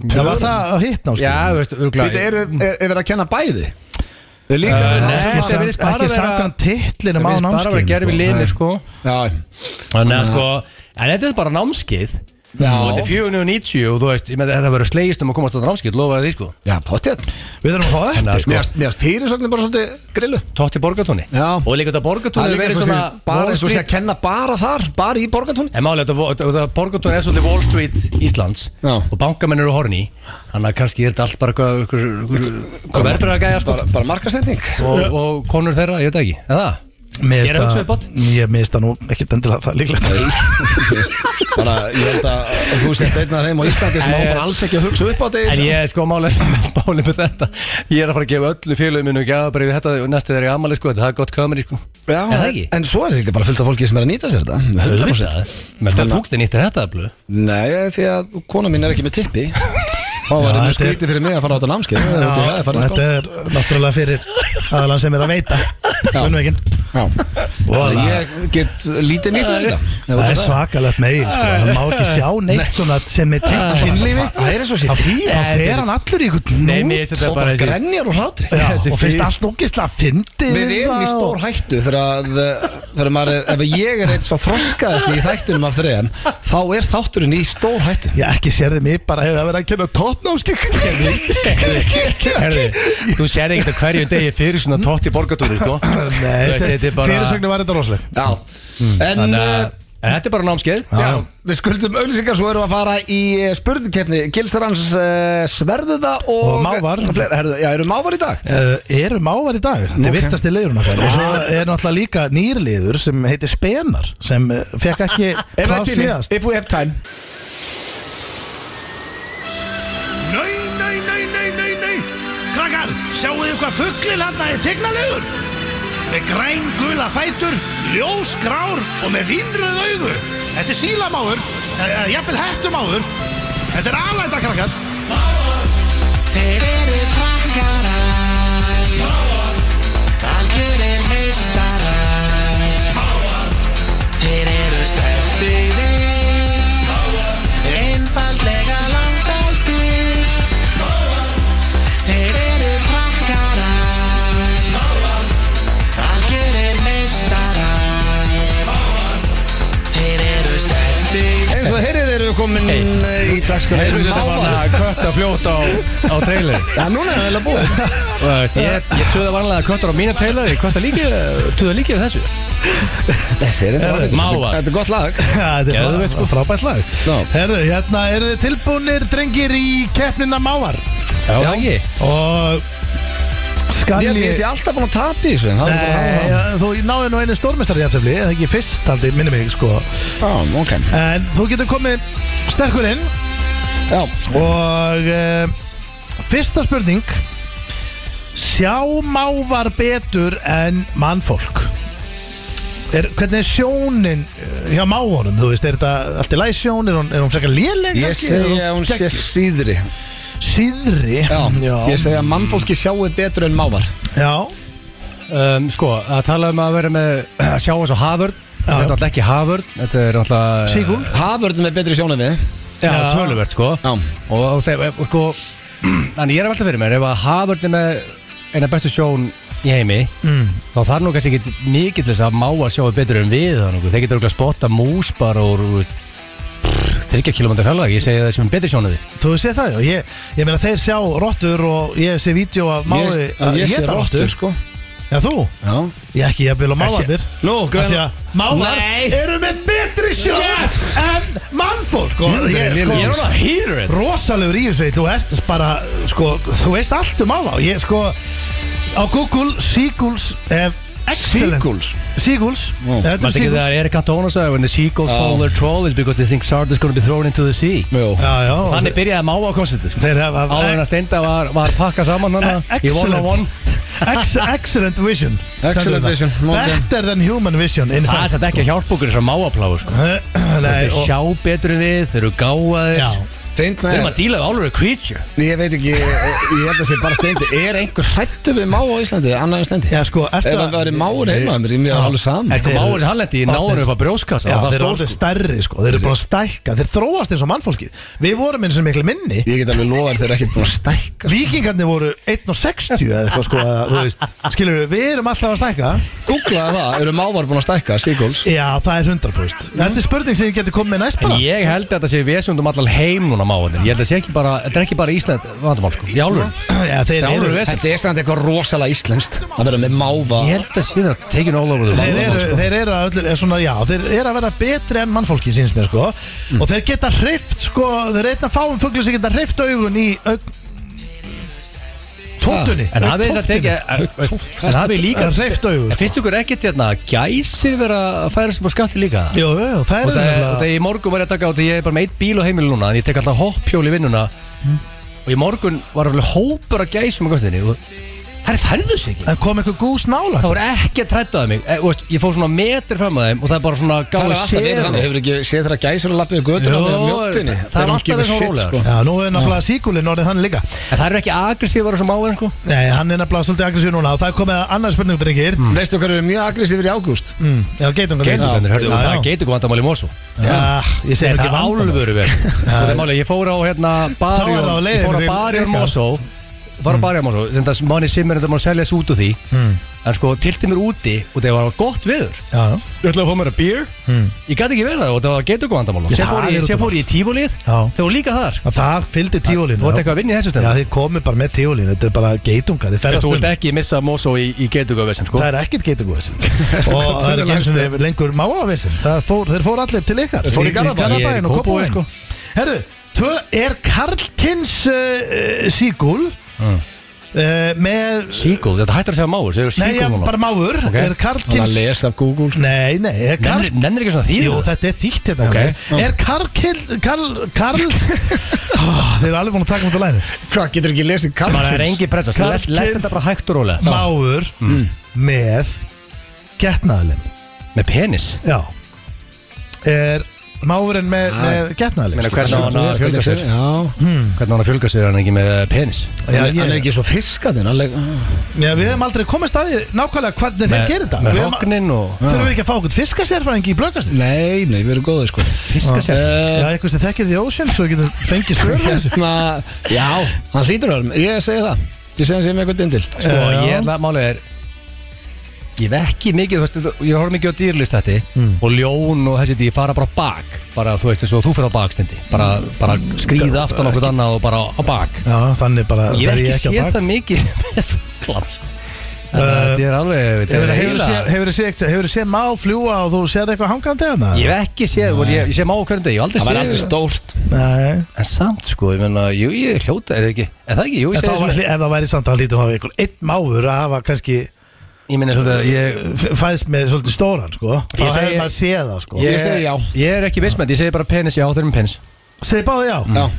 Speaker 2: Það var það að sko. hitt
Speaker 3: Já,
Speaker 2: námskeið
Speaker 3: þú veist, örgulega
Speaker 1: Þetta er, er, er verið að kenna bæði. Það er líka...
Speaker 3: Uh,
Speaker 1: það
Speaker 3: nei,
Speaker 1: er
Speaker 3: þetta
Speaker 1: svona-
Speaker 3: virðist bara
Speaker 2: Ekki
Speaker 3: vera-
Speaker 2: samkvæmt titlinum á
Speaker 3: Við bara að vera
Speaker 2: námskeið
Speaker 3: gerfi liðni sko
Speaker 1: Já,
Speaker 3: Þannig að sko En þetta er bara námskið
Speaker 1: Já.
Speaker 3: Og þetta er 490 Og þú veist, ég með þetta verður slegist um að komast á námskið Lofaði því sko
Speaker 1: já, potið.
Speaker 2: Við þurfum að fá
Speaker 3: Þannig að
Speaker 2: eftir
Speaker 3: sko
Speaker 1: Mér finnst fyrirsögnin bara svolítið grillu.
Speaker 3: Tótt í borgatóni
Speaker 1: Já.
Speaker 3: Og líka þetta
Speaker 1: Það
Speaker 3: borgatóni
Speaker 1: er líka eins og sé- bara eins og sé að kenna bara þar, bara í borgatúni.
Speaker 3: En málega þetta borgatón er svolítið Wall Street Íslands
Speaker 1: Já.
Speaker 3: og bankamenn eru horni Þannig að kannski er þetta allt bara hvað- hvað hvað verður að gæja sko
Speaker 1: Bara, bara markastending.
Speaker 3: og, og konur þeirra, ég veit það ekki Eða?
Speaker 2: sko. Mér
Speaker 3: Ég er að hugsa upp átt
Speaker 2: Ég minnst það nú ekkert endilega það líklegt
Speaker 1: bara, ég held að þú sést einn af þeim á Íslandi sem á bara alls ekki að hugsa upp á þig
Speaker 3: En ég er sko málið [LAUGHS] máli með þetta Ég er að fara að gefa öllu félögum minn og gefa bara yfir þetta og næstu þeirra í amali sko, þetta er gótt kameri sko
Speaker 1: Já,
Speaker 3: Er það ekki?
Speaker 1: en svo er þetta bara fullt af fólki sem er að nýta sér þetta 100%
Speaker 3: Auðvitað. Menn það tók þið nýtt er þetta að blöðu
Speaker 1: Nei, því að kona mín er ekki með tippi Þá var
Speaker 2: Já,
Speaker 1: þetta
Speaker 2: þetta er-
Speaker 1: skrítið fyrir mig að fara á þetta námskeið
Speaker 2: Já,
Speaker 1: Þetta er- það er farið í sko.
Speaker 2: Þetta er náttúrulega fyrir aðalann sem er að veita Unnveginn
Speaker 1: skóla. Já.
Speaker 2: Vola.
Speaker 1: Ég get lítið nýtt við þetta
Speaker 2: Það er svakalegt megin sko. Það má ekki sjá neitt svona sem er
Speaker 3: Ah.
Speaker 2: tengt kynlífi
Speaker 1: Það er eins og sé
Speaker 2: Þá
Speaker 1: tíð
Speaker 2: þá fer hann allur í einhvern
Speaker 3: Nei, mér
Speaker 2: nút
Speaker 3: finnst þetta
Speaker 1: Og
Speaker 3: bara
Speaker 1: bara
Speaker 3: þessi
Speaker 1: grenjar og hlátri
Speaker 2: Já,
Speaker 3: þessi
Speaker 2: og finnst
Speaker 3: fyrir-
Speaker 2: allt ógislega að fyndi
Speaker 1: Við erum í stór hættu þegar að þegar maður er, ef ég er eitt svo þroskaðist í þættunum af þreðan þá er þátturinn í stór hættu
Speaker 2: Já, ekki sérði mig bara hefur það verið að kenna tóttnámskeið
Speaker 3: Herðu, þú sér ekkert að hverju degi fyrir svona tótt í borgatúri sko
Speaker 2: Nei,
Speaker 3: Þú veist, þetta er bara
Speaker 2: fyrirsögnu var þetta rosaleg
Speaker 1: Já, en
Speaker 3: Þannig
Speaker 1: uh,
Speaker 3: að- Þetta er bara námskeið
Speaker 1: Já, við skuldum auðlýsingar svo erum við að fara í spurningkeppni Gilsarans uh, Sverðuða og,
Speaker 2: Og mávar.
Speaker 1: Fleira, herðu, Já, eru mávar í dag?
Speaker 2: Uh, eru mávar í dag, þetta er virtast í leiðurinn okkar og svo
Speaker 6: Ah.
Speaker 2: er náttúrulega líka nýrliður sem heitir Spenar sem uh, fekk
Speaker 6: [LAUGHS]
Speaker 2: ekki
Speaker 1: Ef það er
Speaker 2: pláss
Speaker 1: tími,
Speaker 2: síðast
Speaker 1: If we have time
Speaker 6: Nei, nei, nei, nei, nei, nei Krakkar, sjáu þið hvað fugglinn hann er tegnalegur Með græn gula fætur, ljós grár og með vinnröð augu Þetta er sílamáður, eða jafnvel hettumáður Þetta er alæta
Speaker 2: [LAUGHS]
Speaker 6: krakkar Þeir eru krakkarar Algjörir meistarar Þeir eru stefnir Einfallega langbæstir Þeir eru krakkarar Algjörir meistarar Þeir eru stefnir
Speaker 1: Eins og heyrið þeir eru komin hey. í dagskrona
Speaker 3: Heyrðu þetta bara kötta fljótt á, á trailer
Speaker 1: Já, núna er það vel að búa
Speaker 3: Ég, ég töða vanlega köttar á mína trailer Ég kötta líka, töða líka við þessu
Speaker 1: Þessi er
Speaker 3: Herðu,
Speaker 1: þetta
Speaker 3: mávar.
Speaker 1: Þetta er gott lag
Speaker 2: Já, þetta
Speaker 3: Geðveikt,
Speaker 2: er
Speaker 3: sko.
Speaker 2: frá- frábært lag
Speaker 3: Já.
Speaker 2: Herðu, hérna eru þið tilbúnir drengir í keppnina mávar
Speaker 3: Já, það ekki
Speaker 2: og skal
Speaker 1: Ég held ég sé
Speaker 2: ég
Speaker 1: alltaf búin að tapa í þessu en það er bara að
Speaker 2: Nei,
Speaker 1: hafa
Speaker 2: já, þú náði nú einu stórmestari jafntefli, eða ekki fyrst haldi, minni mig sko
Speaker 1: það. Já, ok
Speaker 2: en þú getur komið sterkur inn
Speaker 1: Já,
Speaker 2: Og uh, fyrsta spurning Sjá mávar betur en mannfólk er, Hvernig er sjónin eh, hjá mávarum? Þú veist, er þetta allt í læsjón? Er hún, er hún frekar léleg?
Speaker 1: ég
Speaker 2: kannski? Er
Speaker 1: segi að hún sé
Speaker 2: gegn-
Speaker 1: síðri
Speaker 2: Síðri
Speaker 1: Já,
Speaker 2: já,
Speaker 1: ég segi að mannfólki sjáu betur en mávar
Speaker 2: já.
Speaker 3: um, Sko, að tala um að vera með að sjá eins og Havörn Þetta er alltaf ekki Havörn Þetta er alltaf
Speaker 2: Sigur?
Speaker 1: Hafurðum er betri sjónum við
Speaker 3: Já,
Speaker 2: Já.
Speaker 3: töluvert sko
Speaker 1: Já.
Speaker 3: Og, og þeir, og, sko [CLEARS THROAT] Þannig ég er að velta fyrir mér Ef að Havörn er með eina bestu sjón í heimi Þá þarf nú kannski ekki mikið til þess að mávar sjáu betur en við það nokkuð. Þeir getur okkur að spotta mús bara úr úr- pff, 30 km hraðlag Ég segi það sem er betri sjónu við
Speaker 2: Þú sé það, já, ég, ég meina þeir sjá rottur og ég sé vídeo af máði
Speaker 1: Ég, ég sé rottur sko
Speaker 2: Já, þú?
Speaker 1: Já
Speaker 2: Ég ekki, ég vil á mávarðir
Speaker 1: Nú,
Speaker 2: Af því
Speaker 1: greina
Speaker 2: að mávar eru með betri sjón en mannfólk og
Speaker 1: Jöfull,
Speaker 2: ég,
Speaker 1: ég
Speaker 2: sko,
Speaker 1: er
Speaker 3: núna að hýra þetta
Speaker 2: rosalegur í þessu þú ert bara, sko, þú veist allt um mávar ég sko, á Google Seagulls eh, excellent
Speaker 1: Seagulls?
Speaker 2: Seagulls
Speaker 1: Ó,
Speaker 2: þetta er
Speaker 3: Manstu ekki
Speaker 2: Seagulls
Speaker 3: þegar Erik Cantona sagði When the seagulls
Speaker 1: Já.
Speaker 3: follow their trawl It's because they think sardines gonna be thrown into the sea
Speaker 1: Jú
Speaker 2: já, já,
Speaker 3: Þannig byrjaði máva á konsertið sko.
Speaker 2: þeir hafa
Speaker 3: Áður en að steinda var, var pakka saman hana Í one on one
Speaker 2: Ex excellent vision
Speaker 1: Excellent
Speaker 2: stendur það.
Speaker 1: vision, ok.
Speaker 2: better than human vision in
Speaker 3: Það er
Speaker 2: fact
Speaker 3: Ah, satt ekki að hjálpa okkur þessar máapláu sko.
Speaker 2: Nei,
Speaker 3: Þeir
Speaker 2: og-
Speaker 3: sjá betur en við, þeir eru gáðaðir
Speaker 2: Já.
Speaker 3: Við erum
Speaker 1: Þeirna
Speaker 3: að díla við alveg creature
Speaker 1: er Ég veit ekki Ég ég held að sé bara steindi Er einhver hrættu við má á Íslandi? Annar en steindi
Speaker 2: Já, sko,
Speaker 1: Ef
Speaker 2: ertu
Speaker 1: það
Speaker 2: að-
Speaker 1: væri máur heima Það er mjög alveg saman
Speaker 3: Ertu
Speaker 2: Þeir-
Speaker 3: máurinn hallendi, ég náður upp að brjóskassa
Speaker 2: Já,
Speaker 3: og það
Speaker 2: þeir eru
Speaker 3: stór,
Speaker 2: orðið
Speaker 3: sko.
Speaker 2: stærri sko, þeir eru búin að stækka Þeir þróast eins og mannfólkið Við vorum eins og miklu minni
Speaker 1: Ég get alveg lofa þér þeir eru ekkert búin að stækka
Speaker 2: Víkingarnir voru 1.60 eða eitthvað sko að, Þú veist, skilur við, við erum alltaf að stækka
Speaker 1: Googlaði það Eru mávar búin að stækka? Seagulls
Speaker 2: Já, það er 100% Þetta er spurning sem ég geti komið með næst
Speaker 3: En
Speaker 2: bara
Speaker 3: ég held að þetta sé vesundum allan heim núna mávarnir Ég held að þetta sé ekki bara, þetta er ekki bara Ísland vandamál sko, í álfur
Speaker 2: Já, þeir
Speaker 3: Já,
Speaker 2: eru,
Speaker 3: alveg.
Speaker 1: Þetta er samt eitthvað rosalega íslenskt Að vera með máva
Speaker 3: Ég held að sé þetta taken all over the
Speaker 2: þeir
Speaker 3: world,
Speaker 2: eru,
Speaker 3: sko.
Speaker 2: þeir eru að öllu, er svona, já, þeir eru að verða betri en mannfólki síns mér sko
Speaker 3: Mm.
Speaker 2: Og þeir geta hrift sko, þeir eru einna fáum fugglu sem geta hrift augun í aug... Tóttunni
Speaker 3: Ah, En hafið þess að tekja En hafið líka
Speaker 2: Hreift augu,
Speaker 3: En
Speaker 2: sko.
Speaker 3: finnst ykkur ekkert hérna Gæsir vera að færa sem á skatti líka
Speaker 2: Jú, jú, það
Speaker 3: Og
Speaker 2: eru
Speaker 3: það er í morgun var ég að taka á því Ég er bara með eitt bíl á heimilu núna En ég tek alltaf hoppjól í vinnuna
Speaker 2: Mm.
Speaker 3: Og í morgun var alveg hópur að gæsum á gattinni Og það er færðu sig ekki
Speaker 2: En kom eitthvað gús nála
Speaker 3: Það voru ekki að træta það mig e, þú veist, Ég fór svona metri fram að þeim Og það er bara svona
Speaker 1: Það er
Speaker 3: gáði
Speaker 1: alltaf verið þannig Hefur ekki séð þeirra gæsur að lappa við götuna
Speaker 3: Jó,
Speaker 1: Þegar mjóttinni
Speaker 3: það er
Speaker 1: Þeir eru
Speaker 3: alltaf
Speaker 1: ekki
Speaker 3: eins og
Speaker 1: shit,
Speaker 3: rólegar.
Speaker 1: sko.
Speaker 2: Já, nú er náttúrulega síkulinn orðið þannig líka
Speaker 3: En það er ekki agressívar sem áður sko.
Speaker 2: Nei, hann er náttúrulega svolítið aggressív núna og það er komið að annar spurning, drengir mm.
Speaker 1: Veistu hvað eru mjög aggressífur í ágúst?
Speaker 2: Já, geitungar
Speaker 3: Geitungarnir, hörðu,
Speaker 2: Já,
Speaker 3: það
Speaker 2: já.
Speaker 3: er geitungu vandamál í Mosó
Speaker 2: Já, ég
Speaker 3: Nei,
Speaker 2: segi
Speaker 3: það
Speaker 2: ekki
Speaker 3: er
Speaker 2: vandamál [LAUGHS]
Speaker 3: álfuru verið Og það er málið, ég fór á hérna
Speaker 2: Þá er
Speaker 3: Barjón
Speaker 2: það á leiðinni
Speaker 3: Ég fór
Speaker 2: til
Speaker 3: á
Speaker 2: Mm.
Speaker 3: Barjón
Speaker 2: ykkar.
Speaker 3: Mosó var að barja maður svo sem það manni simmer þetta maður selja þessu út úr því
Speaker 2: Mm.
Speaker 3: en sko tilti mér úti og það var gott viður
Speaker 2: Já, já.
Speaker 3: ég ætlaði að fá mér að beer
Speaker 2: Hmm.
Speaker 3: ég gæti ekki verið það og það var getur góð vandamál
Speaker 2: Já,
Speaker 3: sem fór
Speaker 2: það er
Speaker 3: ég,
Speaker 2: út um
Speaker 3: sem fór ég í tífólið
Speaker 2: Já.
Speaker 3: það var líka þar
Speaker 2: Að Það fylgdi tíólinu
Speaker 3: þú ert eitthvað að vinna í þessu
Speaker 2: Já,
Speaker 3: stund
Speaker 2: þið komið bara með tíólinu Þetta er bara geitunga Þið ferðast
Speaker 3: þú vilt
Speaker 2: um
Speaker 3: ekki missa Mosó í, í getugavesin sko
Speaker 2: Það er ekkert geitungu þessin Og það er ekki eins og þeir lengur máavesin fór, Þeir fór allir til ykkar
Speaker 1: Þeir fóru í Garðabæ.
Speaker 2: Garðabæin
Speaker 3: Ég er í
Speaker 2: og
Speaker 3: Kópavogi,
Speaker 2: Kópavóin Herðu, tvö er Karlkins uh, uh, síkul uh, Með
Speaker 3: Seagull, þetta hættar að segja máur segja
Speaker 2: Nei,
Speaker 3: Seagull
Speaker 2: ég,
Speaker 3: núna
Speaker 2: bara máur
Speaker 3: Ok.
Speaker 2: Er
Speaker 1: Hann
Speaker 2: Karlkins
Speaker 1: að lesa af Google
Speaker 2: Nei, nei, er Karl
Speaker 3: Nennir- nennir ekki svona þýðu
Speaker 2: Jú, þetta er þýtt hérna
Speaker 3: Ok.
Speaker 2: okay. Er Karl Kill- Karl Karl oh, Þeir eru alveg búin að taka um þetta læni
Speaker 1: Hvað, getur ekki lesið
Speaker 3: Það er
Speaker 1: Karlsins?
Speaker 3: engi pressa,
Speaker 2: Karl
Speaker 3: lest lest
Speaker 2: Kins-
Speaker 3: þetta bara hægt og rólega
Speaker 2: Máur með getnaðalinn
Speaker 3: Með penis
Speaker 2: Já Er máurinn með, með getnaðalinn
Speaker 3: Meina,
Speaker 2: skilur?
Speaker 3: hvernig á hann að fjölga sér?
Speaker 1: Já,
Speaker 3: Hvernig á hann að fjölga sér er hann ekki með penis?
Speaker 2: Hmm. Já,
Speaker 1: Mm, hann
Speaker 2: ég-
Speaker 1: er ekki svo fiskandinn Hann er
Speaker 2: Já, við hefum aldrei komist að því nákvæmlega hvernig þeir gerir þetta
Speaker 3: Með
Speaker 2: Við hefum-
Speaker 3: hóknin og
Speaker 2: Þurfum við ekki að fá okkur fiskasérfræðingi í blökastir?
Speaker 1: Nei, nei, við erum góðið sko
Speaker 3: fiska sér
Speaker 2: Já, Eh, eitthvað sem þekkir því ósinn svo við getum fengið svör við þessu
Speaker 1: Hérna, já, hann hlýtur öðrum Ég segi það, ég segi hann sé með eitthvað dindil
Speaker 3: Sko,
Speaker 2: Já.
Speaker 3: ég ætla að málið er Ég hef ekki mikið, þú veist, ég horf mikið á dýrlist þetta Og ljón og þessi, ég fara bara á bak Bara, þú veist, eins og þú fyrir á bakstendi Bara, bara skrýða aftan okkur annað og bara á bak
Speaker 2: Já, þannig bara
Speaker 3: Ég hef
Speaker 2: fer
Speaker 3: ekki
Speaker 2: á
Speaker 3: séð
Speaker 2: bak.
Speaker 3: það mikið [LAUGHS] með fuglam Það er alveg, þetta
Speaker 2: Hefur hefurðu
Speaker 3: er heila
Speaker 2: séð- hefurðu séð eitthvað- hefurðu séð má fljúa og þú séð eitthvað hangandi hana?
Speaker 3: Ég hef ekki séð, voru ég, ég sé má á hverjum degi, ég hef aldrei
Speaker 1: Það var
Speaker 3: séð
Speaker 1: aldrei
Speaker 3: þetta.
Speaker 1: stórt
Speaker 2: Nei
Speaker 3: En samt sko, ég menna, jú, ég er hljóta, er það ekki? Er það ekki? Jú,
Speaker 2: En
Speaker 3: ég
Speaker 2: þá
Speaker 3: segi
Speaker 2: var,
Speaker 3: þessum
Speaker 2: ef það væri samt að hlýtur á einhvern einn máður að hafa kannski eh,
Speaker 3: Ég menna, hljóta, ég
Speaker 2: f- fæðst með svolítið stóran sko þá
Speaker 3: Ég segi-
Speaker 2: hefði maður séð það sko
Speaker 1: Ég segi já.
Speaker 3: Ég er ekki viss með þetta, ég segi bara penis, já, þeir eru með penis
Speaker 2: segi báði já, Ah,
Speaker 1: Já,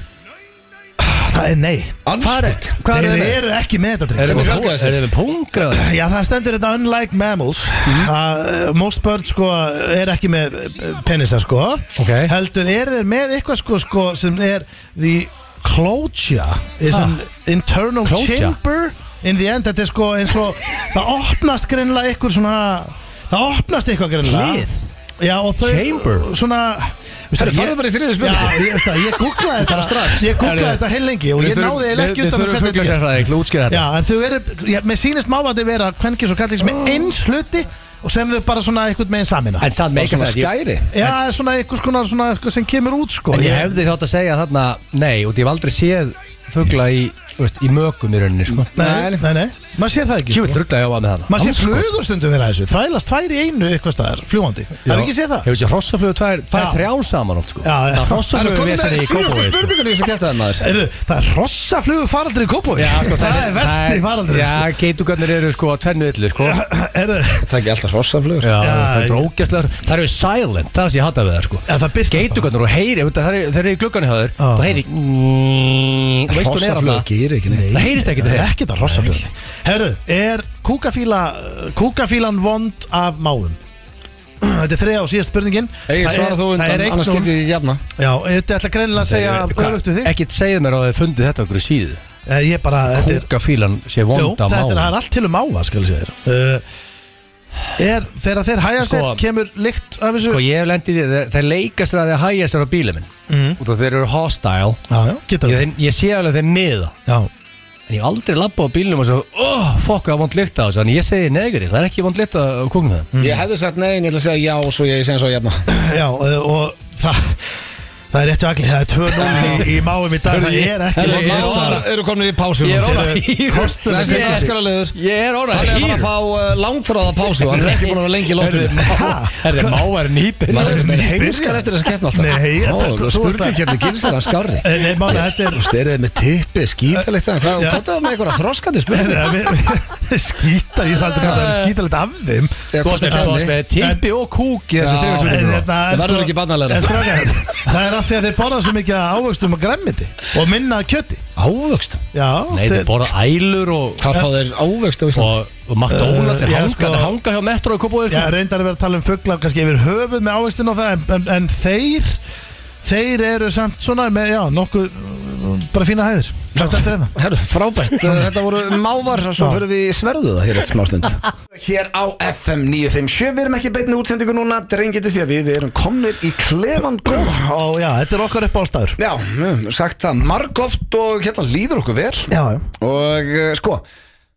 Speaker 2: það er nei
Speaker 1: anspætt
Speaker 3: Hvað
Speaker 2: þeir
Speaker 3: er það?
Speaker 2: eru ekki með þetta
Speaker 3: Er
Speaker 2: drikk
Speaker 3: það
Speaker 2: sko.
Speaker 1: Hvernig
Speaker 3: með punga?
Speaker 1: fjölgaði sér?
Speaker 3: Er það með punga?
Speaker 2: Já það stendur þetta unlike mammals að uh, most birds sko er ekki með uh, penisa sko
Speaker 3: Ok.
Speaker 2: heldur er þeir með eitthvað sko, sko sem er the closure is an
Speaker 3: Ah.
Speaker 2: internal
Speaker 3: Closure?
Speaker 2: chamber in the end þetta er sko eins og það opnast greinlega eitthvað svona það opnast eitthvað greinlega
Speaker 3: Hlið?
Speaker 2: Já og þau
Speaker 3: Chamber?
Speaker 2: svona
Speaker 1: Það er farið bara í þriðið
Speaker 2: Já,
Speaker 1: spil
Speaker 2: ég, veist það, ég googlaði þetta Ég googlaði
Speaker 3: Herri,
Speaker 2: þetta heil lengi og ég náði eiginlega ekki utan
Speaker 3: Við
Speaker 2: um
Speaker 3: þurfum
Speaker 2: hvernig þetta
Speaker 3: fuggla
Speaker 2: gerist.
Speaker 3: sér það, ekki útskýra
Speaker 2: Já,
Speaker 3: þetta
Speaker 2: en þau eru, já, mér sýnist mávandi vera kvenkins og kallins með eins hluti og sem þau bara svona einhvern meginn samina
Speaker 3: En samt meika
Speaker 1: Svona
Speaker 3: sér ég-
Speaker 1: skæri
Speaker 2: Já, svona einhvers konar svona eitthvað sem kemur út sko
Speaker 3: En ég hefði þátt að segja þarna, nei, og ég hef aldrei séð fugla í, þú veist, í mögum í rauninni, sko
Speaker 2: Nei, nei, nei, maður sér það ekki
Speaker 3: Kjúið
Speaker 2: sko.
Speaker 3: drullu að jáa með þarna
Speaker 2: Maður sér flugur stundum vera þessu, þvælast tvær í einu eitthvað staðar, fljúandi Hefur ekki séð það?
Speaker 3: Hefur sér hrossaflugur tvær, tvær
Speaker 2: Já.
Speaker 3: þrjár saman oft, sko
Speaker 2: Já, já.
Speaker 3: Það
Speaker 1: Það
Speaker 3: er
Speaker 1: eru
Speaker 3: hrossaflugur
Speaker 1: komið með
Speaker 3: í
Speaker 1: síðustu
Speaker 3: Kópavogi, sko.
Speaker 1: spurningunni sem kæfti það maður
Speaker 2: Heyrðu, Það er hrossaflugur faraldri í Kópói
Speaker 3: sko,
Speaker 2: sko, Það er vesti faraldri
Speaker 3: Já, geitugarnir eru sko að tvennu yllu sko Já,
Speaker 2: sko Heyrðu,
Speaker 1: Það er ekki alltaf hrossaflugur
Speaker 3: það er
Speaker 2: ég-
Speaker 3: drókjastlegar Það eru silent, það er það sem ég hata við það sko
Speaker 2: Já, það birtist bara.
Speaker 3: Geitugarnir og heyri, það er, þeir eru í gluggan hjá þér
Speaker 2: Já.
Speaker 3: Það heyri Þú veist hún er að
Speaker 1: Hrossaflugur gerir ekki neitt
Speaker 3: Það heyrist ekki
Speaker 2: það
Speaker 3: til
Speaker 2: er
Speaker 3: þeir
Speaker 2: ekkert að hrossaflugur Herru, er kúkafíla eh, kúkafílan vond af máðum? Þetta er þriða og síðast spurningin
Speaker 1: Egil
Speaker 2: Það er-
Speaker 1: svara þú
Speaker 2: það er
Speaker 1: undan,
Speaker 2: eitt
Speaker 1: annars
Speaker 2: núll.
Speaker 1: getið ég jafna
Speaker 2: Já, þetta ætla greinilega að segja öfugt við þig
Speaker 3: Ekki segið mér að þið fundið þetta okkur í síðu
Speaker 2: Eh, Ég bara, þetta er
Speaker 3: Kúkafílan sé
Speaker 2: Jú,
Speaker 3: vonda
Speaker 2: þetta er, það
Speaker 3: máum
Speaker 2: er allt til um áa, skal ég segja þér uh, Er, þegar þeir hæja
Speaker 3: Sko-
Speaker 2: sér, kemur lykt af þessu
Speaker 3: Sko ég hef lendið í því, þeir- þeir leika sér að þeir hæja sér á bílið minn
Speaker 2: Mhm.
Speaker 3: Út af þeir eru hostile
Speaker 2: Já, já, geta
Speaker 3: Ég,
Speaker 2: það
Speaker 3: þeim- ég sé alveg að þeir miða
Speaker 2: Já,
Speaker 3: En ég hef aldrei labbað á bílnum og svo Oh, fokk, það er vond lykt á þessu Þannig ég segi negri, það er ekki vond lykt á kúknum það
Speaker 1: Mm. Ég hefði sagt nei, en ég ætla að segja já Svo ég segi svo jafna
Speaker 2: já eh, og það Það er réttu agli, það er 2-0 í, í máum í dag Það er ekki
Speaker 1: Herru,
Speaker 2: langt
Speaker 3: ég-
Speaker 2: að fara.
Speaker 1: mávar eru komin í pásu
Speaker 3: Ég er
Speaker 1: núna.
Speaker 3: ónað hýr
Speaker 2: kostum
Speaker 1: Þessi er skræliður
Speaker 3: Ég er ónað
Speaker 1: Hann er að fara
Speaker 3: hýr
Speaker 1: að fá uh, langþráða pásu Hann er ekki búin að vera lengi í loftinu
Speaker 3: Herði, mávar nýpinn
Speaker 1: Maður er með heimskar
Speaker 2: byrja.
Speaker 1: eftir þessa keppna alltaf
Speaker 2: Nei, ég-
Speaker 1: Ó,
Speaker 2: þetta- þú ert
Speaker 1: Spurning hérna gils er hann [LAUGHS] skárri
Speaker 2: Eh, Nei, mána, þetta er
Speaker 1: Sterið með tippi, skítalegt Hvað hvað er það með einhverja þroskandi spurning?
Speaker 2: Eh, [LAUGHS] við- við- Skíta, ég sagði að það er skítalegt af þeim
Speaker 1: Já,
Speaker 3: Þú
Speaker 1: hvort
Speaker 3: varst
Speaker 1: er
Speaker 3: með- þú varst
Speaker 1: kemni?
Speaker 3: með tippi og kúk í þessu
Speaker 1: Já.
Speaker 3: tegum
Speaker 2: En
Speaker 3: sem
Speaker 2: hérna,
Speaker 1: Það
Speaker 2: en
Speaker 1: verður
Speaker 2: sko-
Speaker 1: ekki barnalegra.
Speaker 2: en strákar, Það er af því að þeir borða svo mikið af ávöxtum og græmmiti og minna af kjöti
Speaker 1: Ávöxt
Speaker 2: Já,
Speaker 3: Nei, þið borðað ælur og
Speaker 1: Hvað fá þeir ávöxt á Íslandi?
Speaker 3: og, og McDonalds
Speaker 2: Eh,
Speaker 3: er
Speaker 2: já,
Speaker 3: hanga,
Speaker 2: sko-
Speaker 3: sko, hanga hjá Metro og Kópói
Speaker 2: Já,
Speaker 3: sko.
Speaker 2: reyndar að vera að tala um fuggla kannski yfir höfuð með ávöxtin og það en, en, en þeir, þeir eru samt svona með, já, nokkuð mm, bara fína hæðir Það stendur hérna
Speaker 1: [LAUGHS] Herru, frábært, þetta voru mávar Svo fyrir við í sverðu það hér eftir smástund hér á FM 957 Við erum ekki í beinni útsendingu núna, drengið því að við erum komnir í klefan góða
Speaker 2: Ó, já, þetta er okkar upp ástæður
Speaker 1: Já, við höfum sagt það margóft og hérna líður okkur vel
Speaker 2: Já, já
Speaker 1: Og eh, sko,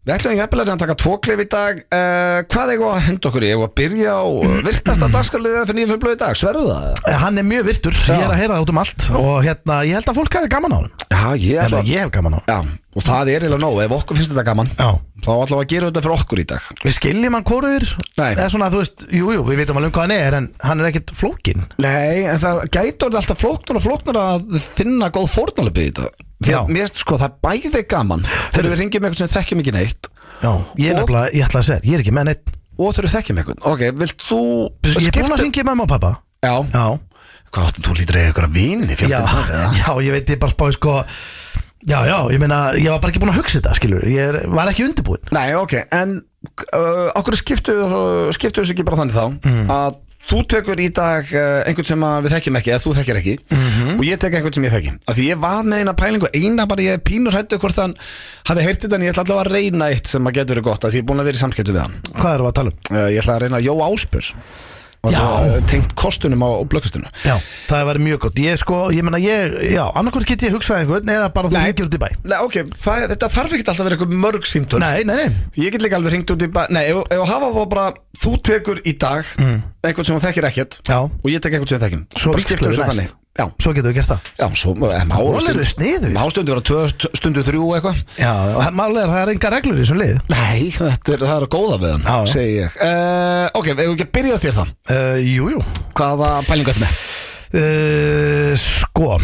Speaker 1: við ætlum ekki að taka tvo klef í dag uh, Hvað eigum við að henda okkur í? Eigum við að byrja á eh, virtasta dagskalið fyrir 9.5 blöð í dag? Sverðu það?
Speaker 2: Eh, Hann er mjög virtur, ég er að heyra það út um allt Og hérna, ég held að fólk hafi gaman á hann
Speaker 1: Já, ég
Speaker 2: Ég,
Speaker 1: ætla að
Speaker 2: ég hef gaman á hann
Speaker 1: Já, og það er eiginlega nóg, ef okkur finnst þetta gaman
Speaker 2: Já.
Speaker 1: Þá ætlum við að gera þetta fyrir okkur í dag
Speaker 2: Við skiljum hann hvorur
Speaker 1: Nei.
Speaker 2: Eða svona, þú veist, jú, jú, við veitum alveg um hvað hann er En hann er ekkit flókin
Speaker 1: Nei, en það gætur þetta alltaf flóknar og flóknar að finna góð fórnalöpið í þetta Því
Speaker 2: Já.
Speaker 1: að mér veist sko, það er bæði gaman Þegar við ringjum eitthvað sem þekkjum ekki neitt
Speaker 2: Já, ég er
Speaker 1: Og-
Speaker 2: nefnilega, ég ætla að segja, þér, ég er ekki með neitt
Speaker 1: Og þegar við þekkjum eitthvað Ok, vilt þú
Speaker 2: Ég er búin að
Speaker 1: skipta-
Speaker 2: hringja í mamma og pappa
Speaker 1: Já,
Speaker 2: Já,
Speaker 1: hvað áttu, þú lítur eða ykkur að vini
Speaker 2: já,
Speaker 1: fjöldin það eða?
Speaker 2: já, ég veit, ég bara spáði sko Já, já, ég meina, ég var bara ekki búin að hugsa þetta, skilur Ég er, var ekki undirbúin
Speaker 1: Nei, ok, en uh, okkur skiptu, skiptu þessu ekki bara þannig þá
Speaker 2: Mhm.
Speaker 1: Að þú tekur í dag uh, einhvern sem að við þekkjum ekki Eða þú þekkir ekki
Speaker 2: Mhm.
Speaker 1: Og ég tek einhvern sem ég þekki Af Því ég var með eina pælingu Eina bara ég pínur hættu hvort hann hafi heyrt þetta En ég ætla allavega að reyna eitt sem að getur verið gott af Því ég er búin að vera í samskiptu við hann
Speaker 2: Hvað erum við að tala um?
Speaker 1: Eh, Ég ætla að reyna Jó Áspjörs
Speaker 2: Já.
Speaker 1: Tengt kostunum á, á blökkastinu
Speaker 2: Já, það er verið mjög gott Ég sko, ég meina, ég, já, annarkvort get ég hugsað einhvern Eða bara þú
Speaker 1: Nei.
Speaker 2: hringjur út í bæ
Speaker 1: Nei, ok, það, þetta þarf ekki alltaf að vera eitthvað mörg símtöl
Speaker 2: Nei, nei, nei,
Speaker 1: Ég get líka alveg hringt út í bara Nei, ef, ef hafa þá bara Þú tekur í dag
Speaker 2: Mm.
Speaker 1: Einhvern sem hún þekkir ekkert
Speaker 2: Já.
Speaker 1: Og ég tek einhvern sem ég þekkim
Speaker 2: Svo
Speaker 1: Bara skiptum
Speaker 2: víxlum við
Speaker 1: þessu
Speaker 2: næst.
Speaker 1: þannig Já,
Speaker 2: svo getum við gert það
Speaker 1: já, svo eh, má
Speaker 2: Hún
Speaker 1: stund-
Speaker 2: eru sniðugir.
Speaker 1: Má stundu vera tvö, st- stundu þrjú og eitthvað
Speaker 2: Já, og það- málið er að það er enga reglur í þessum lið
Speaker 1: Nei, þetta er, það er að góða við hann
Speaker 2: Já, já.
Speaker 1: Segir ég uh, Ok, ef við ekki að byrja á þér það
Speaker 2: uh, Jú, jú
Speaker 1: Hvaða pælingu þetta með?
Speaker 2: uh, Sko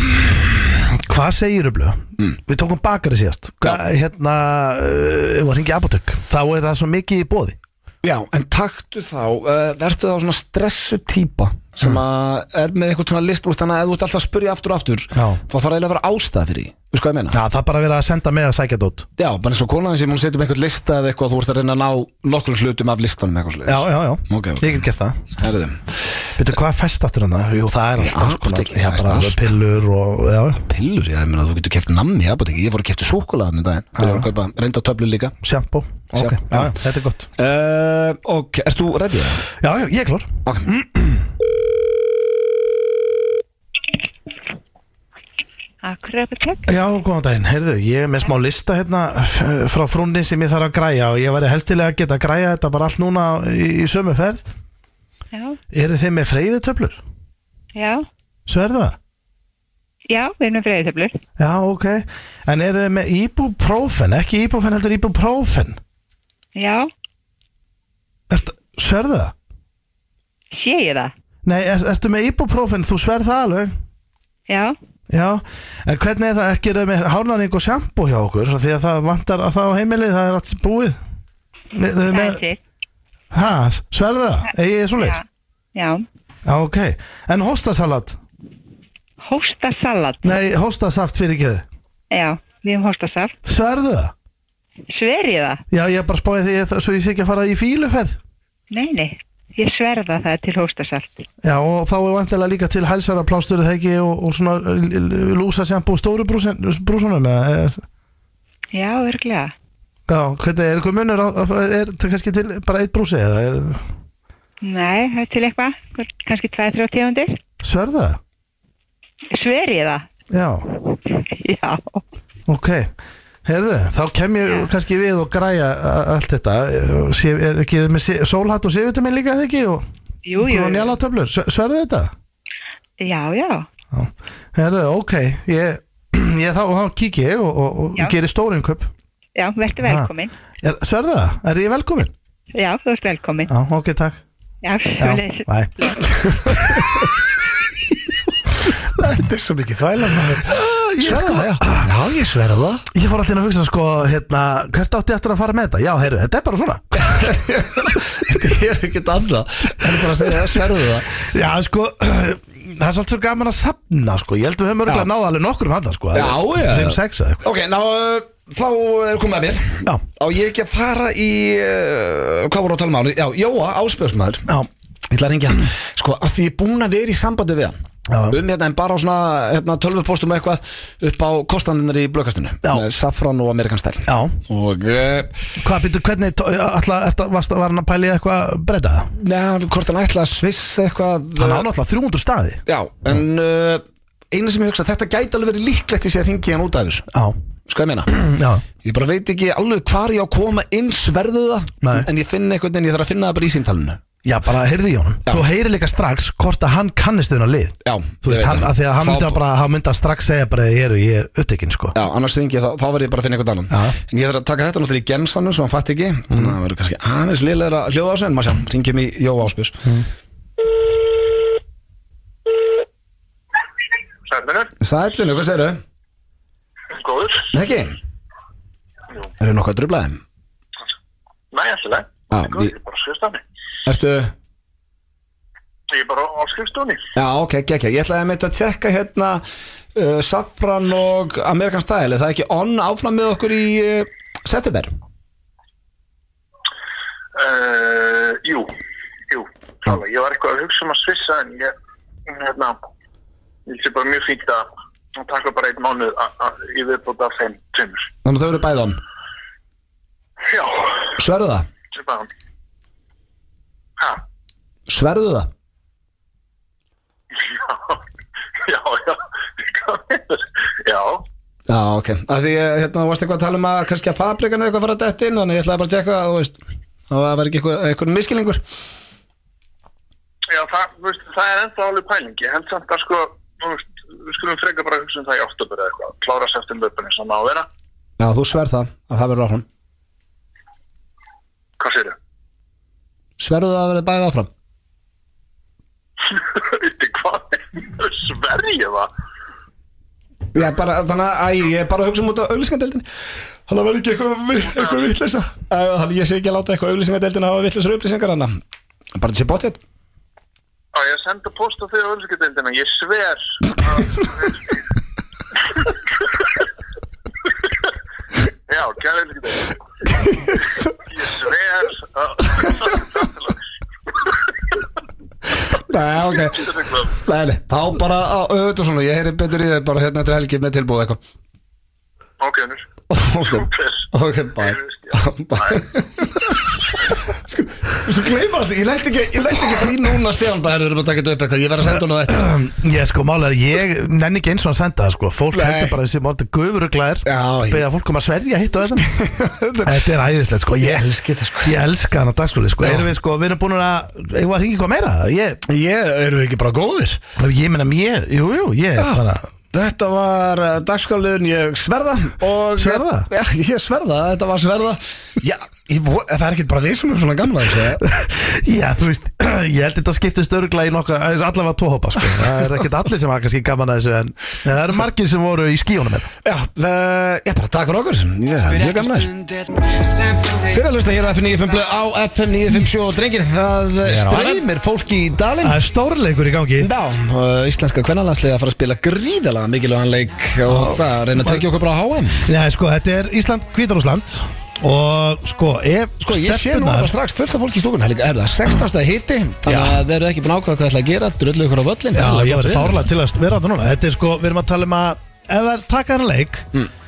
Speaker 2: Hvað segir Rublu?
Speaker 1: Mm.
Speaker 2: Við tókum bakari síðast Hvað, hérna, uh, var hringi apotök Þá er það svo mikið í bóði
Speaker 1: Já, en taktu þá uh, Vertu þá svona stressu típa Sem að er með einhvern svona list úr Þannig að ef þú ert alltaf að spyrja aftur og aftur
Speaker 2: Já.
Speaker 1: Þá þarf eiginlega að vera ástæða fyrir því Þú sko hvað ég meina?
Speaker 2: Já, það er bara að vera að senda með að sækja dót
Speaker 1: Já, bara eins og konan sem hún setur með eitthvað lista eða eitthvað, þú ert að reyna að ná nokkrum hlutum af listanum eitthvað sluðis.
Speaker 2: Já, já, já,
Speaker 1: Ok, ok.
Speaker 2: ég get gert það
Speaker 1: Herðu,
Speaker 2: Veitu hvað er fest aftur hann? Jú, það er
Speaker 1: Í
Speaker 2: alltaf
Speaker 1: apóteki,
Speaker 2: Já,
Speaker 1: það er
Speaker 2: bara
Speaker 1: allt.
Speaker 2: pillur og, já,
Speaker 1: pillur, já, ég meina þú getur keft nammi, já, búið ekki, ég fór að kefti súkulaðan í um daginn, byrjar að kaupa reyndatöflu líka.
Speaker 2: sjampo Ok,
Speaker 1: Sjampo,
Speaker 2: já,
Speaker 1: já.
Speaker 2: já, þetta er gott
Speaker 1: Uh, ok, ert þú reddið það?
Speaker 2: Já, já, ég er klár
Speaker 7: Akkur apotek?
Speaker 2: Já, góðan daginn, heyrðu, ég er með smá lista hérna f- frá frúnni sem ég þarf að græja og ég væri helstilega að geta að græja þetta bara allt núna í, í sömu ferð
Speaker 7: Já,
Speaker 2: Eru þið með freyðutöflur?
Speaker 7: já,
Speaker 2: Svo er það?
Speaker 7: [LAUGHS] já, við erum með freyðitöflur.
Speaker 2: Já, ok En eru þið með ibuprofen? Ekki ibuprofen heldur ibuprofen
Speaker 7: Já,
Speaker 2: Ert, Svo er það?
Speaker 7: sé ég það?
Speaker 2: Nei, er, ertu með ibuprofen? Þú sverð það alveg
Speaker 7: Já,
Speaker 2: Já, en hvernig er það ekki er það með hárnæring og sjampo hjá okkur Svo því að það vantar að það á heimilið, það er allt búið Er þið
Speaker 7: það
Speaker 2: með,
Speaker 7: er sitt.
Speaker 2: hæ, sverðu það, eigi ég svo
Speaker 7: Já, já.
Speaker 2: Já, ok. En hóstasalat?
Speaker 7: Hóstasalat.
Speaker 2: Nei, hóstasaft fyrir ekki þið.
Speaker 7: Já, við erum hóstasalat.
Speaker 2: Sverðu það?
Speaker 7: Sver ég það?
Speaker 2: Já, ég bara spáði því að- svo ég sé ekki að fara í fíluferð.
Speaker 7: Nei, nei, ég sverða það er til hóstasalt.
Speaker 2: Já, og þá er vantilega líka til hælsara plástur eða ekki og, og svona lúsa sjampo og stóru brúsin- brúsunum. eða er-
Speaker 7: Já, örglega.
Speaker 2: Já, hvernig er eitthvað munur? á- á- Er það kannski til bara eitt brúsi eða er...
Speaker 7: Nei, það er til eitthvað, hvort- kannski 2-3 tegundir.
Speaker 2: Sverðu það?
Speaker 7: Sver ég það? [LAUGHS]
Speaker 2: Já,
Speaker 7: Já,
Speaker 2: ok. Herðu, þá kem ég kannski við og græja a- allt þetta. Sé, er ekki með sé- sólhatt og sévitamin líka eða ekki og
Speaker 7: jú, jú.
Speaker 2: grónjála töflur? Sverðu þetta?
Speaker 7: Já, já,
Speaker 2: Herðu, ok, ég, [CLEARS THROAT] ég þá, þá kík ég og, og, og
Speaker 7: Já.
Speaker 2: gerir stórin köp.
Speaker 7: já, verður velkomin.
Speaker 2: Sverðu það? Er ég velkomin?
Speaker 7: Já, þú ert velkomin.
Speaker 2: Já, ok, takk.
Speaker 7: Já,
Speaker 2: Já,
Speaker 7: svoleiðis.
Speaker 2: bæ.
Speaker 1: [LAUGHS] Þetta er svo mikið þvæla maður.
Speaker 2: Sverðu það, já.
Speaker 1: Já, ég sverða það.
Speaker 2: Ah, sko- Ég fór alltaf að hugsa, sko, hérna, hvert átti ég eftir að fara með þetta? Já, heyrðu, þetta er bara svona.
Speaker 1: [LAUGHS] Þetta er ekkert annað. Það er bara að segja, sverðu það.
Speaker 2: Já, sko, [CLEARS THROAT] það er svolítið svo gaman að sapna, sko. Ég held við höfum örgulega náða alveg nokkur um handa, sko.
Speaker 1: Já, já.
Speaker 2: 5-6 eða eitthvað.
Speaker 1: Ok, ná, uh, þá er komið að mér.
Speaker 2: Já.
Speaker 1: Á ég ekki að fara í, uh, hvað voru að tala um áli? Já, Jóa, áspjörsmaður.
Speaker 2: Já,
Speaker 1: Ég ætla að ringja hann Sko, að því ég er búin að vera í sambandi við hann um hérna en bara á svona hérna, tölvupostum og eitthvað upp á kostanirnar í blökastunum
Speaker 2: Já.
Speaker 1: með safran og amerikanstæl
Speaker 2: Já,
Speaker 1: og eh,
Speaker 2: hvað byrju, hvernig tó- ætla, ertu, varst, var hann að pæli eitthvað breyta það?
Speaker 1: neðan hvort hann ætla að svissa eitthvað
Speaker 2: Hann á
Speaker 1: eh,
Speaker 2: náttúrulega 300 staði
Speaker 1: Já, en uh, eina sem ég hugsa þetta gæti alveg verið líklegt í sig að hringi hann út af þessu
Speaker 2: Já,
Speaker 1: Sko
Speaker 2: [CLEARS THROAT]
Speaker 1: ég meina
Speaker 2: já,
Speaker 1: Ég bara veit ekki alveg hvar ég á að koma inn sverðu það
Speaker 2: Nei.
Speaker 1: En ég finn einhvern veginn, ég þarf að finna það bara í símtalinu
Speaker 2: já bara heyrði í honum
Speaker 1: Já.
Speaker 2: Þú heyrir líka strax hvort að hann kannist þennan lið
Speaker 1: Já,
Speaker 2: Þú veist,
Speaker 1: ég veit
Speaker 2: hann,
Speaker 1: það.
Speaker 2: að því að hann
Speaker 1: Þá-
Speaker 2: myndi, að bara, hann myndi að strax segja bara ég er, ég er upptekinn sko
Speaker 1: Já, annars ringi ég, þá, þá verð ég bara að finna einhvern annan
Speaker 2: Já. Mm.
Speaker 1: En ég þarf að taka þetta náttúrulega í gemsanum svo hann fatt ekki Þannig að það verður kannski aðeins liðlega að hljóða á þessu En maður sjá, ringjum í Jó Áspjörs
Speaker 2: Mm.
Speaker 8: Sætmennur,
Speaker 1: Sælinu, hvað segirðu?
Speaker 8: góður,
Speaker 1: Nei ekki?
Speaker 8: Jú.
Speaker 1: Eru nokkuð að drublaði?
Speaker 8: nei, alltaf
Speaker 1: Já,
Speaker 8: Góður,
Speaker 1: við-
Speaker 8: ég er bara á skrifstofunni
Speaker 1: Ertu?
Speaker 8: Ég er bara á skrifstofunni
Speaker 1: Já, ok, ekki, ekki Ég ætlaði að meita að tjekka hérna uh, Safran og Amerikan Style Er það ekki on áfram með okkur í uh, september?
Speaker 8: uh, Jú, jú, klálega. ég var eitthvað að hugsa um að svissa en ég, hérna ég sé bara mjög fínt að að taka bara einn mánuð að- að- í viðbúta af þeim tveimur.
Speaker 1: Þannig að þau eru bæði on
Speaker 8: Já,
Speaker 1: Sverðu það?
Speaker 8: sem bara Hæ,
Speaker 1: Sverðu það?
Speaker 8: [LAUGHS] já, já, já, hvað meinar? já,
Speaker 1: Já, ok. Af því, eh, hérna, þú varst eitthvað að tala um að kannski að fabrikan eða eitthvað fara að detta inn, þannig ég ætlaði bara að tjekka að, þú veist, og það var ekki eitthvað, eitthvað miskilningur.
Speaker 8: já, það, þú veist, það er ennþá alveg pæling, ég held samt að sko, þú veist, við skulum frekar bara hugsa um það í oktober eða eitthvað, klára sæftum löpunni sem á að vera,
Speaker 1: Já, þú sverð það, að það verður áfram.
Speaker 8: hvað [LAUGHS] séu?
Speaker 1: Sverðu það að verður bæðið áfram?
Speaker 8: Þetta er hvað er Sverige það?
Speaker 1: Já, bara, þannig að, æ, ég er bara að hugsa um út á auglýsingadeildin. Þannig að verður ekki eitthvað, eitthvað vitleisa. Þannig ég sé ekki að láta eitthvað auglýsingadeildin hafa vitleisar upplýsingar hana. Bara þessi bóttið.
Speaker 8: Á ég að senda post á því á öllskedeildina, ég sver [LAUGHS] að... Já, kæra öllskedeildina. Ég sver að...
Speaker 1: Nei, ok. Nei, nei, þá bara, á, auðvitað svona, ég heyri betur í þeir bara hérna eftir helgi með tilbúið eitthvað.
Speaker 8: Ok, nýr.
Speaker 1: Ok, ok, bye [LAUGHS] Bye Sko, sko gleyma alltaf, ég lætti ekki Ég lætti ekki fyrir núna síðan bara erum að taka þetta upp eitthvað, ég verð að senda hún á þetta
Speaker 2: Ég sko málega, ég nenni ekki eins og hann senda það sko Fólk
Speaker 1: Nei.
Speaker 2: heldur bara þessi málta gufuruglaðir
Speaker 1: Já, ég-
Speaker 2: Beða fólk um að sverja hitt
Speaker 1: [LAUGHS]
Speaker 2: og þetta Þetta er æðislegt sko Ég,
Speaker 1: elski þetta, sko.
Speaker 2: Ég elska hann á dagskóli sko Erum við sko, við erum búin að Ég var að hringa eitthvað meira Ég,
Speaker 1: Ég eru ekki bara góðir
Speaker 2: ég menna mér, jú, jú, ég
Speaker 1: Já.
Speaker 2: bara
Speaker 1: Ah, Þetta var uh, dagskáliðun ég sverða og,
Speaker 2: Sverða?
Speaker 1: Já, ég sverða, þetta var sverða Já, ég, vo- það er ekki bara við sem erum svona sko. gamla þessu
Speaker 2: [LAUGHS] Já, þú veist, [CLEARS THROAT] ég held þetta skiptist örgla í nokkra Allavega tóhópa sko Það er ekkert allir sem hafa kannski gaman að þessu En en það eru margir sem voru í hérna. skíunum með
Speaker 1: Já, það, ég bara takk fyrir okkur Ég er mjög gamla þessu Fyrir að hlusta hér á FM 957 á FM 957 og drengir það
Speaker 3: á
Speaker 1: streymir fólki í dalinn
Speaker 2: Það er stórleikur í gangi
Speaker 1: Já, uh, íslenska kvennalandsliði að fara að spila gríðalega mikilvægan leik og það að reyna að tekja okkur bara á HM
Speaker 2: Nei, sko, þetta er Ísland, Hvítarúsland Og sko, ef
Speaker 1: Sko, ég sé nú bara strax fullt af fólki í stúkun er það 16. hitti, þannig
Speaker 2: Já.
Speaker 1: að þeir eru ekki búin að ákvæða hvað ætla að gera, drullu ykkur á völlin
Speaker 2: Já,
Speaker 1: Það er
Speaker 2: ég
Speaker 1: gott
Speaker 2: var
Speaker 1: veður.
Speaker 2: fárlega til að vera þetta núna Þetta er sko, við erum að tala um að Ef það er taka hann leik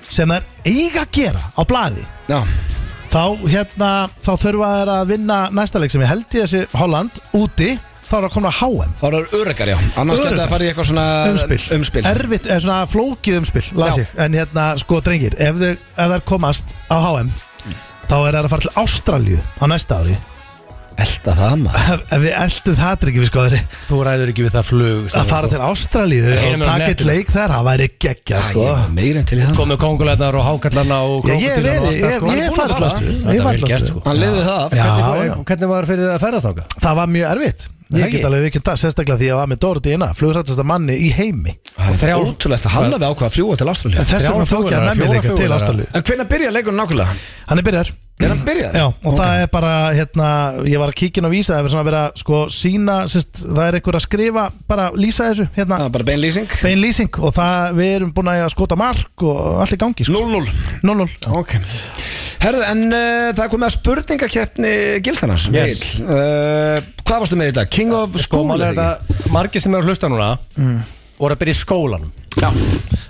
Speaker 2: Sem það er eiga að gera á blaði
Speaker 1: Mm. Já,
Speaker 2: Þá, hérna, þá þurfa þær að vinna næsta leik sem ég held í þessi Holland Úti, þá er að koma að HM
Speaker 1: þá eru öryggar, já Annars
Speaker 2: Öruggar.
Speaker 1: geta það að fara í eitthvað svona
Speaker 2: Umspil,
Speaker 1: umspil.
Speaker 2: Erfitt, eða svona flókið umspil, las
Speaker 1: Já.
Speaker 2: ég En hérna, sko, drengir, ef, þau, ef það er komast á HM Þá er það að fara til Ástralju á næsta ári
Speaker 1: Elta það maður
Speaker 2: Ef, ef við eldum það, drengir, við sko þeirri
Speaker 3: Þú ræður ekki við það flug sko.
Speaker 2: að fara til Ástralíu
Speaker 3: Heimur
Speaker 2: og
Speaker 3: á
Speaker 2: taka eitt
Speaker 3: netinu.
Speaker 2: leik þar, það væri geggja sko.
Speaker 1: Ég var meirinn til í það
Speaker 3: Komið kongulegnar og hákallarna og
Speaker 2: Ég- ég
Speaker 3: krókódílarna og
Speaker 2: verið-
Speaker 3: allt það,
Speaker 2: ég- ég
Speaker 3: sko. Hann er búinn að
Speaker 2: fara til
Speaker 3: fara.
Speaker 2: Ástralíu.
Speaker 3: Þetta
Speaker 2: Ég
Speaker 3: er
Speaker 2: fara
Speaker 3: vel
Speaker 2: til
Speaker 3: gert,
Speaker 2: Ástralíu.
Speaker 3: sko.
Speaker 1: Hann liði það
Speaker 2: Já,
Speaker 3: Hvernig fór-
Speaker 2: já.
Speaker 3: Hvernig var fyrir það að ferða þáka?
Speaker 2: það var mjög erfitt
Speaker 3: Það
Speaker 2: ég
Speaker 3: ekki?
Speaker 2: get alveg vikið það, sérstaklega því að ég var með Dóri Dina flugrættasta manni í heimi
Speaker 1: Það er
Speaker 3: Þrjár-
Speaker 1: ótrúlegt að hann hafi ákvað að fljúa til Ástralja
Speaker 2: en þess
Speaker 3: Þrjár
Speaker 2: vegna tók ég
Speaker 3: flugvélar,
Speaker 2: hann með mér
Speaker 3: fjórar
Speaker 2: líka til
Speaker 3: flugvélar.
Speaker 2: Ástralíu
Speaker 1: En hvenær byrja leikunum nákvæmlega?
Speaker 2: hann er byrjar
Speaker 1: Er hann byrjað?
Speaker 2: Já, og það er bara, hérna, ég var að kíkja inn á vísa, það er svona að vera, sko, sína, sérst, það er einhver að skrifa, bara lýsa þessu, hérna,
Speaker 1: Það er bara beinlýsing
Speaker 2: bein lýsing og það, við erum búin að skota mark og allt í gangi, sko,
Speaker 1: 0-0
Speaker 2: 0-0.
Speaker 1: Ok Herðu, en uh, það er komið að spurningakeppni Gildarnas
Speaker 3: Yes.
Speaker 1: uh, Hvað hvað varstu með þetta? King of
Speaker 3: Sko,
Speaker 1: School
Speaker 3: maður er
Speaker 1: eða ekki?
Speaker 3: þetta, margir sem eru að hlusta núna
Speaker 2: Mm.
Speaker 3: voru að byrja í skólanum
Speaker 1: Já,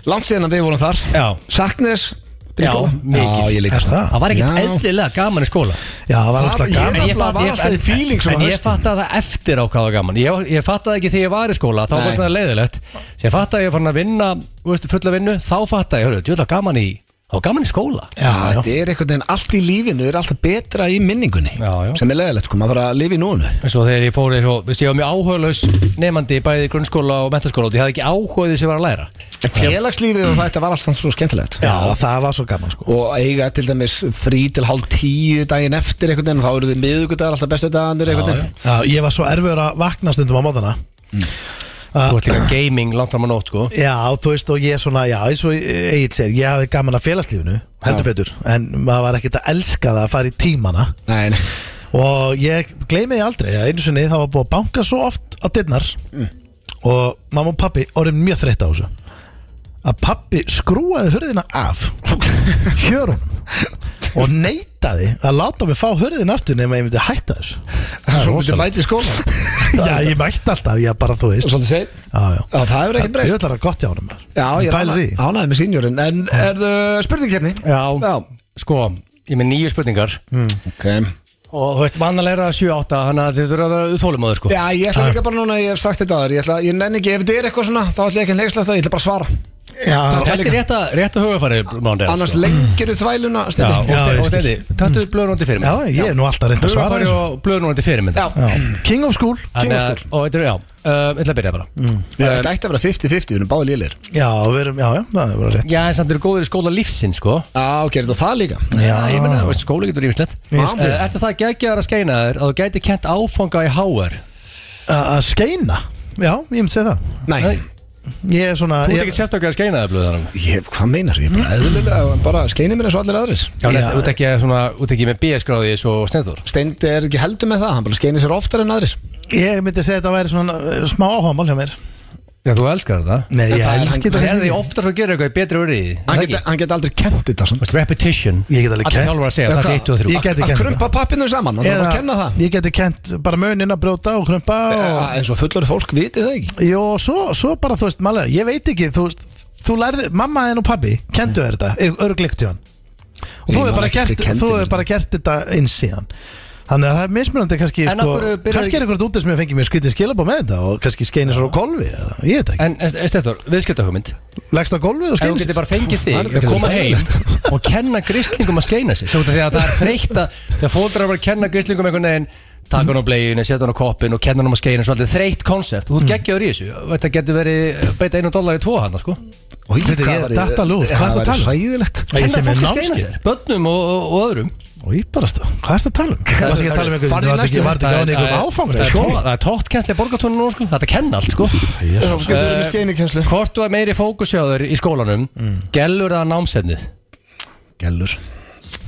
Speaker 1: langt síðan að við vorum þar
Speaker 3: Já.
Speaker 1: Saknes
Speaker 3: Já, mikið.
Speaker 1: Já, ég líka
Speaker 2: Er það?
Speaker 3: Það var ekkert
Speaker 1: Já.
Speaker 3: eðlilega gaman í skóla
Speaker 2: Já, það var alltaf
Speaker 1: Það-
Speaker 2: gaman
Speaker 1: Ég nefnilega var alltaf í feeling svona
Speaker 3: En ég
Speaker 1: haustin.
Speaker 3: fattaði það eftir á hvað var gaman Ég, ég fattaði ekki þegar ég var í skóla Þá
Speaker 4: Nei.
Speaker 3: var það leiðilegt Sér fattaði ég að fann að vinna þú veist, fulla vinnu Þá fattaði ég, hörru, djúlega gaman í Það var gaman í skóla
Speaker 2: Já, já
Speaker 1: Þetta er einhvern veginn allt í lífinu er alltaf betra í minningunni
Speaker 3: Já, já.
Speaker 1: sem er leðilegt sko, maður þarf að lifa í núinu
Speaker 3: En svo þegar ég fór, ég, svo, veist, ég var mjög áhugalaus nemandi bæði í grunnskóla og mentaskóla og ég hafði ekki áhugaði sem var að læra
Speaker 1: Félagslífið og þetta var allt samt svo skemmtilegt
Speaker 2: Já, það var svo gaman sko
Speaker 1: og eiga til dæmis frí til hálf tíu daginn eftir einhvern veginn, þá eru þið miðugudagar alltaf bestu dagarnir einhvern veginn
Speaker 2: Já, ég var svo erfiður að vakna stundum á móðana
Speaker 3: Þú veist líka gaming langt fram á nótt sko
Speaker 2: Já, þú veist, og ég svona, já, eins og Egil segir, ég hafði gaman að félagslífinu, heldur betur En maður var ekkert að elska það að fara í tímana
Speaker 1: Nei, nei.
Speaker 2: Og ég gleymi því aldrei að einu sinni það var búið að banka svo oft á dyrnar Og mamma og pappi orðin mjög þreytt á þessu Að pappi skrúaði hurðina af Hjörunum Og neitaði að láta mig fá hurðina aftur nema ég myndi hætta þessu
Speaker 1: Svo myndi mæti í skóla
Speaker 2: [LAUGHS] Já, ég mætti alltaf, ég bara þú veist
Speaker 1: og svolítið segir
Speaker 2: Já, já
Speaker 1: Já, það hefur ekkert breyst
Speaker 2: Ég ætlar að gott hjá honum maður.
Speaker 1: Já, ég er
Speaker 2: pælir í
Speaker 1: ánæ- ánægður með sínjórin En er þau spurningkefni? Já.
Speaker 3: Sko, ég er með nýju spurningar
Speaker 1: Ok
Speaker 3: Og þú veist, vannalega er það 7-8 Þannig að þið þurfa að vera þólumóður sko
Speaker 1: Já, ég ætla líka bara núna, ég hef sagt þetta aður Ég, ætla, ég nenni ekki, ef þið er eitthvað svona, þá ætla ég ekki að neysla það Ég ætla bara að svara
Speaker 2: Já,
Speaker 3: Þetta er rétt að, rétt að hugafæri Mándi
Speaker 1: Annars lengiru þvæluna
Speaker 3: sko. Já,
Speaker 1: stundum.
Speaker 2: Já, ég
Speaker 3: og
Speaker 2: skil.
Speaker 3: stæði, tættu blöðnóndi fyrir
Speaker 2: já,
Speaker 3: mig
Speaker 2: ég er nú alltaf reynd að svara
Speaker 3: Hugafæri
Speaker 2: þessu
Speaker 3: og blöðnóndi fyrir mig
Speaker 1: Já,
Speaker 2: Já. King of School
Speaker 3: Þannig að, og þetta er, já, um, ætla að byrja bara
Speaker 2: Mm.
Speaker 1: þetta ætti að vera 50-50, við erum báði lélir
Speaker 2: Já, við erum, já, já, það er bara rétt
Speaker 3: Já, en samt eru góður í skóla lífsinn, sko
Speaker 1: Já, gerir þú það líka?
Speaker 2: Já,
Speaker 3: Ég meina, þú veist, skóla getur ímislegt
Speaker 2: Ég
Speaker 3: uh,
Speaker 2: skil.
Speaker 3: Ertu það geggjaðar að skeina þér að þú gæti kent áfanga í HR?
Speaker 2: að að skeina Já, ég myndi segja það
Speaker 1: Nei,
Speaker 2: Ég er svona
Speaker 3: Þú ert
Speaker 2: ég,
Speaker 3: ekki sérstaklega að skeina þér, blöðanum
Speaker 1: ég, hvað meinar, ég er bara eðlilega, bara skeinir mér eins og allir aðrir
Speaker 3: Já,
Speaker 2: Já.
Speaker 3: en þú ert ekki, svona, þú ert ekki með BS-gráði svo Steindur
Speaker 1: Steind er ekki heldur með það, hann bara skeinir sér oftar en aðrir
Speaker 2: ég myndi segja þetta væri svona uh, smá áhámál hjá mér
Speaker 3: Já, þú elskar þetta
Speaker 2: Nei,
Speaker 1: En
Speaker 2: ég
Speaker 1: það er-
Speaker 2: elski
Speaker 1: hann-
Speaker 3: Þú
Speaker 2: þetta
Speaker 3: sér því
Speaker 2: kannski.
Speaker 3: ofta svo gerir eitthvað í betri úr í því,
Speaker 1: Hann
Speaker 3: það ekki?
Speaker 1: geta, hann geta aldrei kent þetta
Speaker 3: Þú
Speaker 1: svona.
Speaker 3: veist, Repetition
Speaker 2: Ég get alveg
Speaker 3: Allir
Speaker 2: kennt.
Speaker 3: þjálfur að segja,
Speaker 1: Já,
Speaker 3: það sé
Speaker 1: hvað?
Speaker 3: 1 og 3
Speaker 2: Ég geti
Speaker 1: Að
Speaker 2: kennt
Speaker 1: krumpa pappinu saman, hann þarf að kenna það
Speaker 2: Ég geti kent bara munin að brjóta og krumpa og,
Speaker 1: Já, eins og fullur fólk viti það ekki
Speaker 2: Jó, svo, svo bara, þú veist, maður Ég veit ekki, þú veist Þú lærði, mamma þinn og pabbi, kentu þér þetta e- Örglikt hjá hann Og
Speaker 1: Ég
Speaker 2: þú hefur
Speaker 1: man
Speaker 2: bara,
Speaker 1: ekki
Speaker 2: gert,
Speaker 1: hver kenndi
Speaker 2: þú
Speaker 1: mér
Speaker 2: hefur bara gert þetta inn síðan Þannig að það er mismunandi kannski
Speaker 3: En af
Speaker 2: sko,
Speaker 3: hverju byrjar-
Speaker 2: Kannski er einhvern út sem ég fengi mjög skrítið skilabá með þetta Og kannski skeinir svo á golfi eða, Ég veit ekki,
Speaker 3: En, Steindur, viðskiptahugmynd
Speaker 2: leggst á golfi og
Speaker 3: En þú
Speaker 2: skeinir
Speaker 3: getur bara fengið
Speaker 1: Það er
Speaker 3: þig að
Speaker 1: ekki
Speaker 3: koma heim
Speaker 1: leiðilegt.
Speaker 3: og kenna grislingum að skeina sig Svo út af því að það er þreytt að þegar fóldrar bara að kenna grislingum einhvern veginn taka hann á bleginu, setja hann á koppin og kenna hann á skeina svolítið þreytt konsept, þú ert
Speaker 2: Mm.
Speaker 3: geggjaður í þessu þetta getur verið eh, beita einu dólar í tvo hann sko.
Speaker 1: Oj,
Speaker 2: Veitir,
Speaker 1: hvað
Speaker 2: ég
Speaker 1: væri-
Speaker 2: datt alveg út, hvað ertu að
Speaker 1: væri
Speaker 2: tala um?
Speaker 1: hræðilegt
Speaker 3: kenna fólki að skeina sér, börnum og, og, og öðrum
Speaker 2: Og ég bara stað, hvað er þetta að tala um? Hvað er þetta að tala um einhvern
Speaker 1: Farðu í
Speaker 2: Var þetta
Speaker 1: næstu.
Speaker 2: ekki- var þetta
Speaker 3: Það
Speaker 2: ekki Sko? á
Speaker 3: er-
Speaker 2: einhverjum
Speaker 3: það er-
Speaker 2: áfang
Speaker 3: það er tó- það er tótt kennsli í borgartónu nú sko. þetta kenna allt sko.
Speaker 1: Þá getur við með skeinikenslu
Speaker 3: hvort þú er meiri fókusjáður í skólanum
Speaker 2: Mm.
Speaker 3: gellur það námsefnið
Speaker 1: Gellur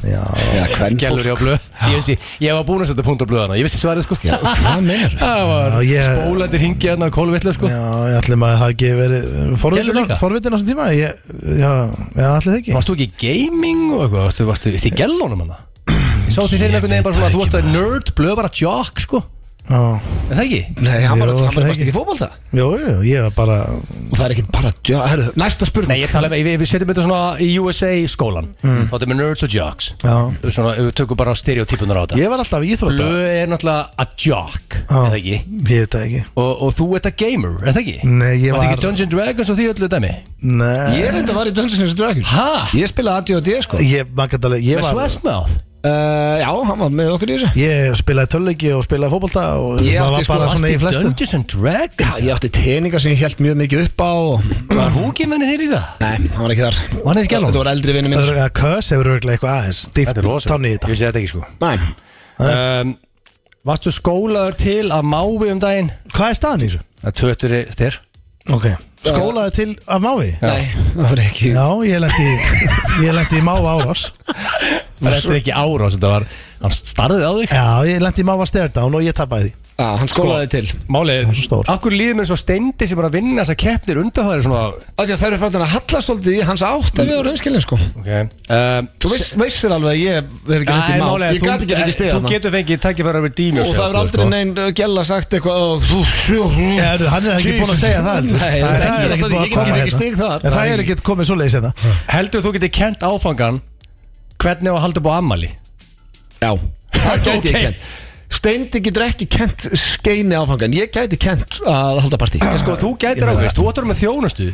Speaker 1: Já, hvern
Speaker 3: gellur ég á blöð ég, vissi, ég var búin að setja punkt á blöðana, ég vissi svarið sko.
Speaker 1: Hvað meinar
Speaker 3: það var
Speaker 2: Já, ég-
Speaker 3: spólandi hringi hérna á kólvillu sko.
Speaker 2: Já, ég ætli maður hafi ekki verið
Speaker 3: Gerðu líka?
Speaker 2: forvitin, forvitin á þessum tíma ég, Já, já ætli það ekki
Speaker 3: Varst þú ekki í gaming og eitthvað? Varstu, varstu, varstu í gellónum hana? Ég sá því
Speaker 2: Ég
Speaker 3: fyrir einhvern veginn
Speaker 2: veit
Speaker 3: bara svona
Speaker 2: það
Speaker 3: Þú ert
Speaker 2: ekki,
Speaker 3: að nerd, blöð bara jock, sko
Speaker 2: Já.
Speaker 3: Er það ekki?
Speaker 1: Nei, hann var
Speaker 2: Jú,
Speaker 1: hann var
Speaker 2: það
Speaker 1: bara
Speaker 2: ekki.
Speaker 1: ekki í fótbolta
Speaker 2: Jú, jú, ég var bara
Speaker 1: Og það er ekki bara já, herru, Næsta
Speaker 3: Nei,
Speaker 1: spurning
Speaker 3: ég tala um, við, við setjum þetta svona í USA skólan mm. Þá erum við nerds og jocks
Speaker 2: Já.
Speaker 3: Svona, við tökum bara stereotypunar á þetta
Speaker 2: Ég var alltaf í íþrótta
Speaker 3: Blöð er náttúrulega a jock,
Speaker 2: Já.
Speaker 3: er það ekki?
Speaker 2: Ég veit það ekki
Speaker 3: Og, og þú ert a gamer, er það ekki?
Speaker 2: Nei, ég
Speaker 3: Varstu
Speaker 2: var-
Speaker 3: ekki Dungeon Dragons og því öllu dæmi?
Speaker 2: Nei
Speaker 1: Ég er enda að var í Dungeons and Dragons
Speaker 3: Ha?
Speaker 1: Ég spilaði AD&D sko uh,
Speaker 2: Ég, maður gæti alveg Ég
Speaker 3: Með
Speaker 2: var
Speaker 3: Swessmouth?
Speaker 1: Eh, Já, hann var með okkur í þessu
Speaker 2: Ég spilaði töluleiki og spilaði fótbolta og
Speaker 1: Ég átti
Speaker 2: maður var
Speaker 1: sko-
Speaker 2: bara svona
Speaker 3: Varstu
Speaker 2: í
Speaker 3: í
Speaker 2: flestu
Speaker 3: Dungeons and Dragons?
Speaker 1: Já, ég átti teninga sem ég held mjög mikið upp á og...
Speaker 3: Var húkið menni þeir líka?
Speaker 1: Nei, hann var ekki þar
Speaker 3: Var hann í skjálfanum?
Speaker 1: Þetta var eldri vinnu minn
Speaker 2: Að kös hefur örgulega eitthvað aðeins Dýft tánni í
Speaker 3: Ég
Speaker 2: þetta
Speaker 3: vissi þetta ekki, sko
Speaker 1: Nei,
Speaker 3: um, Varstu skólaður til að mávi um daginn?
Speaker 2: Hvað er staðan í þessu?
Speaker 3: Það er tvöttur styr
Speaker 2: Ok Skólaði til af mávi?
Speaker 1: nei, það var ekki
Speaker 2: Já, ég lendi [LAUGHS] Ég lendi í máva árás
Speaker 3: Þetta er ekki árás, þetta var Hann starðið á þig
Speaker 2: Já, ég lendi í máva stare down og ég tapaði því
Speaker 1: Já, hann skólaði til
Speaker 3: Málið,
Speaker 2: er svo stór.
Speaker 3: af hverju líður mér svo steindi sem er að vinna þessar keppnir undanfæri svona
Speaker 1: Það er fyrir fræðin að halla svolítið í hans átt ef við vorum einskilin sko
Speaker 3: Ok um,
Speaker 1: Þú veist, veistir alveg að ég hef ekki hægt í mál Ég gæti ekki ekki stiga
Speaker 3: Þú
Speaker 1: hana
Speaker 3: getur fengið tækifæra við dýmjó
Speaker 1: Og það er
Speaker 3: sko.
Speaker 1: aldrei neinn uh, gælla sagt eitthvað ó, þú- þú- þú-
Speaker 2: Ja, heyrðu, hann er ekki búinn að segja það heldur.
Speaker 1: Nei,
Speaker 2: Það
Speaker 1: það
Speaker 2: er
Speaker 1: er
Speaker 2: ekki
Speaker 1: ekki- ég get
Speaker 2: búinn að koma
Speaker 1: ekki
Speaker 2: hérna.
Speaker 1: stig þar.
Speaker 2: En Það er ekki komið hérna. svo leiðis þetta
Speaker 3: Heldur þú getur kent áfangan Hvernig á að halda upp á ammali
Speaker 1: Já, það gæti
Speaker 3: Ok.
Speaker 1: ég kent Steindi getur ekki kent skeini áfangan Ég gæti kent að halda [CLEARS THROAT] partí
Speaker 3: Sko þú gætir ákveðist, þú áttur með þjónustu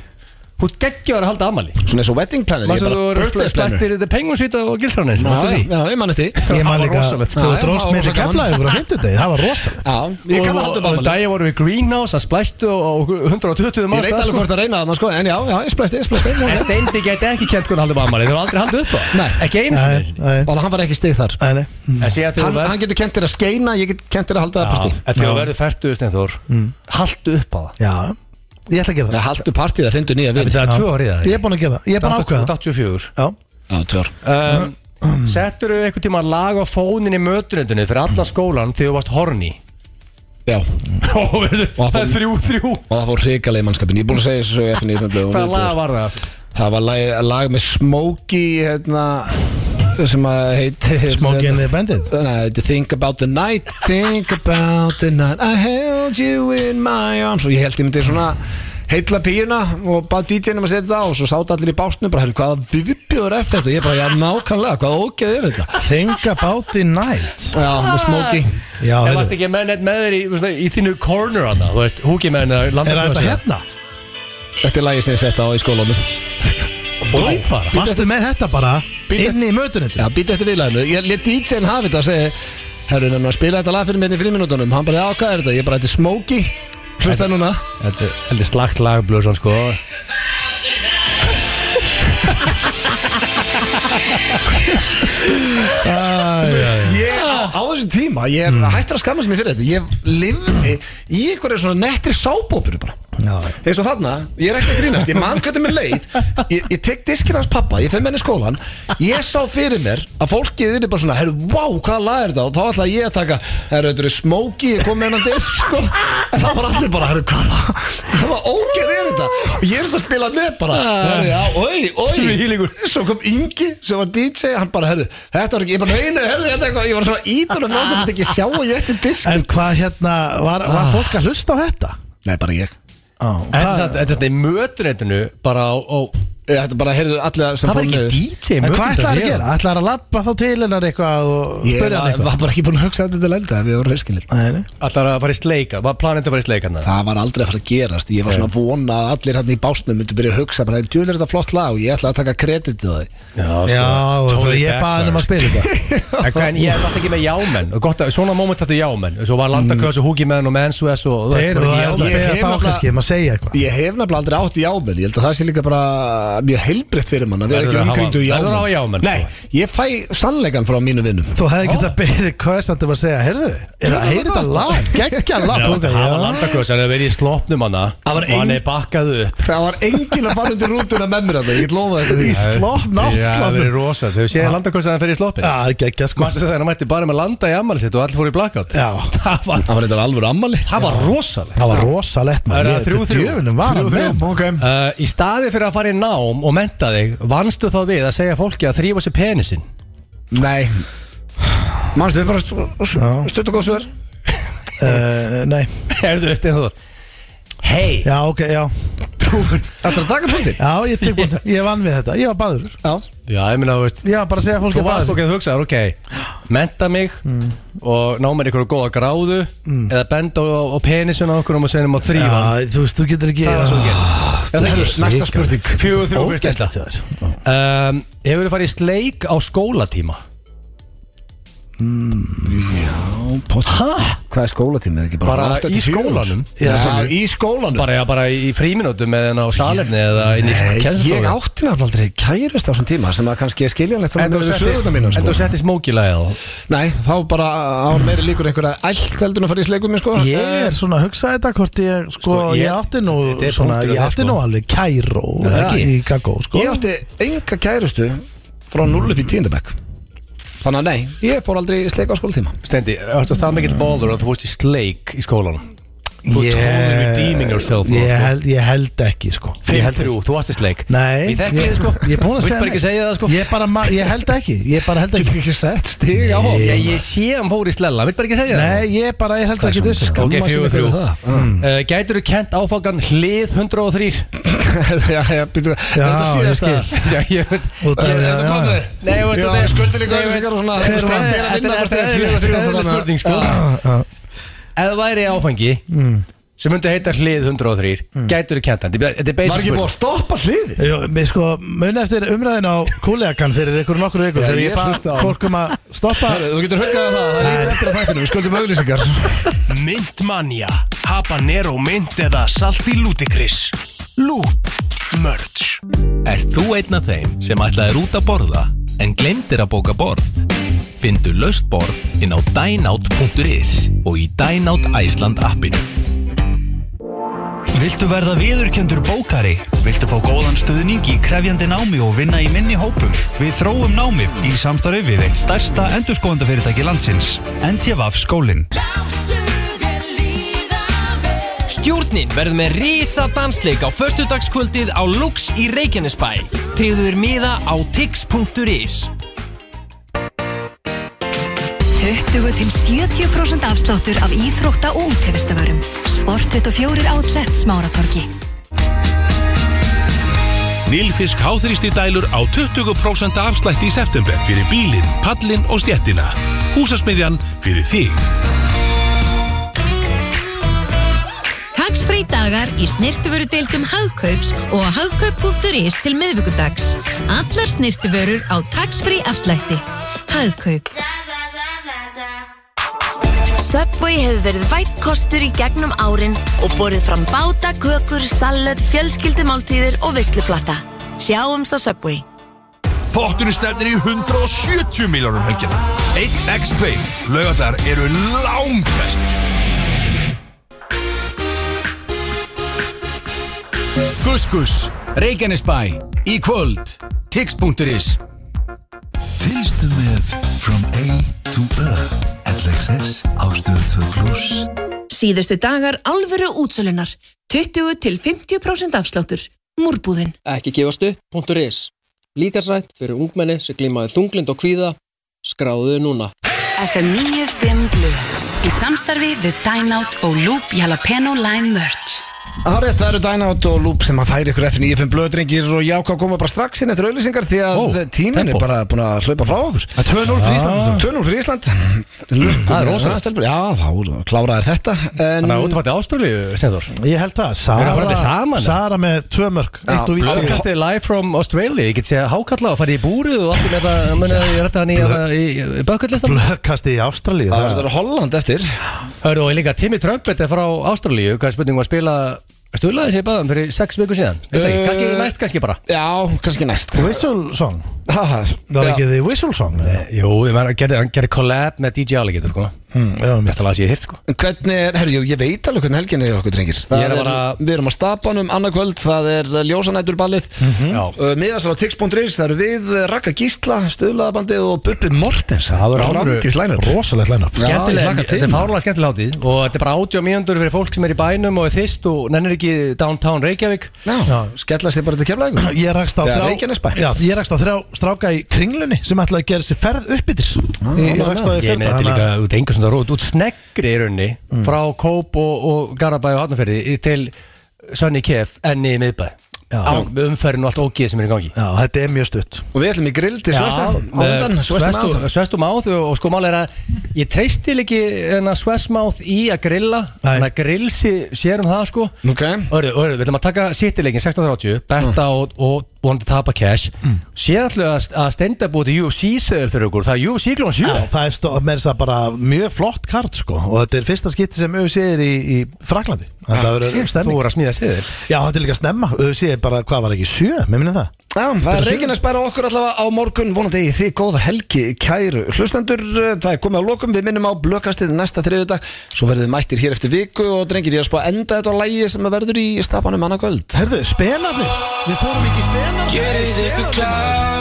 Speaker 3: Þú geggjur að halda ammali
Speaker 1: Svona eins og wedding planner Ég
Speaker 3: Massa
Speaker 1: er
Speaker 3: þú
Speaker 1: bara
Speaker 3: eru
Speaker 1: birthday planner
Speaker 3: spættir í The Penguin Suite og Gilsránin
Speaker 1: Já, já, ég man eftir
Speaker 2: Ég
Speaker 3: Það
Speaker 2: man
Speaker 3: var
Speaker 2: líka
Speaker 3: rosalegt, sko.
Speaker 2: Þú
Speaker 1: Já, já, það var
Speaker 2: dróst með
Speaker 1: rosa
Speaker 2: því
Speaker 1: gaman.
Speaker 2: keflaðið á fimmtudegi Það var rosalegt
Speaker 1: Já, ég kann að halda um
Speaker 3: Og
Speaker 1: bámali
Speaker 3: dagja voru við Greenhouse að splæstu og 120
Speaker 1: Ég
Speaker 3: manns
Speaker 1: veit
Speaker 3: það,
Speaker 1: alveg
Speaker 3: sko.
Speaker 1: hvort að reyna þarna sko En já, já, ég splæst, ég [LAUGHS]
Speaker 3: En
Speaker 1: splæst
Speaker 3: Steindi gæti ekki kent hvernig haldið upp á ammali Þau eru aldrei haldið upp á
Speaker 1: Nei.
Speaker 3: Ekki einu
Speaker 2: Nei,
Speaker 3: sinni
Speaker 2: nei,
Speaker 1: Bara hann var ekki stig þar
Speaker 2: nei, nei.
Speaker 3: En sé að
Speaker 1: Hann,
Speaker 3: þau
Speaker 1: hann getur kent þér að skeina, ég get kent þér að halda partí
Speaker 3: En þegar þú verður færtuð Steinþór
Speaker 1: Mm.
Speaker 3: Haldu upp á það
Speaker 2: Já, ég ætla að gera
Speaker 1: Já,
Speaker 2: það
Speaker 1: haldu partí það, fyndu nýja vin
Speaker 3: Það er tvö árið það
Speaker 2: Ég er búinn að gera það, ég er búinn að ákveða það
Speaker 3: 84
Speaker 2: Já,
Speaker 1: Já, tjór Mm.
Speaker 3: um, Settur þú einhvern tíma lag á fónin í möturendinu Fyrir alla skólan þegar þú varst horni [LAUGHS]
Speaker 1: Já, og
Speaker 3: Það
Speaker 1: fór-
Speaker 3: er þrjú, þrjú
Speaker 1: það fór hrikalegi mannskapin Ég er búin að segja þessu svo eftir nýjum blöðum
Speaker 3: Hvaða lag var það?
Speaker 1: Það var lag, lag með Smokey hérna, sem að heiti
Speaker 2: Smokey and the Bandit.
Speaker 1: Nei, þetta er Think About The Night Think About The Night I held you in my arms og ég held ég myndi svona heitla píuna og bara DJ-num að setja það og svo sátt allir í básnum bara, herru, hvaða viðbjóður er þetta? Ég bara, já, nákvæmlega, hvaða ógeð er þetta?
Speaker 2: Think about the night
Speaker 1: Já, með Smokey
Speaker 2: Já,
Speaker 3: Það varst
Speaker 2: heyrðu.
Speaker 3: ekki með neitt með þér í, svona, í þínu corner hana Þú veist, uh, húki með henni
Speaker 2: er það þetta hérna?
Speaker 1: Þetta er lagið sem ég setja á í skólanum
Speaker 3: hérna?
Speaker 2: Vastu með þetta bara
Speaker 1: Býta-
Speaker 2: inn í mötunit
Speaker 1: Já, býta eftir viðlæðinu Ég let DJ-n hafa þetta að segja Herru, nefnum að spila þetta lag fyrir mig hérna í fimm minútonum Hann bara, já, hvað er þetta? Ég bara, þetta er Smokey Hlusta núna
Speaker 3: Þetta er- þetta er slagt lag blöðsson sko
Speaker 1: Ég, á, á þessu tíma, ég er hættur að skamma sem ég fyrir þetta Ég lifði í einhverju svona nettri sábópur bara Eins og þarna, ég er ekki að grínast, ég man hvernig mér leið Ég, ég tek diskir hans pappa, ég fyrir menni í skólan Ég sá fyrir mér að fólkið er bara svona Herru, wow, hvað lag er þetta? Og þá ætla ég að taka Herru, þetta er smóki, ég kom með hennan disk sko. En þá var allir bara, herru, hvað það? Það var ógeð er þetta Og ég er þetta að spila með bara Herru, já, oi,
Speaker 3: Þvílíkur.
Speaker 1: oi Svo kom Ingi, sem var DJ, hann bara, herru Þetta var ekki, ég bara, neina, herru, þetta er eitthvað Ég var svona ítunum frá þess að þetta ekki sjá og ég eftir disk
Speaker 2: En hvað hérna, var, var fólk að hlusta á þetta?
Speaker 1: Nei, bara ég
Speaker 2: Á,
Speaker 3: Þetta er
Speaker 2: hvað-
Speaker 3: samt- þetta er svona í möturendinu bara á, á
Speaker 1: Ég, Þetta bara, heyrðu, allir sem
Speaker 3: Það var
Speaker 1: fóru
Speaker 3: ekki
Speaker 1: niður.
Speaker 3: DJ
Speaker 2: En hvað ætlaði að
Speaker 3: möturendinu
Speaker 2: gera? Ætlaði að lappa þá til hennar eitthvað og
Speaker 1: Ég var,
Speaker 2: spyrja hann eitthvað?
Speaker 1: var bara ekki búin að hugsa þetta til lenda Við vorum reyskilir
Speaker 2: Nei, nei.
Speaker 3: Ætlar að fara í sleika, var planið að fara í sleika þarna?
Speaker 1: Það var aldrei að fara að gerast Ég var svona að vona að allir hann í básnum myndi byrja að hugsa bara, djúlega er þetta flott lag og ég ætla að taka kreditið það
Speaker 2: Já, sko. og
Speaker 3: sko, totally
Speaker 2: ég baði hann um að spila þetta
Speaker 3: En hvað, en ég er alltaf ekki með jámenn Og gott að, svona moment þetta er jámenn Svo var Landaköðs og Húki með henn og Mensuess og þú veist,
Speaker 2: Þeir eru
Speaker 3: voru
Speaker 2: það að
Speaker 3: ekki jámenn.
Speaker 1: Ég
Speaker 2: beða
Speaker 1: hef
Speaker 2: þá
Speaker 1: nefnilega-
Speaker 2: kannski um að segja eitthvað
Speaker 1: Ég hef nefnilega aldrei átt í jámenn Ég held að það sé líka bara mjög heilbreytt fyrir mann að sko. vera
Speaker 3: Verður
Speaker 1: ekki
Speaker 3: að hafa-
Speaker 1: umkringdu í
Speaker 3: verður að
Speaker 1: jámenn,
Speaker 3: hafa jámenn,
Speaker 1: Nei, ég fæ sannleikan frá mínu vinnum
Speaker 2: Þú hefði ekki að beðið Kvössandi um að segja Heyrðu, er það að heyra þetta lag? Gekkja lag
Speaker 3: Já,
Speaker 2: Þú veist,
Speaker 3: Það var
Speaker 2: já.
Speaker 3: Landaköðs, hann hefur verið í slopnum hana
Speaker 1: Það var
Speaker 3: Og hann
Speaker 1: ein-
Speaker 3: er bakkað upp
Speaker 1: Það var enginn að fara undir rútuna með mér þetta Ég get lofa þetta því
Speaker 2: slopp,
Speaker 3: Já, það hefur
Speaker 2: náttslopnum.
Speaker 3: verið rosa Þau séð Landaköðs að hann fer í slopin
Speaker 2: Já, gekkja sko
Speaker 3: Mastu þegar hann mætti bara með landa í ammali sitt og allir fóru í blackout
Speaker 2: Já.
Speaker 3: Það var,
Speaker 1: Það var þetta alvöru ammali
Speaker 3: það var rosalegt
Speaker 2: Það var rosalegt
Speaker 3: Það
Speaker 2: maður
Speaker 3: er að þrjú, þrjú.
Speaker 2: Djöfunum var hann með
Speaker 1: okay.
Speaker 3: uh, Í staði fyrir að fara í nám og menta þig Vannstu þá við að segja fólki að þrýfa sér [LAUGHS] penisinn
Speaker 1: Nei Manstu, við bara stu- stutt og góð svör
Speaker 2: Eh, Nei,
Speaker 3: Erðu veist eða Hei,
Speaker 2: já, ok, já
Speaker 1: Ætlarðu að taka punktin?
Speaker 2: Já, ég tek búin Ég vann við þetta, ég var baður
Speaker 1: Já
Speaker 3: já, ég minna, þú veist
Speaker 2: Ég var bara að segja fólki
Speaker 3: Þú
Speaker 2: að
Speaker 3: varst
Speaker 2: baða
Speaker 3: Mm. okkur að hugsa, ok, menta mig og ná mér einhverju góða gráðu eða benda á, á penisun á okkur og segja um að þrýfa hann.
Speaker 2: Já, þú veist, þú getur ekki
Speaker 3: Það var svo
Speaker 2: Ah,
Speaker 3: gert. Já,
Speaker 1: Herru, Næsta spurning
Speaker 3: Fjögur þrjú fyrir Tesla
Speaker 2: Ógæstlegt hjá þér
Speaker 3: um, Hefur þið farið í sleik á skólatíma?
Speaker 1: Hvað er skólatímið? Ekki
Speaker 3: Bara
Speaker 1: átta til
Speaker 3: í
Speaker 1: fjögur?
Speaker 3: skólanum?
Speaker 1: Já,
Speaker 2: Já,
Speaker 1: í skólanum
Speaker 3: Bara, já, bara í fríminútum eða ná salerni eða inn í
Speaker 1: Ég
Speaker 3: kjenstóðu
Speaker 1: átti náttúrulega aldrei kærust á þessum tíma sem að kannski er skiljanlegt frá
Speaker 3: En þú
Speaker 1: mjög söguna mínum
Speaker 3: setti- en þú
Speaker 1: sko.
Speaker 3: setti smókilæði þá
Speaker 1: Nei, þá bara án meiri líkur einhverja ælt heldur en að fara í sleikum minn sko
Speaker 2: Ég er svona að hugsa þetta hvort ég, sko, ég,
Speaker 3: ég-
Speaker 2: átti nú,
Speaker 3: Þetta er
Speaker 2: svona,
Speaker 3: punktur á
Speaker 2: ég
Speaker 3: þér,
Speaker 2: átti
Speaker 3: sko.
Speaker 2: nú alveg kæró
Speaker 1: Já,
Speaker 2: ekki í Gagó, sko.
Speaker 1: Ég átti enga kærustu frá 0 upp í tíundabæk Þannig að nei, ég fór aldrei í sleik á skólatíma
Speaker 3: Stendi, ertu það mikill bóður að þú fórst í sleik í skólanum? Þú yeah. tóður redeeming yourself nú,
Speaker 2: ég,
Speaker 3: sko.
Speaker 2: held, ég held ekki sko Ég held ekki.
Speaker 3: 5-3, þú varst í sleik
Speaker 2: Nei
Speaker 3: Ég þekki þið sko
Speaker 2: Ég er búin að
Speaker 3: Vilt
Speaker 2: segja
Speaker 3: bara ekki
Speaker 2: nei.
Speaker 3: segja það sko
Speaker 2: Ég, bara, ma- ég held ekki Ég bara held ekki
Speaker 1: ekki sett stig á
Speaker 3: Ég, ég, ég sé hann fór í slella, vilt bara ekki segja það
Speaker 2: Nei, ég bara, ég held ekki þessu
Speaker 3: Ok,
Speaker 1: Amma sem
Speaker 3: fjögur
Speaker 1: er fyrir
Speaker 3: þrjú
Speaker 1: það.
Speaker 3: uh, Gætur þú kent áfangan hlið 103?
Speaker 1: [LAUGHS] Já, já, býtu Er
Speaker 2: Já,
Speaker 1: þetta
Speaker 2: ég
Speaker 1: síðast
Speaker 2: skil
Speaker 1: það?
Speaker 3: [LAUGHS] Já, ég veit
Speaker 2: Út af-
Speaker 1: Er
Speaker 2: já,
Speaker 1: þetta
Speaker 2: já.
Speaker 1: komið?
Speaker 3: Nei, ég veit að
Speaker 1: Já,
Speaker 3: það-
Speaker 1: skuldir líka
Speaker 3: Nei, ég veit-
Speaker 1: auðvitsingar og svona
Speaker 3: Hver vann?
Speaker 1: Þetta er að vinna
Speaker 3: Þetta
Speaker 1: hvort
Speaker 3: er- þetta
Speaker 1: eða
Speaker 3: er-
Speaker 1: fjögur þrjú
Speaker 3: þetta er-
Speaker 1: þannig að-
Speaker 3: spurning, sko.
Speaker 1: Já, já.
Speaker 3: Ef það væri áfangi sem myndi heita hlið 103 gætur þú kent hann? Þetta er- þetta er basic
Speaker 1: Var ekki búið
Speaker 3: spurning.
Speaker 1: að stoppa hliðið?
Speaker 2: Jó, mér sko, muni eftir umræðin á kúlegakan fyrir ykkur nokkur ykkur
Speaker 1: Já,
Speaker 2: þegar
Speaker 1: ég
Speaker 2: ég
Speaker 1: hlusta á
Speaker 2: bara
Speaker 1: hann.
Speaker 2: fólk um að stoppa
Speaker 1: Herru, Þú getur huggað um það, það er eftir að fættinu, við skuldum auglýsingar
Speaker 9: Myndmanja, habanero mynd eða salti ludikris. Loop, merge.
Speaker 10: Ert þú einn af þeim sem ætlaðir út að borða en glemdir að bóka borð? Findu laust borð inn á dineout.is og í Dineout Æsland appinu.
Speaker 9: Viltu verða viðurkendur bókari? Viltu fá góðan stuðning í krefjandi námi og vinna í minni hópum? Við þróum námi í samstarfi við eitt stærsta endurskóðandafyrirtæki landsins, NTVAF skólinn.
Speaker 10: Stjórnin verður með risa dansleik á förstudagskvöldið á Lux í Reykjanesbæ. Tryggður miða á tix.is.
Speaker 11: 20 til 70% afsláttur af íþrótta og útivistavörum. Sport 24 Outlet Smáratorgi.
Speaker 9: Nilfisk háþrýsti dælur á 20% afslætti í september fyrir bílinn, pallinn og stjettina. Húsasmiðjan fyrir þig.
Speaker 11: Taksfrí dagar í snirtuvöru deildum Hagkaups og á hagkaup.is til miðvikudags. Allar snirtuvörur á taksfrí afslætti. Hagkaup. Subway hefur verið vætt kostur í gegnum árin og borðið fram báta, kökur, salöt, fjölskyldumáltíðir og visluplata. Sjáumst á Subway.
Speaker 9: Potturinn stefnir í 170 miljónum helgina. 1x2 lögadar eru langbestir.
Speaker 10: Guskus, Reykjanesbæ, í kvöld, tix.is.
Speaker 9: Fylgstu með From A to Ö. LXS á stöðu 2 pluss.
Speaker 11: Síðustu dagar alvöru útsölunar. 20 til 50% afsláttur. Múrbúðin.
Speaker 4: Ekki gefast upp.is Líkasrætt fyrir ungmenni sem glímaði þunglind og kvíða Skráðu þau núna
Speaker 11: FM 95 Blu. Í samstarfi við Dineout og Loop Jalapeno Lime Merch.
Speaker 1: Það er rétt, það eru Dynout og Loop sem að færi ykkur F95 blöðdrengir og jáká koma bara strax inn eftir auðlýsingar því að
Speaker 3: Ó,
Speaker 1: tíminn er
Speaker 3: tempo.
Speaker 1: bara búin að hlaupa frá okkur
Speaker 2: að 2-0 fyrir Ísland
Speaker 1: 2-0 fyrir Ísland Lukkum
Speaker 3: Það er
Speaker 1: með
Speaker 3: rosalegt.
Speaker 1: það, stelpur. Já, þá kláraði þetta en
Speaker 3: Þannig að útfætti ástralíu, Stenþórs
Speaker 2: Ég held það,
Speaker 3: Eru það farandi
Speaker 2: Sara,
Speaker 3: saman, eða?
Speaker 2: Sara með tvö mörg Eitt og víti
Speaker 3: Hákastið live from Australia Ég get sé að hákalla og farið í búrið og allt með það Muna ég rætta hann í, í, í bökullistan
Speaker 2: Blökkasti í Ástralíu
Speaker 1: það
Speaker 2: það-
Speaker 1: verður Holland eftir
Speaker 3: Hörru og líka Timmy Trumpet er frá Ástralíu Hvað er spurning var að spila Stulaði sér bæðan fyrir sex viku síðan Veit ekki,
Speaker 1: Eh,
Speaker 3: kannski næst kannski bara
Speaker 1: Já, kannski næst
Speaker 2: Whistle song
Speaker 1: Ha, ha,
Speaker 2: Það var
Speaker 1: já.
Speaker 2: ekki því whistle song eða?
Speaker 3: Jú, ég meina, hann gerði- hann gerði collab með DJ Alligator sko.
Speaker 2: Hmm, Já, mitt
Speaker 3: Þetta lag sé ég hirt sko
Speaker 1: En Hvernig er, herrjú, ég veit alveg hvernig helgin er hjá okkur drengir Það
Speaker 3: Ég er
Speaker 1: er,
Speaker 3: bara-
Speaker 1: Við erum á stapanum annarkvöld, það er ljósanæturballið mm
Speaker 2: Mhm.
Speaker 3: Já.
Speaker 1: Miðasal á tix.ris, það eru við eh, Ragga Gísla, Stöðlaðabandið og Bubbi Mortens
Speaker 3: Það verður alvöru-
Speaker 1: Rangis lænur
Speaker 2: Rosalegt
Speaker 1: Já,
Speaker 2: læna
Speaker 1: ég
Speaker 3: Skemmtilega,
Speaker 1: hlakka til.
Speaker 3: þetta er fárlega skemmtilega hátíð og þetta er bara 80 mínútur fyrir fólk sem er í bænum og er þist og nennir ekki downtown Reykjavík
Speaker 1: Já, skella sér bara til kemla ykkur
Speaker 2: Ég rakst á
Speaker 1: Þegar
Speaker 2: þrjá
Speaker 1: Reykjanesbær.
Speaker 2: Já, ég rakst á þrjá stráka í kringlunni sem ætlaði að gera sér ferð upp ytir
Speaker 3: Ah,
Speaker 2: Ég ég rakst á því
Speaker 3: Ég með
Speaker 2: fyrir
Speaker 3: þetta
Speaker 2: það
Speaker 3: er líka út engur svona rót, út sneggri í rauninni frá Kóp og, og Garabæ og Hafnarferði til Sönni Kef enni í miðbæ
Speaker 2: Já.
Speaker 3: Á- með umferðin og allt ógið sem er í gangi Eh,
Speaker 2: Já, þetta er mjög stutt
Speaker 1: Og við ætlum í grill til Svessa á undan, Svessa
Speaker 3: sko,
Speaker 1: með áður
Speaker 3: Svestum áð og sko mál er að ég treystil ekki Svessmáð í að grilla
Speaker 2: Nei.
Speaker 3: þannig að grillsi sér um það sko
Speaker 1: Ok.
Speaker 3: Örðu, örðu, við ætlum að taka sittileikin 16.30 betta og, og vonandi tapa cash mm. sér alltaf að stenda búið til UFC seðil fyrir okkur, það er UFC klón 7
Speaker 2: Já, það er stó, með þess að bara mjög flott kart sko og þetta er fyrsta skipti sem UFC er í, í Fraklandi Þetta verður
Speaker 3: Þú
Speaker 2: stemning
Speaker 3: voru að smíða seðil
Speaker 2: Já, þetta er líka snemma UFC er bara, hvað var ekki, sjö, mér minni það
Speaker 1: Já, það er reygin að spæra okkur allavega á morgun vonandi í þig góða helgi kæru hlustendur, það er komið á lokum við minnum á blökastið næsta þriðudag svo verðum við mættir hér eftir viku og drengir ég er að spá að enda þetta á lægi sem að verður í stafanum annað kvöld
Speaker 2: Herðu, spenarnir, við fórum ekki í spenarnir
Speaker 10: Gerið ykkur klár.